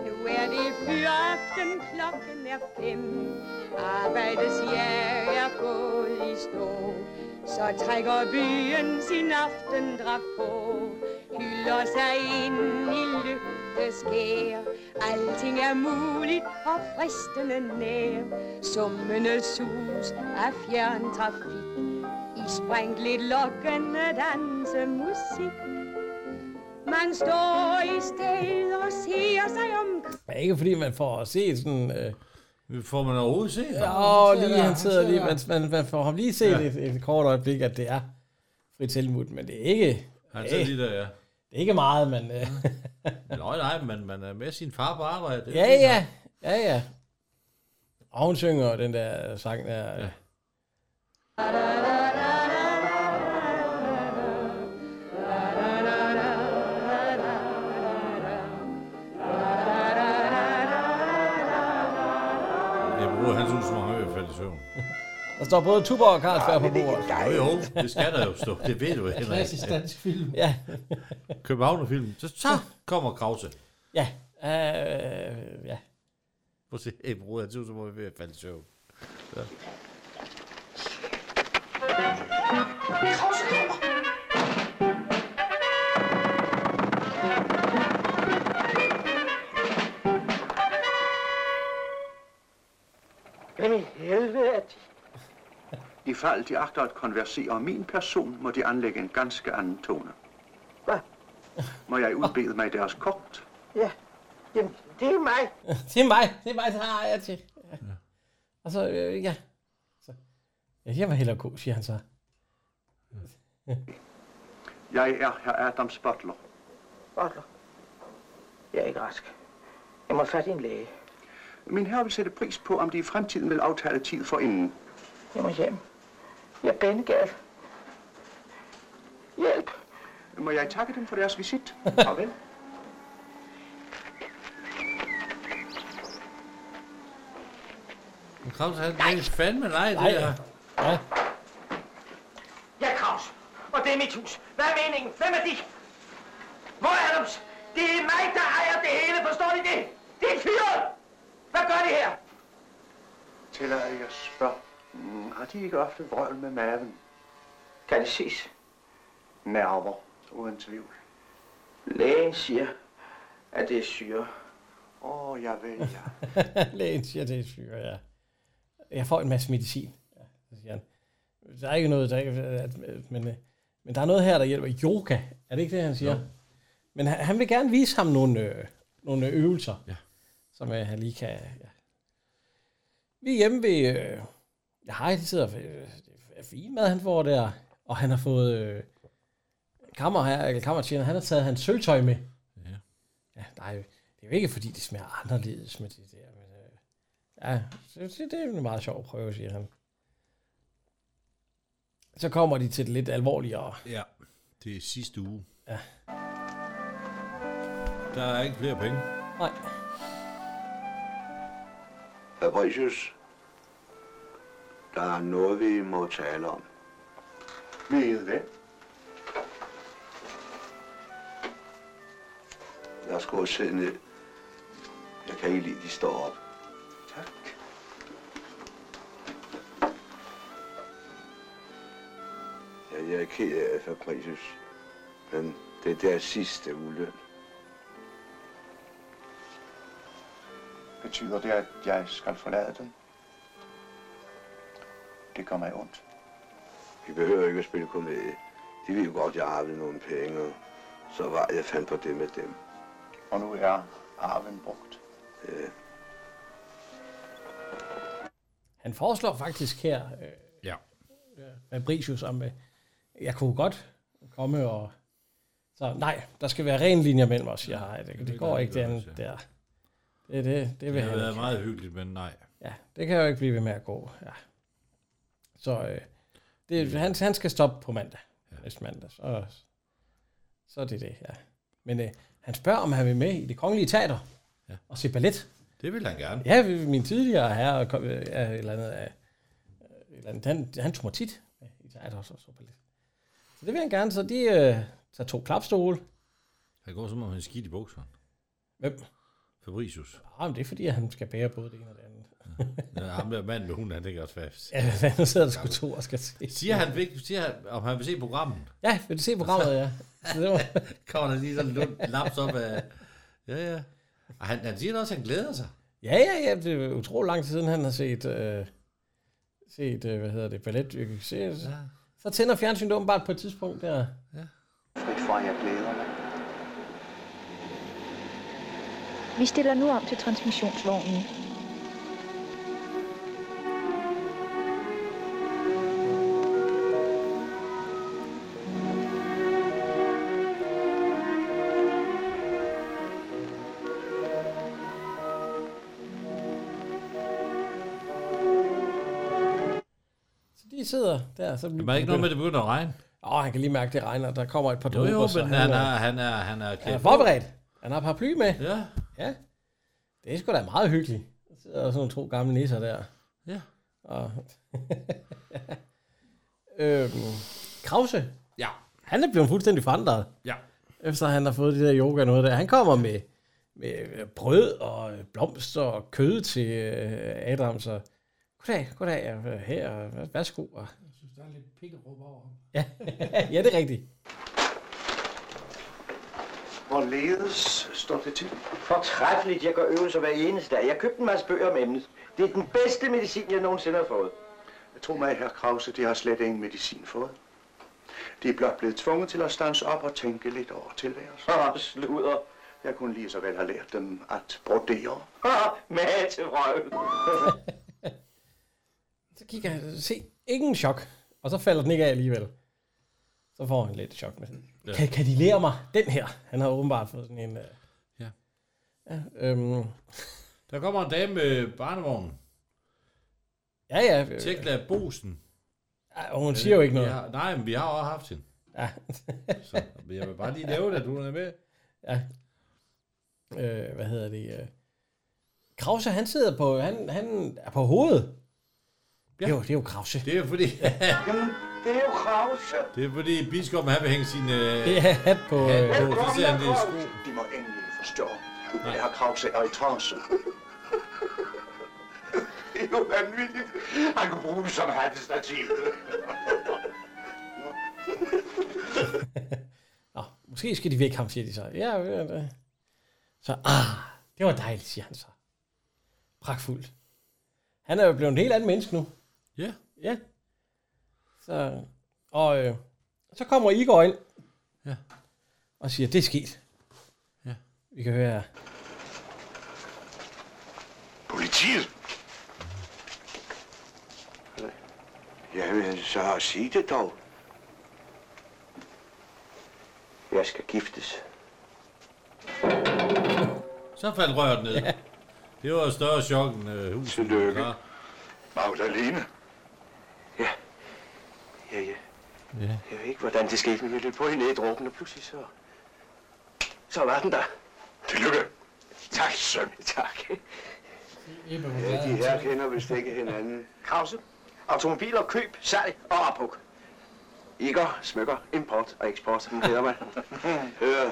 [SPEAKER 20] Nu er det fyraften, klokken er fem. Arbejdes jeg er gået i stå. Så trækker byen sin aftendragt på Hylder sig ind i lygteskær Alting er muligt og fristende nær Summende sus af fjerntrafik I sprængt lokkende dansemusik Man står i stedet og ser sig om
[SPEAKER 1] Men ikke fordi man får at se sådan... Øh,
[SPEAKER 2] Får man overhovedet set ham?
[SPEAKER 1] Ja,
[SPEAKER 2] Han sidder
[SPEAKER 1] lige
[SPEAKER 2] der,
[SPEAKER 1] han sidder lige.
[SPEAKER 2] han sidder
[SPEAKER 1] Man, man, man får ham lige set
[SPEAKER 2] Ja.
[SPEAKER 1] ja. et, et, kort øjeblik, at det er Fritz Helmut, men det er ikke...
[SPEAKER 2] Han
[SPEAKER 1] det-
[SPEAKER 2] sidder lige der, ja.
[SPEAKER 1] Det er ikke meget, men... Øh,
[SPEAKER 2] Nå, nej, men man er med sin far på arbejde. Det er
[SPEAKER 1] ja,
[SPEAKER 2] fint
[SPEAKER 1] ja.
[SPEAKER 2] nok.
[SPEAKER 1] Ja, ja. Og hun synger den der sang der. Ja.
[SPEAKER 2] Jeg bruger hans hus, som han i hvert fald i søvn.
[SPEAKER 1] Der står både Tuborg og Carlsberg på
[SPEAKER 2] men det er
[SPEAKER 1] bordet.
[SPEAKER 2] Jo, jo, det skal der jo stå. Det ved du, Henrik.
[SPEAKER 1] Klassisk dansk film. Ja.
[SPEAKER 2] Københavnerfilm. Så, så kommer Krause.
[SPEAKER 1] Ja. Øh, ja.
[SPEAKER 2] Prøv at se, hey, bror, jeg synes, at vi er faldet i søvn. Ja.
[SPEAKER 7] Krause kommer.
[SPEAKER 15] Hvem i helvede er de? I fald de agter at konversere om min person, må de anlægge en ganske anden tone.
[SPEAKER 7] Hvad?
[SPEAKER 15] Må jeg udbede mig deres kort?
[SPEAKER 7] Ja, jamen, det er mig.
[SPEAKER 1] det er mig. Det er mig, der har jeg til. Ja. Og så, øh, ja. Så. Ja, jeg var hellere god, siger han så.
[SPEAKER 15] Jeg er herr Adams butler.
[SPEAKER 7] Butler. Jeg er ikke rask. Jeg må have fat i en læge.
[SPEAKER 15] Min herre vil sætte pris på, om de i fremtiden vil aftale tid for inden.
[SPEAKER 7] Jeg må hjem. Jeg er bengal.
[SPEAKER 15] Hjælp! Må jeg takke dem for deres visit? Farvel.
[SPEAKER 2] Men Krause, han nej. fandme nej, det
[SPEAKER 15] Nej.
[SPEAKER 2] her.
[SPEAKER 1] Ja.
[SPEAKER 7] Jeg er Kraus, og det er mit hus. Hvad er meningen? Hvem er de? Hvor er Adams? Det er mig, der ejer det hele, forstår I det? Det er fyret! Hvad gør de her?
[SPEAKER 15] Tillader jeg spørger. Mm, har de ikke ofte vrøvl med maven?
[SPEAKER 7] Kan det ses?
[SPEAKER 15] Nerver, uden tvivl.
[SPEAKER 7] Lægen siger, at det er syre.
[SPEAKER 15] Åh, oh, jeg ved, ja.
[SPEAKER 1] Lægen siger, det er syre, ja. Jeg får en masse medicin, ja, så siger han. Der er ikke noget, der ikke, at- men, øh, men der er noget her, der hjælper. Yoga, er det ikke det, han siger?
[SPEAKER 2] Jo.
[SPEAKER 1] Men han, han vil gerne vise ham nogle, øh, nogle øvelser, ja. som øh, han lige kan... Ja. Vi er hjemme ved... Øh, jeg har det sidder øh, det er fin mad, han får der, og han har fået... Øh, kammer her, eller kammertjener, han har taget hans sølvtøj med. Ja, nej, det er jo ikke fordi, det smager anderledes med det der. Men, øh, ja, så det, det er jo en meget sjov prøve, siger han. Så kommer de til det lidt alvorligere.
[SPEAKER 2] Ja, det er sidste uge.
[SPEAKER 1] Ja.
[SPEAKER 2] Der er ikke flere penge.
[SPEAKER 1] Nej.
[SPEAKER 13] Fabricius, der er noget, vi må tale om.
[SPEAKER 15] Ved hvem?
[SPEAKER 13] Lad os gå og sidde ned. Jeg kan ikke lide, de står op.
[SPEAKER 15] Tak.
[SPEAKER 13] Ja, jeg er ked af Fabricius, men det er deres sidste uløn.
[SPEAKER 15] Betyder det, at jeg skal forlade dem? Det gør mig ondt.
[SPEAKER 13] Vi behøver ikke at spille komedie. De ved jo godt, jeg arvede nogle penge, og så var jeg fandt på det med dem.
[SPEAKER 15] Og nu er arven brugt.
[SPEAKER 13] Ja.
[SPEAKER 1] Han foreslår faktisk her, øh,
[SPEAKER 2] Ja.
[SPEAKER 1] Fabricius, om øh, jeg kunne godt komme og... Så nej, der skal være ren linjer mellem os, siger jeg. Det, det går ikke, det andet der. Det, det, det vil
[SPEAKER 2] Det har
[SPEAKER 1] han
[SPEAKER 2] været
[SPEAKER 1] ikke.
[SPEAKER 2] meget hyggeligt, men nej.
[SPEAKER 1] Ja, det kan jo ikke blive ved med at gå. Ja. Så øh, det, han, han skal stoppe på mandag. Ja. Næste mandag. Så, så er det det, ja. Men øh, han spørger, om han vil med i det kongelige teater ja. og se ballet.
[SPEAKER 2] Det vil han gerne.
[SPEAKER 1] Ja, vi- min tidligere herre, kom, øh, ja, et eller andet, øh, et eller andet, han, han tog mig tit med i teater og så, så ballet. Så det vil han gerne, så de øh, tager to klapstole.
[SPEAKER 2] Han går som om han er skidt i bukserne.
[SPEAKER 1] Hvem?
[SPEAKER 2] Fabricius.
[SPEAKER 1] Ah, men det er fordi, at han skal bære både det ene og det andet.
[SPEAKER 2] Ja, ham der mand med hunden, han ligger også fast.
[SPEAKER 1] Ja, han sidder der sgu to og skal se.
[SPEAKER 2] Siger han, vil- siger han, om han vil se programmet?
[SPEAKER 1] Ja, vil du se programmet, ja. Så det var...
[SPEAKER 2] Kommer der lige sådan lidt laps op af... Ja, ja. Og han, han siger også, at han glæder sig.
[SPEAKER 1] Ja, ja, ja, det er utrolig lang tid siden, han har set, øh, set øh, hvad hedder det, ballet. Ja. Så tænder fjernsynet åbenbart på et tidspunkt der.
[SPEAKER 15] Frit fra, jeg glæder mig.
[SPEAKER 10] Vi stiller nu om til transmissionsvognen.
[SPEAKER 1] Så de sidder der. Så
[SPEAKER 2] Men er ikke noget med, at det begynder at regne?
[SPEAKER 1] Åh, han kan lige mærke, at det regner. Der kommer et par
[SPEAKER 2] Jo,
[SPEAKER 1] dråber.
[SPEAKER 2] jo,
[SPEAKER 1] så
[SPEAKER 2] men han er, han er, han er,
[SPEAKER 1] han er
[SPEAKER 2] klædt på.
[SPEAKER 1] forberedt. Han har paraply med.
[SPEAKER 2] Ja.
[SPEAKER 1] Ja. Det er sgu da meget hyggeligt. Der sidder sådan nogle to gamle nisser der.
[SPEAKER 2] Ja.
[SPEAKER 1] Og øhm, Krause.
[SPEAKER 2] Ja.
[SPEAKER 1] Han er blevet fuldstændig forandret.
[SPEAKER 2] Ja.
[SPEAKER 1] Efter han har fået det der yoga og noget der. Han kommer med, med brød og blomster og kød til øh, Adams. Og, goddag, goddag, og her, og værsgo. Og,
[SPEAKER 4] Jeg synes, der er lidt pikkerup over ham.
[SPEAKER 1] ja. ja, det er rigtigt.
[SPEAKER 7] Hvorledes står det til? Fortræffeligt. Jeg gør øvelser hver eneste dag. Jeg købte en masse bøger om emnet. Det er den bedste medicin, jeg nogensinde har fået.
[SPEAKER 15] Jeg tror mig, herr Krause, det har slet ingen medicin fået. De er blot blevet tvunget til at stanse op og tænke lidt over tilværelsen.
[SPEAKER 7] Ah, sludder.
[SPEAKER 15] Jeg kunne lige så vel have lært dem at brodere.
[SPEAKER 7] Ah, mad til røven.
[SPEAKER 1] Så kigger han, se, ingen chok. Og så falder den ikke af alligevel. Så får han lidt chok med sådan,
[SPEAKER 2] Ja.
[SPEAKER 1] kan, kan de lære mig den her? Han har åbenbart fået sådan en... Øh,
[SPEAKER 2] Ja.
[SPEAKER 1] ja øhm,
[SPEAKER 2] Der kommer en dame med barnevognen.
[SPEAKER 1] ja, ja.
[SPEAKER 2] Tekla Bosen.
[SPEAKER 1] Ja, og hun siger jo ikke noget.
[SPEAKER 2] Vi har, nej, men vi har også haft hende.
[SPEAKER 1] Ja.
[SPEAKER 2] så men jeg vil bare lige nævne, at hun er med.
[SPEAKER 1] Ja. Øh, hvad hedder det? Øh. Krause, han sidder på, han, han er på hovedet. Ja. Det, er jo, det er jo Krause.
[SPEAKER 2] Det er jo fordi...
[SPEAKER 7] Det er jo Krause.
[SPEAKER 2] Det er fordi biskoppen han vil hænge sin øh,
[SPEAKER 1] Det er hat på...
[SPEAKER 2] hat
[SPEAKER 1] Øh,
[SPEAKER 2] på. Så ser han det i sko.
[SPEAKER 15] De må endelig forstå. Nej. Herr Krause er i trance.
[SPEAKER 8] Det er jo vanvittigt. Han kunne bruge det som hattestativ.
[SPEAKER 1] Nå, måske skal de væk ham, siger de så. Ja, ja, ja. Så, ah, det var dejligt, siger han så. Pragtfuldt. Han er jo blevet en helt anden menneske nu.
[SPEAKER 2] Ja.
[SPEAKER 1] Ja. Så, og øh, så kommer Igor ind.
[SPEAKER 2] Ja.
[SPEAKER 1] Og siger, det er sket.
[SPEAKER 2] Ja.
[SPEAKER 1] Vi kan høre her.
[SPEAKER 13] Politiet? Jamen, så sig det dog.
[SPEAKER 7] Jeg skal giftes.
[SPEAKER 2] Så faldt røret ned. Det var et større chok end øh, huset. Tillykke.
[SPEAKER 8] Magdalene.
[SPEAKER 7] Ja, ja.
[SPEAKER 2] Ja.
[SPEAKER 7] Jeg ved ikke, hvordan det skete, men jeg løb på hende i dråben, og pludselig så... Så var den der.
[SPEAKER 8] Tillykke. Tak, søn.
[SPEAKER 7] Tak.
[SPEAKER 13] Ja, de her kender vist ikke hinanden.
[SPEAKER 7] Krause. Automobiler, køb, salg og ophug. Igor, smykker, import og eksport. Den hedder man.
[SPEAKER 13] Hør,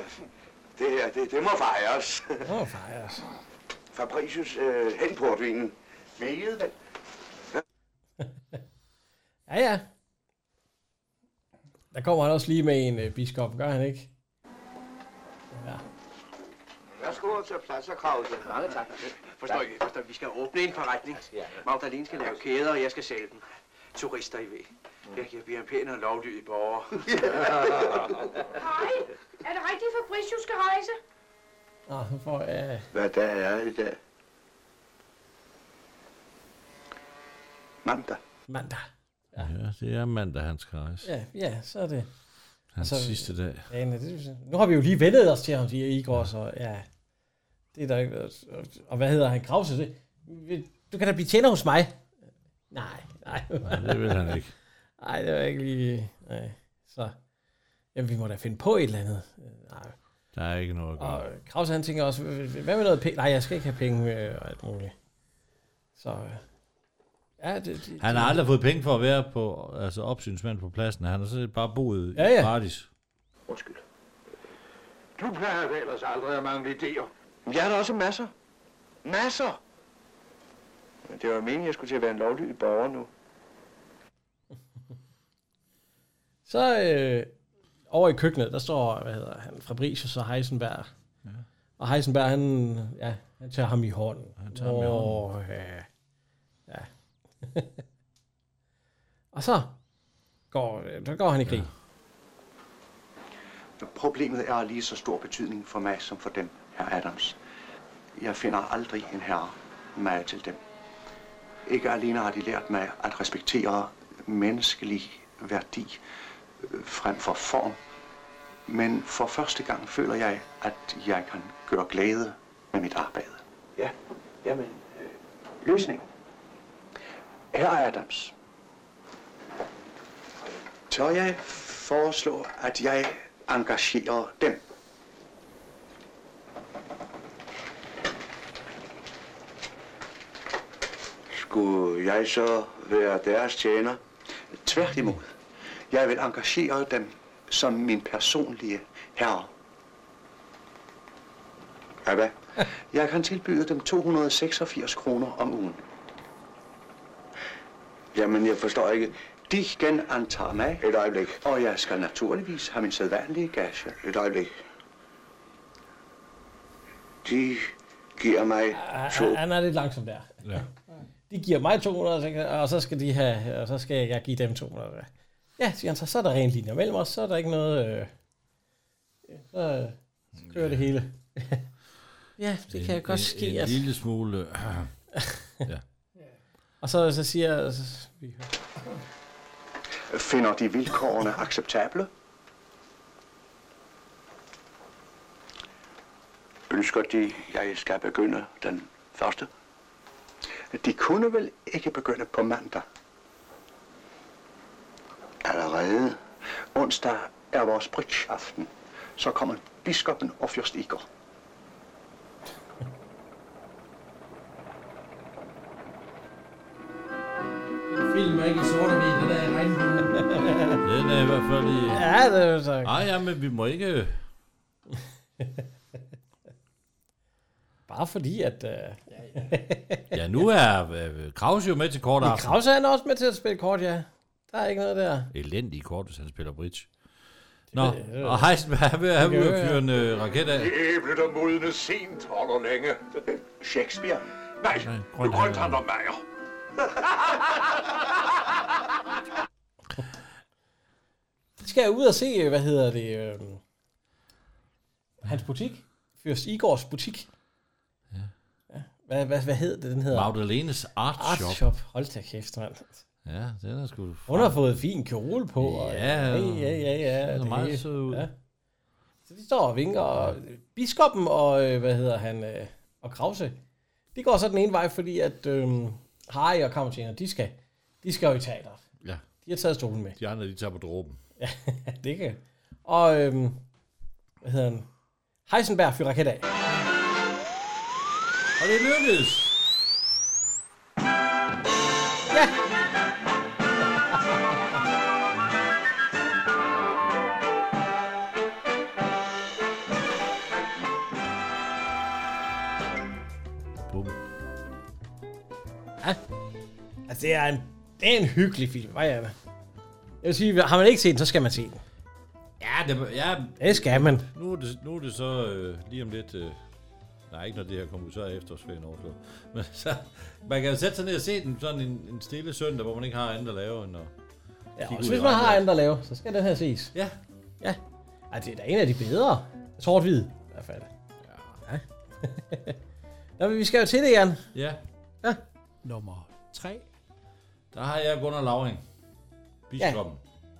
[SPEAKER 13] det her, det, det må fejres.
[SPEAKER 1] Det må fejres.
[SPEAKER 13] Fabricius, øh, hen portvinen.
[SPEAKER 15] Meget vel.
[SPEAKER 1] Ja, ja. Der kommer han også lige med en øh, biskop, gør han ikke? Ja.
[SPEAKER 7] Værsgo og tage plads og Krause. Mange tak.
[SPEAKER 14] Forstår I, forstår I? Vi skal åbne en forretning. Magdalene skal lave kæder, og jeg skal sælge dem. Turister, I ved.
[SPEAKER 13] Mm.
[SPEAKER 14] Jeg, jeg bliver en pæn og lovlydig borger.
[SPEAKER 12] Hej, er det rigtigt, at Fabricius skal rejse?
[SPEAKER 1] Nå, så får jeg...
[SPEAKER 13] Hvad der er i dag?
[SPEAKER 15] Mandag.
[SPEAKER 1] Mandag.
[SPEAKER 2] Ja, det er mandag, han skal rejse.
[SPEAKER 1] Ja, ja, så er det.
[SPEAKER 2] Hans
[SPEAKER 1] Så-
[SPEAKER 2] sidste dag.
[SPEAKER 1] Ja, nej, det, nu har vi jo lige vendet os til ham, siger Igor, så ja. Det er der ikke... og- Og hvad hedder han? Krause? Det, du kan da blive tjener hos mig. Nej, nej.
[SPEAKER 2] Nej, det vil han ikke.
[SPEAKER 1] Nej, det var ikke lige... Nej. Så... Jamen, vi må da finde på et eller andet. Øh, Nej.
[SPEAKER 2] Der er ikke noget at gøre.
[SPEAKER 1] Og Krause han tænker også, hvad med noget penge? Nej, jeg skal ikke have penge øh, og alt muligt. Så øh, ja, det, det,
[SPEAKER 2] Han har aldrig fået penge for at være på, altså opsynsmand på pladsen. Han har sådan set bare boet
[SPEAKER 1] Ja, ja.
[SPEAKER 2] gratis.
[SPEAKER 7] Undskyld.
[SPEAKER 8] Du plejer da ellers aldrig at mangle idéer.
[SPEAKER 7] Jeg har da også masser.
[SPEAKER 8] Masser. Men det var meningen, jeg skulle til at være en lovlydig borger nu.
[SPEAKER 1] Så øh, over i køkkenet, der står, hvad hedder han, Fabricius og Heisenberg. Ja. Og Heisenberg, han, ja, han tager ham i hånden. Han
[SPEAKER 3] tager ham i
[SPEAKER 1] hånden. Ja. ja. og så går, øh, der går han i krig.
[SPEAKER 15] Problemet er af lige så stor betydning for mig som for dem, herr Adams. Jeg finder aldrig en herre mig til dem. Ikke alene har de lært mig at respektere menneskelig værdi øh, frem for form, men for første gang føler jeg, at jeg kan gøre glæde med mit arbejde.
[SPEAKER 7] Ja, jamen, øh, løsning.
[SPEAKER 15] Herre Adams, tør jeg foreslå, at jeg engagerer dem?
[SPEAKER 13] Skulle jeg så være deres tjener?
[SPEAKER 15] Tværtimod. Jeg vil engagere dem som min personlige herre. Ja, hvad? Jeg kan tilbyde dem 286 kroner om ugen. Jamen, jeg forstår ikke. De genantager mig. Et øjeblik. Og jeg skal naturligvis have min sædvanlige gage.
[SPEAKER 13] Et øjeblik. De giver mig to.
[SPEAKER 1] Han, han er lidt langsom der.
[SPEAKER 2] Ja.
[SPEAKER 1] De giver mig 200, og så skal, de have, og så skal jeg give dem 200. Ja, siger han så, så er der rent linjer mellem os, så er der ikke noget... Øh, ja, så, så kører det hele. ja, det kan jo godt ske.
[SPEAKER 2] En, en
[SPEAKER 1] altså.
[SPEAKER 2] lille smule... ja.
[SPEAKER 1] Og så, så siger jeg... Så,
[SPEAKER 15] Finder de vilkårene acceptable?
[SPEAKER 13] Ønsker de, jeg skal begynde den første?
[SPEAKER 15] De kunne vel ikke begynde på mandag? Allerede? Onsdag er vores bridgeaften. Så kommer biskoppen og fyrst Igor.
[SPEAKER 4] Film er ikke i sort og hvid, den er i regnbuen.
[SPEAKER 2] Den er i hvert fald i...
[SPEAKER 1] Ja, det er jo så.
[SPEAKER 2] Nej, ja, men vi må ikke...
[SPEAKER 1] Bare fordi, at... Øh,
[SPEAKER 2] Ja, nu er øh, Krause jo med til kort
[SPEAKER 1] Men
[SPEAKER 2] aften.
[SPEAKER 1] Krause han er også med til at spille kort, ja. Der er ikke noget der.
[SPEAKER 2] Elendig kort, hvis han spiller bridge. Nå,
[SPEAKER 17] ved jeg.
[SPEAKER 2] og Heisenberg er ved at have
[SPEAKER 17] Det gør
[SPEAKER 2] ude at fyre en øh, raket af.
[SPEAKER 17] Æblet er modne sent, holder længe.
[SPEAKER 15] Shakespeare?
[SPEAKER 17] Nej, nu grønthandler Meier.
[SPEAKER 1] Så skal jeg ud og se, øh, hvad hedder det... Øh, hans butik. Fyrst Igors butik. Ja. Hvad, hvad, hvad hed det, den hedder?
[SPEAKER 2] Magdalenes Art
[SPEAKER 1] Art
[SPEAKER 2] Shop.
[SPEAKER 1] Shop. Hold da kæft, mand.
[SPEAKER 2] Ja, den er sgu...
[SPEAKER 1] Hun har fået fin kjole på. Og,
[SPEAKER 2] Ja,
[SPEAKER 1] ja, ja, ja. ja
[SPEAKER 2] den er
[SPEAKER 1] det
[SPEAKER 2] meget
[SPEAKER 1] hele.
[SPEAKER 2] sød ud.
[SPEAKER 1] Ja. Så de står og vinker, og biskoppen og, øh, hvad hedder han, øh, og Krause, de går så den ene vej, fordi at øh, Harry og Kammertjener, de skal, de skal jo i teateret.
[SPEAKER 2] Ja.
[SPEAKER 1] De har taget stolen med.
[SPEAKER 2] De andre, de tager på dråben.
[SPEAKER 1] Ja, det kan. Og, øh, hvad hedder han, Heisenberg fyrer raket af.
[SPEAKER 2] Og det lykkedes!
[SPEAKER 1] Ja!
[SPEAKER 2] Bum.
[SPEAKER 1] Ja. Altså, det er en, det er en hyggelig film. Hvad er det? Jeg vil sige, har man ikke set den, så skal man se den.
[SPEAKER 2] Ja, det, ja,
[SPEAKER 1] Det skal man.
[SPEAKER 2] Nu er det, nu er det så øh, lige om lidt... Øh, nej, ikke når det her kommer ud, så er efterårsferien overstået. Men så, man kan jo sætte sig ned og se den sådan en, en stille søndag, hvor man ikke har andet at lave end at...
[SPEAKER 1] Ja,
[SPEAKER 2] kigge
[SPEAKER 1] og
[SPEAKER 2] ud
[SPEAKER 1] hvis
[SPEAKER 2] i
[SPEAKER 1] man
[SPEAKER 2] regnen.
[SPEAKER 1] har andet at lave, så skal den her ses.
[SPEAKER 2] Ja.
[SPEAKER 1] Ja. Ej, det er da en af de bedre. Sort-hvid, i hvert fald. Ja. Nå, men vi skal jo til det, Jan.
[SPEAKER 2] Ja,
[SPEAKER 1] Ja.
[SPEAKER 3] Nummer 3.
[SPEAKER 2] der har jeg Gunnar Lauring. Biskoppen.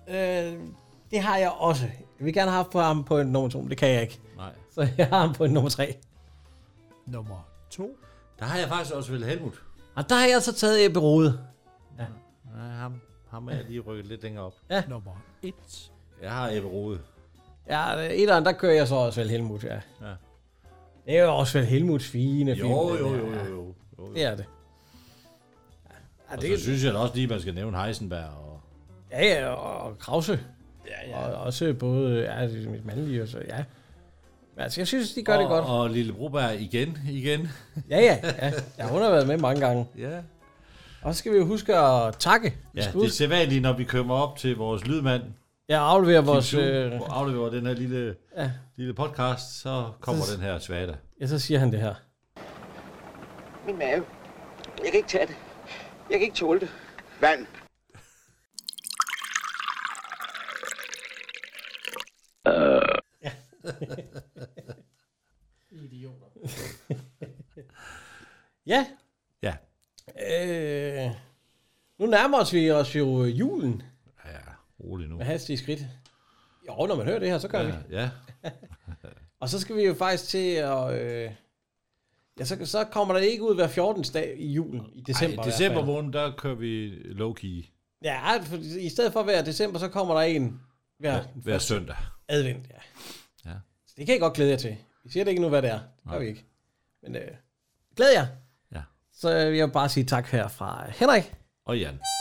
[SPEAKER 1] Øh, det har jeg også. Jeg vil gerne have haft på ham på en nummer 2, men det kan jeg ikke.
[SPEAKER 2] Nej.
[SPEAKER 1] Så jeg har ham på en nummer 3.
[SPEAKER 3] Nummer 2.
[SPEAKER 2] Der har jeg faktisk også vel Helmut.
[SPEAKER 1] Og der har jeg så taget Ebbe Rode.
[SPEAKER 2] Ja, ham, ham er jeg lige rykket lidt længere op.
[SPEAKER 1] Ja.
[SPEAKER 3] Nummer 1.
[SPEAKER 2] Jeg har Ebbe Rode.
[SPEAKER 1] Ja, etteren, der kører jeg så også vel Helmut, ja.
[SPEAKER 2] Ja.
[SPEAKER 1] Det er jo også vel Helmuts fine
[SPEAKER 2] Jo,
[SPEAKER 1] film.
[SPEAKER 2] jo,
[SPEAKER 1] den
[SPEAKER 2] jo,
[SPEAKER 1] her.
[SPEAKER 2] jo, jo, jo. jo.
[SPEAKER 1] Det er det.
[SPEAKER 2] Og så synes jeg da også lige, man skal nævne Heisenberg og...
[SPEAKER 1] Ja, ja, og Krause. Ja, ja. Og også både ja, det er mit mandlige og så, ja. Men altså, jeg synes, de gør
[SPEAKER 2] og,
[SPEAKER 1] det godt.
[SPEAKER 2] Og Lille Broberg igen, igen.
[SPEAKER 1] Ja, ja, ja. ja hun har været med mange gange.
[SPEAKER 2] Ja.
[SPEAKER 1] Og så skal vi jo huske at takke.
[SPEAKER 2] Ja, det er sædvanligt, når vi kommer op til vores lydmand.
[SPEAKER 1] Ja, afleverer
[SPEAKER 2] Kim
[SPEAKER 1] vores,
[SPEAKER 2] Su,
[SPEAKER 1] øh,
[SPEAKER 2] og afleverer den her lille,
[SPEAKER 1] Ja.
[SPEAKER 2] ja. lille podcast, så kommer
[SPEAKER 1] Så-
[SPEAKER 2] den her svada.
[SPEAKER 1] Ja, så siger han det her.
[SPEAKER 7] Min mave. Jeg kan ikke tage det. Jeg kan ikke tåle det.
[SPEAKER 9] Vand.
[SPEAKER 4] Idioter.
[SPEAKER 1] Ja.
[SPEAKER 2] Ja.
[SPEAKER 1] Øh, nu nærmer os vi os jo øh, julen
[SPEAKER 2] Rolig nu.
[SPEAKER 1] med hastige skridt. Jo, når man hører det her, så gør
[SPEAKER 2] ja,
[SPEAKER 1] vi.
[SPEAKER 2] Ja.
[SPEAKER 1] Og så skal vi jo faktisk til at... Øh, ja, så, så kommer der ikke ud hver 14. dag i julen, i december.
[SPEAKER 2] Ej,
[SPEAKER 1] i hvert
[SPEAKER 2] december
[SPEAKER 1] fald.
[SPEAKER 2] måned, der kører vi low-key
[SPEAKER 1] Ja, for, i stedet for hver december, så kommer der en hver,
[SPEAKER 2] hver, hver
[SPEAKER 1] første
[SPEAKER 2] søndag.
[SPEAKER 1] Advent, ja.
[SPEAKER 2] Ja.
[SPEAKER 1] Så det kan I godt glæde jer til. Vi siger det ikke nu, hvad det er. Det gør
[SPEAKER 2] Nej.
[SPEAKER 1] vi ikke. Men øh, glæd jer.
[SPEAKER 2] Ja.
[SPEAKER 1] Så øh, vil jeg vil bare sige tak her fra Henrik.
[SPEAKER 2] Og Jan.